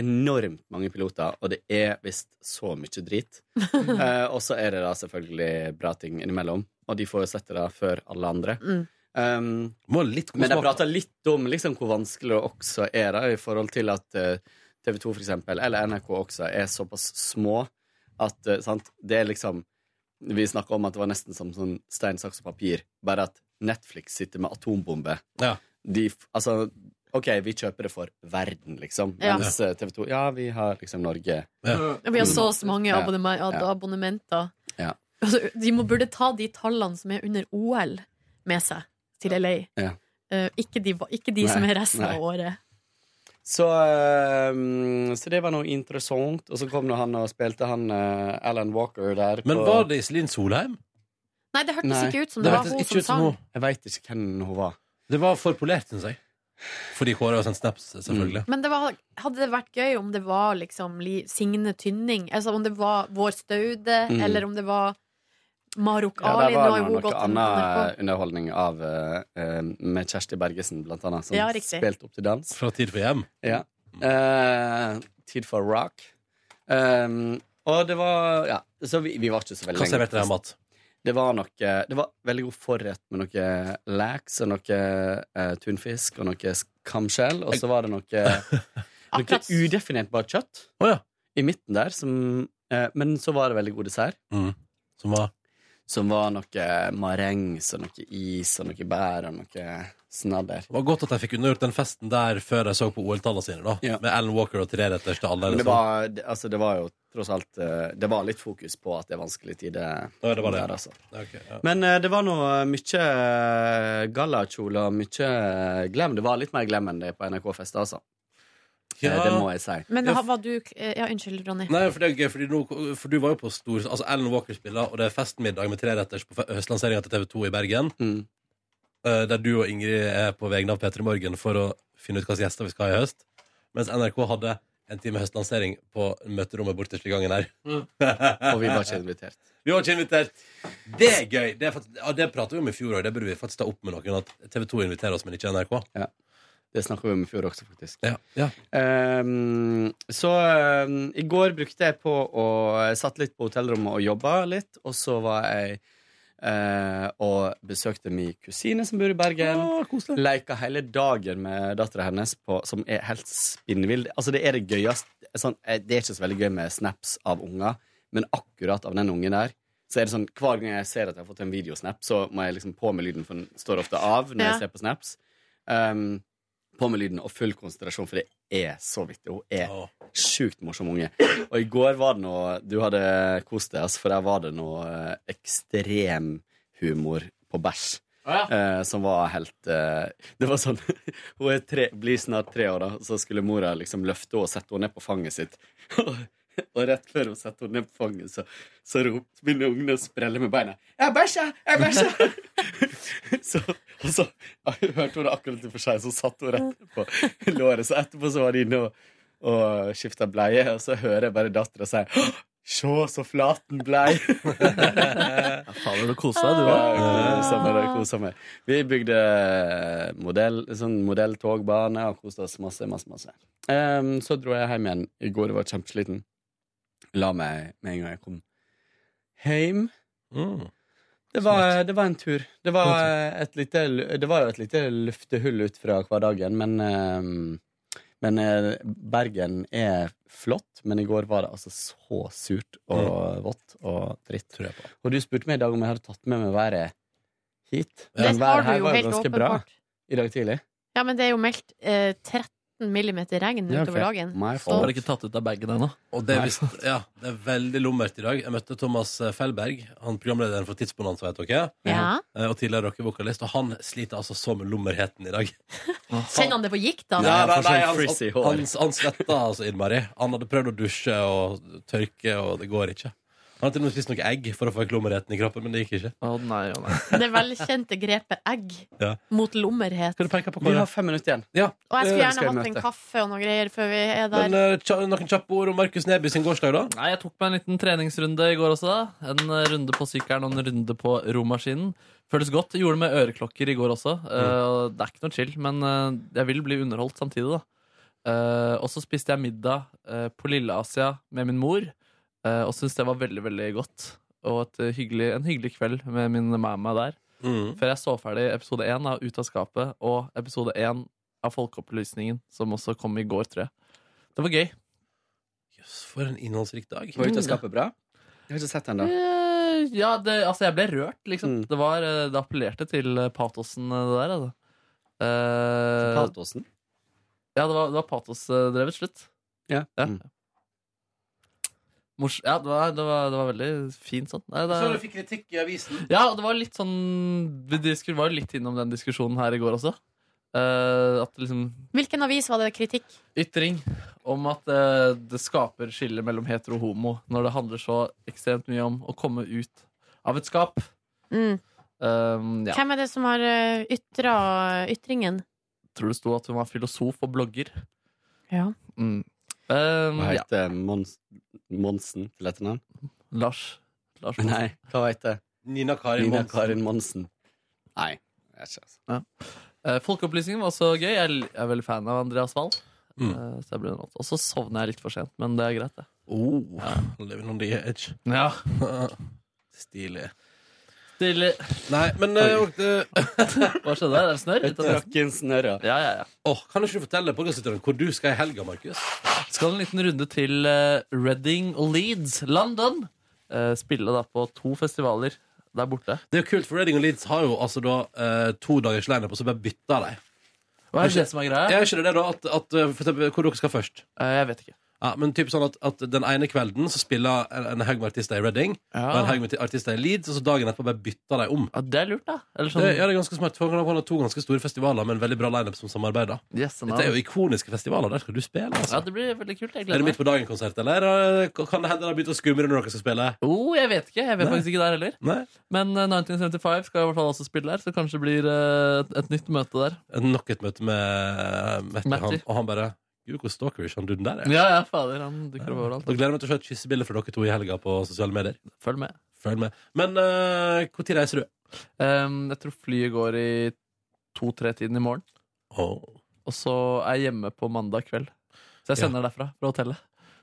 L: enormt mange piloter, og det er visst så mye drit. Eh, og så er det da selvfølgelig bra ting innimellom, og de får jo sett det da før alle andre.
I: Mm.
L: Um,
B: god
L: men de
B: smak.
L: prata litt om liksom, hvor vanskelig det også er da, i forhold til at eh, TV 2 for eksempel, eller NRK også, er såpass små at eh, sant, det er liksom Vi snakka om at det var nesten som sånn stein, saks og papir, bare at Netflix sitter med atombombe. De, f- altså, OK, vi kjøper det for verden, liksom.
C: Ja.
L: Mens TV 2 Ja, vi har liksom Norge.
C: Vi har så så mange
L: Ja.
C: abonnement- ad-
L: Ja.
C: abonnementer.
L: Ja.
C: Altså, de må burde ta de tallene som er under OL, med seg til LA.
L: Ja.
C: Eh, ikke de, ikke de
L: Nei,
C: som er resten av
L: nei.
C: året.
L: Så, eh, så det var noe interessant. Og så kom nå han og spilte han eh, Alan Walker der.
B: Men var det Iselin Solheim?
C: Nei, det hørtes ikke ut som det var hun som sang.
L: Jeg veit ikke hvem hun var.
B: Det var for polert, syns jeg. Fordi Kåre har sendt snaps, selvfølgelig.
C: Men det var, hadde det vært gøy om det var liksom Li- Signe Tynning? Altså om det var Vår Staude,
L: Mm.
C: eller om det var Maruk
L: Ja,
C: Ali?
L: der
C: Nå
L: var
C: har jo
L: noe,
C: hun
L: noe
C: gått an
L: annen
C: NRK.
L: underholdning av, eh, eh, med Kjersti Bergesen, blant annet, som
C: Ja, riktig.
L: spilte opp til dans.
B: Fra Tid for hjem? Mm.
L: Ja. Eh, tid for rock. Um, og det var Ja, så vi, vi var ikke så veldig
B: Hva serverte dere av mat?
L: Det var noe Det var veldig god forrett med noe laks og noe eh, tunfisk og noe kamskjell, og så var det noe Noe udefinerbart kjøtt i midten der, som, eh, men så var det veldig god dessert.
B: Som var?
L: Som var noe marengs og noe is og noe bær og noe snadder.
B: Det var godt at jeg fikk unnagjort den festen der før jeg så på OL-tallene sine, da. Med Alan Walker og tre retters til alle.
L: Men det
B: Liksom.
L: var, det- altså, det var jo tross alt eh, Det var litt fokus på at det er vanskelige tider
B: Ja, det var det.
L: der, altså.
B: Ok, ja.
L: Men eh, det var nå mye eh, gallakjole og mye eh, glam. Det var litt mer glam enn det på NRK-fest, altså. Eh,
B: Ja.
L: Det må jeg si.
C: Men
B: Ja,
C: ha- var du eh, Ja, unnskyld, Ronny.
B: Nei, for det er gøy, fordi nå, for du var jo på stor Altså, Alan Walker spiller, og det er festmiddag med treretters på fe- høstlanseringen til TV 2 i Bergen. Eh, Der du og Ingrid er på vegne av P3 Morgen for å finne ut hva slags gjester vi skal ha i høst. Mens NRK hadde en time høstlansering på møterommet bortest i gangen her.
L: Og vi var ikke invitert.
B: Vi var ikke invitert. Det er gøy. Det, er faktisk, ja, det pratet vi om i fjor òg. Det burde vi faktisk ta opp med noen. At TV 2 inviterer oss, men ikke NRK.
L: Ja. Det snakka vi om i fjor også, faktisk.
B: Ja. Ja.
L: Ehm, så ehm, i går brukte jeg på å Jeg satt litt på hotellrommet og jobba litt, og så var jeg eh, og besøkte min kusine som bor i Bergen. Leika hele dagen med dattera hennes, på, som er helt spinnvill. Altså, det er det gøyeste sånn, eh, Det er ikke så veldig gøy med snaps av unger, men akkurat av den ungen der. Så er det sånn, Hver gang jeg ser at jeg har fått en videosnap, så må jeg liksom på med lyden, for den står ofte av når
M: Ja.
L: jeg ser på snaps. Ehm, på med lyden og full konsentrasjon, for det er så vittig. Hun er sjukt morsom unge. Og i går var det noe Du hadde kost deg, altså, for der var det noe eh, ekstrem humor på bæsj.
D: Å
L: eh, som var helt eh, Det var sånn Hun er tre, blir snart tre år, da. Så skulle mora liksom løfte henne og sette henne ned på fanget sitt. og rett før hun setter henne ned på fanget, så, så ropte mine ungene å sprelle med beina. Jeg bæsja! Jeg bæsja! så, og så hørte hun det akkurat for seg, så satt hun rett på låret. Så etterpå så var de inne og, og skifta bleie, og så hører jeg bare dattera si «Hå! Sjå så flaten blei! ja,
D: fader, du kosa deg, du, da.
L: Kosa meg, da, kosa meg. Vi bygde modell, sånn modelltogbane og koste oss masse, masse, masse. Ehm, så dro jeg hjem igjen i går og var kjempesliten. La meg med en gang jeg kom hjem.
B: Mm.
L: Det var, det var en tur. Det var, et lite, det var jo et lite luftehull ut fra hverdagen, men, eh, men eh, Bergen er flott. Men i går var det altså så surt og vått og dritt. Og du spurte meg i dag om jeg hadde tatt med meg været hit.
C: Det
L: Men været
C: har du jo helt åpenbart.
L: i dag tidlig.
C: Ja, men det er jo meldt eh, 13 millimeter regn
L: Ja, ok.
C: utover dagen.
L: My
C: Så-
D: Bare ikke tatt ut av bagen ennå.
B: Og det er, visst, ja, det er veldig lummert i dag. Jeg møtte Thomas eh, Fellberg, han programlederen for Tidsbonanza, vet dere.
C: Ja.
B: Eh, Og tidligere rockevokalist. Og han sliter altså så med lummerheten i dag.
C: Kjenner han det på gikt, da?
I: Altså,
B: Nei, nei, nei, han, han, han, han svetta altså innmari. Han hadde prøvd å dusje og tørke, og det går ikke. Han har til og med spist noe egg for å få vekk lummerheten i kroppen, men det gikk ikke.
D: Å nei, å nei.
C: Det velkjente grepet egg
B: Ja.
C: mot lummerhet.
L: Vi har fem minutter igjen.
B: Ja.
C: Og
B: Eh,
C: jeg skulle
B: skal
C: gjerne
B: jeg
C: hatt en
B: møte.
C: kaffe og noen greier før vi er der.
B: Men eh, tja- noen kjappe ord om Markus Neby sin gårsdag, da?
D: Nei, Jeg tok meg en liten treningsrunde i går også. da En eh, runde på sykkelen og en runde på romaskinen. Føles godt. Gjorde det med øreklokker i går også. Eh, og det er ikke noe chill, men eh, jeg vil bli underholdt samtidig, da. Eh, og så spiste jeg middag eh, på Lille Asia med min mor, eh, og syntes det var veldig, veldig godt. Og et, eh, hyggelig, en hyggelig kveld med min mamma der.
B: Mm.
D: før jeg så ferdig episode én av Ut av skapet og episode én av Folkeopplysningen, som også kom i går, tror jeg. Det var gøy.
B: Jøss, for en innholdsrik dag.
L: Var Ut av skapet bra? Jeg har ikke sett den, da.
D: Eh, Ja, det, altså jeg ble rørt, liksom. Det, var, eh, det appellerte til eh, patosen, eh, det der. Altså. Eh,
L: Patosen?
D: Ja, det var, det var patosdrevet slutt.
L: Ja. Mm,
D: Mors ja det, var, det, var, det var veldig fint sånn. Nei, det,
B: Så du fikk kritikk i avisen?
D: ja, og det var litt sånn Vi disku- var litt innom den diskusjonen her i går også. Eh, at liksom
C: Hvilken avis var det kritikk?
D: ytring om at eh, det skaper skille mellom hetero og homo når det handler så ekstremt mye om å komme ut av et skap.
C: Mm.
D: Um, ja.
C: Hvem er det som har eh, ytra ytringen?
D: Tror det sto at hun var filosof og blogger.
C: Ja.
D: Mm. Um,
L: Hva
D: ja.
L: heter Mons Monsen til etternavn?
D: Lars. Lars
L: Nei, hva heter
B: Nina Karin
L: Nina
B: Monsen.
L: Karin Monsen. Nei. jeg vet ikke, altså.
D: Ja. Eh, Folkeopplysningen var også gøy. Jeg l- er veldig fan av Andreas Wahl.
B: Mm.
D: Eh, så jeg ble underholdt. Og så sovner jeg litt for sent, men det er greit, det.
B: Oh, Living on the edge.
D: Ja.
B: Stilig.
D: Stilig.
B: Nei, men eh, og det-
D: Hva skjedde der? Er det snørr? ut av drakten? Ja, ja, ja.
B: Åh, kan ikke du fortelle podkastlytterne hvor du skal i helga, Markus?
D: Skal en liten runde til eh, Reading og Leeds, London. Eh, spille da på to festivaler der borte.
B: Det er jo kult, for Reading og Leeds har jo altså da eh, to dagers lineup, og så bare bytta de.
D: Hva er det som er greia? Eh,
B: Er ikke det det, da? At, at, eh, for eksempel, hvor dere skal først?
D: jeg vet ikke.
B: Ja, men typ sånn at, at Den ene kvelden så spiller en, en haug med artister i Reading, og en haug med artister i Leeds, og så dagen etterpå bare bytter de om.
D: Ja, det er lurt, da. Eller sånn-
B: det, ja, det er ganske smart. For Han har to ganske store festivaler med en veldig bra lineup som samarbeider.
D: Yes, and
B: Dette er
D: all.
B: jo ikoniske festivaler. Der skal du spille.
D: Ja,
B: Altså.
D: det blir veldig kult. Jeg
B: er
D: gleder
B: det midt
D: meg.
B: på dagen-konsert, eller eh, kan det hende det har begynt å skumre når dere skal spille?
D: Oh, jeg vet ikke. Jeg vet
B: Nei.
D: faktisk ikke der heller.
B: Nei.
D: Men eh, 1975 skal i hvert fall også spille der, så kanskje det blir eh, et, et nytt møte der.
B: Nok et møte med eh, Mette,
D: Matti.
B: Han, og han bare Gud, hvor stalkerish han duden der er.
D: Ja, ja, fader. Han dukker opp overalt.
B: Da gleder jeg meg til å se et kyssebilde fra dere to i helga på sosiale medier.
D: Følg med.
B: Følg med. Men når reiser du?
D: jeg tror flyet går i to-tre-tiden i morgen. Og så er jeg hjemme på mandag kveld. Så jeg
B: Ja.
D: sender derfra, fra hotellet.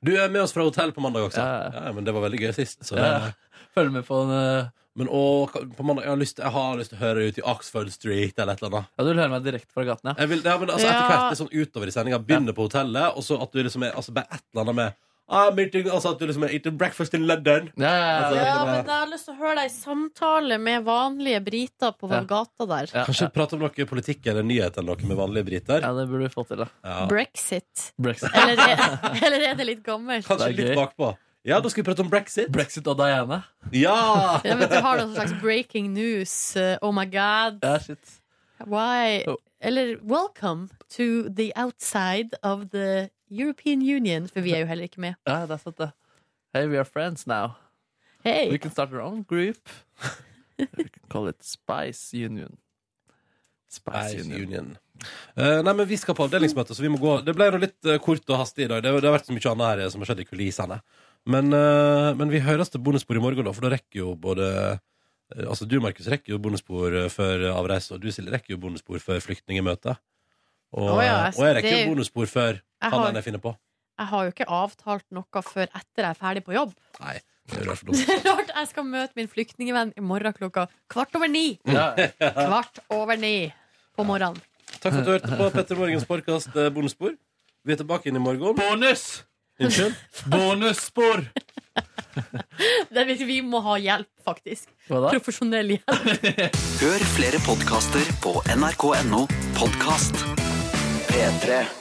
B: Du er med oss fra hotell på mandag også. Ja, men det var veldig gøy sist. Så det...
D: Ja. Følg med på en eh,
B: Men og, på mandag, jeg, har lyst, jeg har lyst til å høre ut i Oxford Street eller et eller annet.
D: Ja, Du vil høre meg direkte fra gaten,
B: Jeg vil, ja, men altså,
D: Ja.
B: etter hvert litt sånn utover i sendinga. Begynne på hotellet, og så at du liksom er altså, bare et eller annet med ah, meeting, altså, At du liksom er eating breakfast in London. Altså,
C: ja,
B: liksom,
C: men jeg har lyst til å høre deg i samtale med vanlige briter på
B: Ja.
C: gata der.
B: Kanskje prate om noe politikk eller nyhet eller noe med vanlige briter.
D: Ja, det burde vi få til, da.
C: Brexit.
D: Brexit.
C: Eller er, eller er det litt gammelt?
B: Kanskje litt bakpå. Ja, da skal vi prate om brexit.
D: Brexit og Diana.
B: Ja!
C: Ja, men du har noen slags breaking news. eh, Oh my god.
D: Ja, shit.
C: Why?
D: Oh.
C: Eller welcome to the outside of the European Union, for vi er jo heller ikke med.
D: Ja, det er sant, det. Hey, we are friends now.
C: Hey.
D: We can start our own group. we can call it Spice Union. Spice
B: Spice Union. Eh, nei, men Vi skal på avdelingsmøte, så vi må gå. Det ble nå litt eh, kort og hastig i dag. Det, det har vært så mye annet her eh, som har skjedd i kulissene. Men, eh, men vi høres til bonusspor i morgen, da, for da rekker jo både eh, Altså Du, Markus, rekker jo bonusspor eh, før eh, avreise, og du, Silje, rekker jo bonusspor før flyktningemøte. Og,
C: Å ja,
B: eh, og jeg rekker
C: det-
B: jo bonusspor før
C: Jeg
B: han
C: har-
B: enn jeg finner på.
C: Jeg har jo ikke avtalt noe før etter jeg er ferdig på jobb.
B: Nei, det er rart for
C: Det
B: dumt.
C: er rart jeg skal møte min flyktningvenn i morgen klokka kvart over ni.
B: Ja.
C: Kvart over ni på morgenen.
B: Takk for at du hørte på Petter Morgens podkast Bonusspor. Vi er tilbake inn i morgen.
D: Bonus!
B: Unnskyld?
D: Bonusspor!
C: Det vil, vi må ha hjelp, faktisk.
D: Hva da?
C: Profesjonell hjelp.
M: Hør flere podkaster på nrk.no podkast. P3.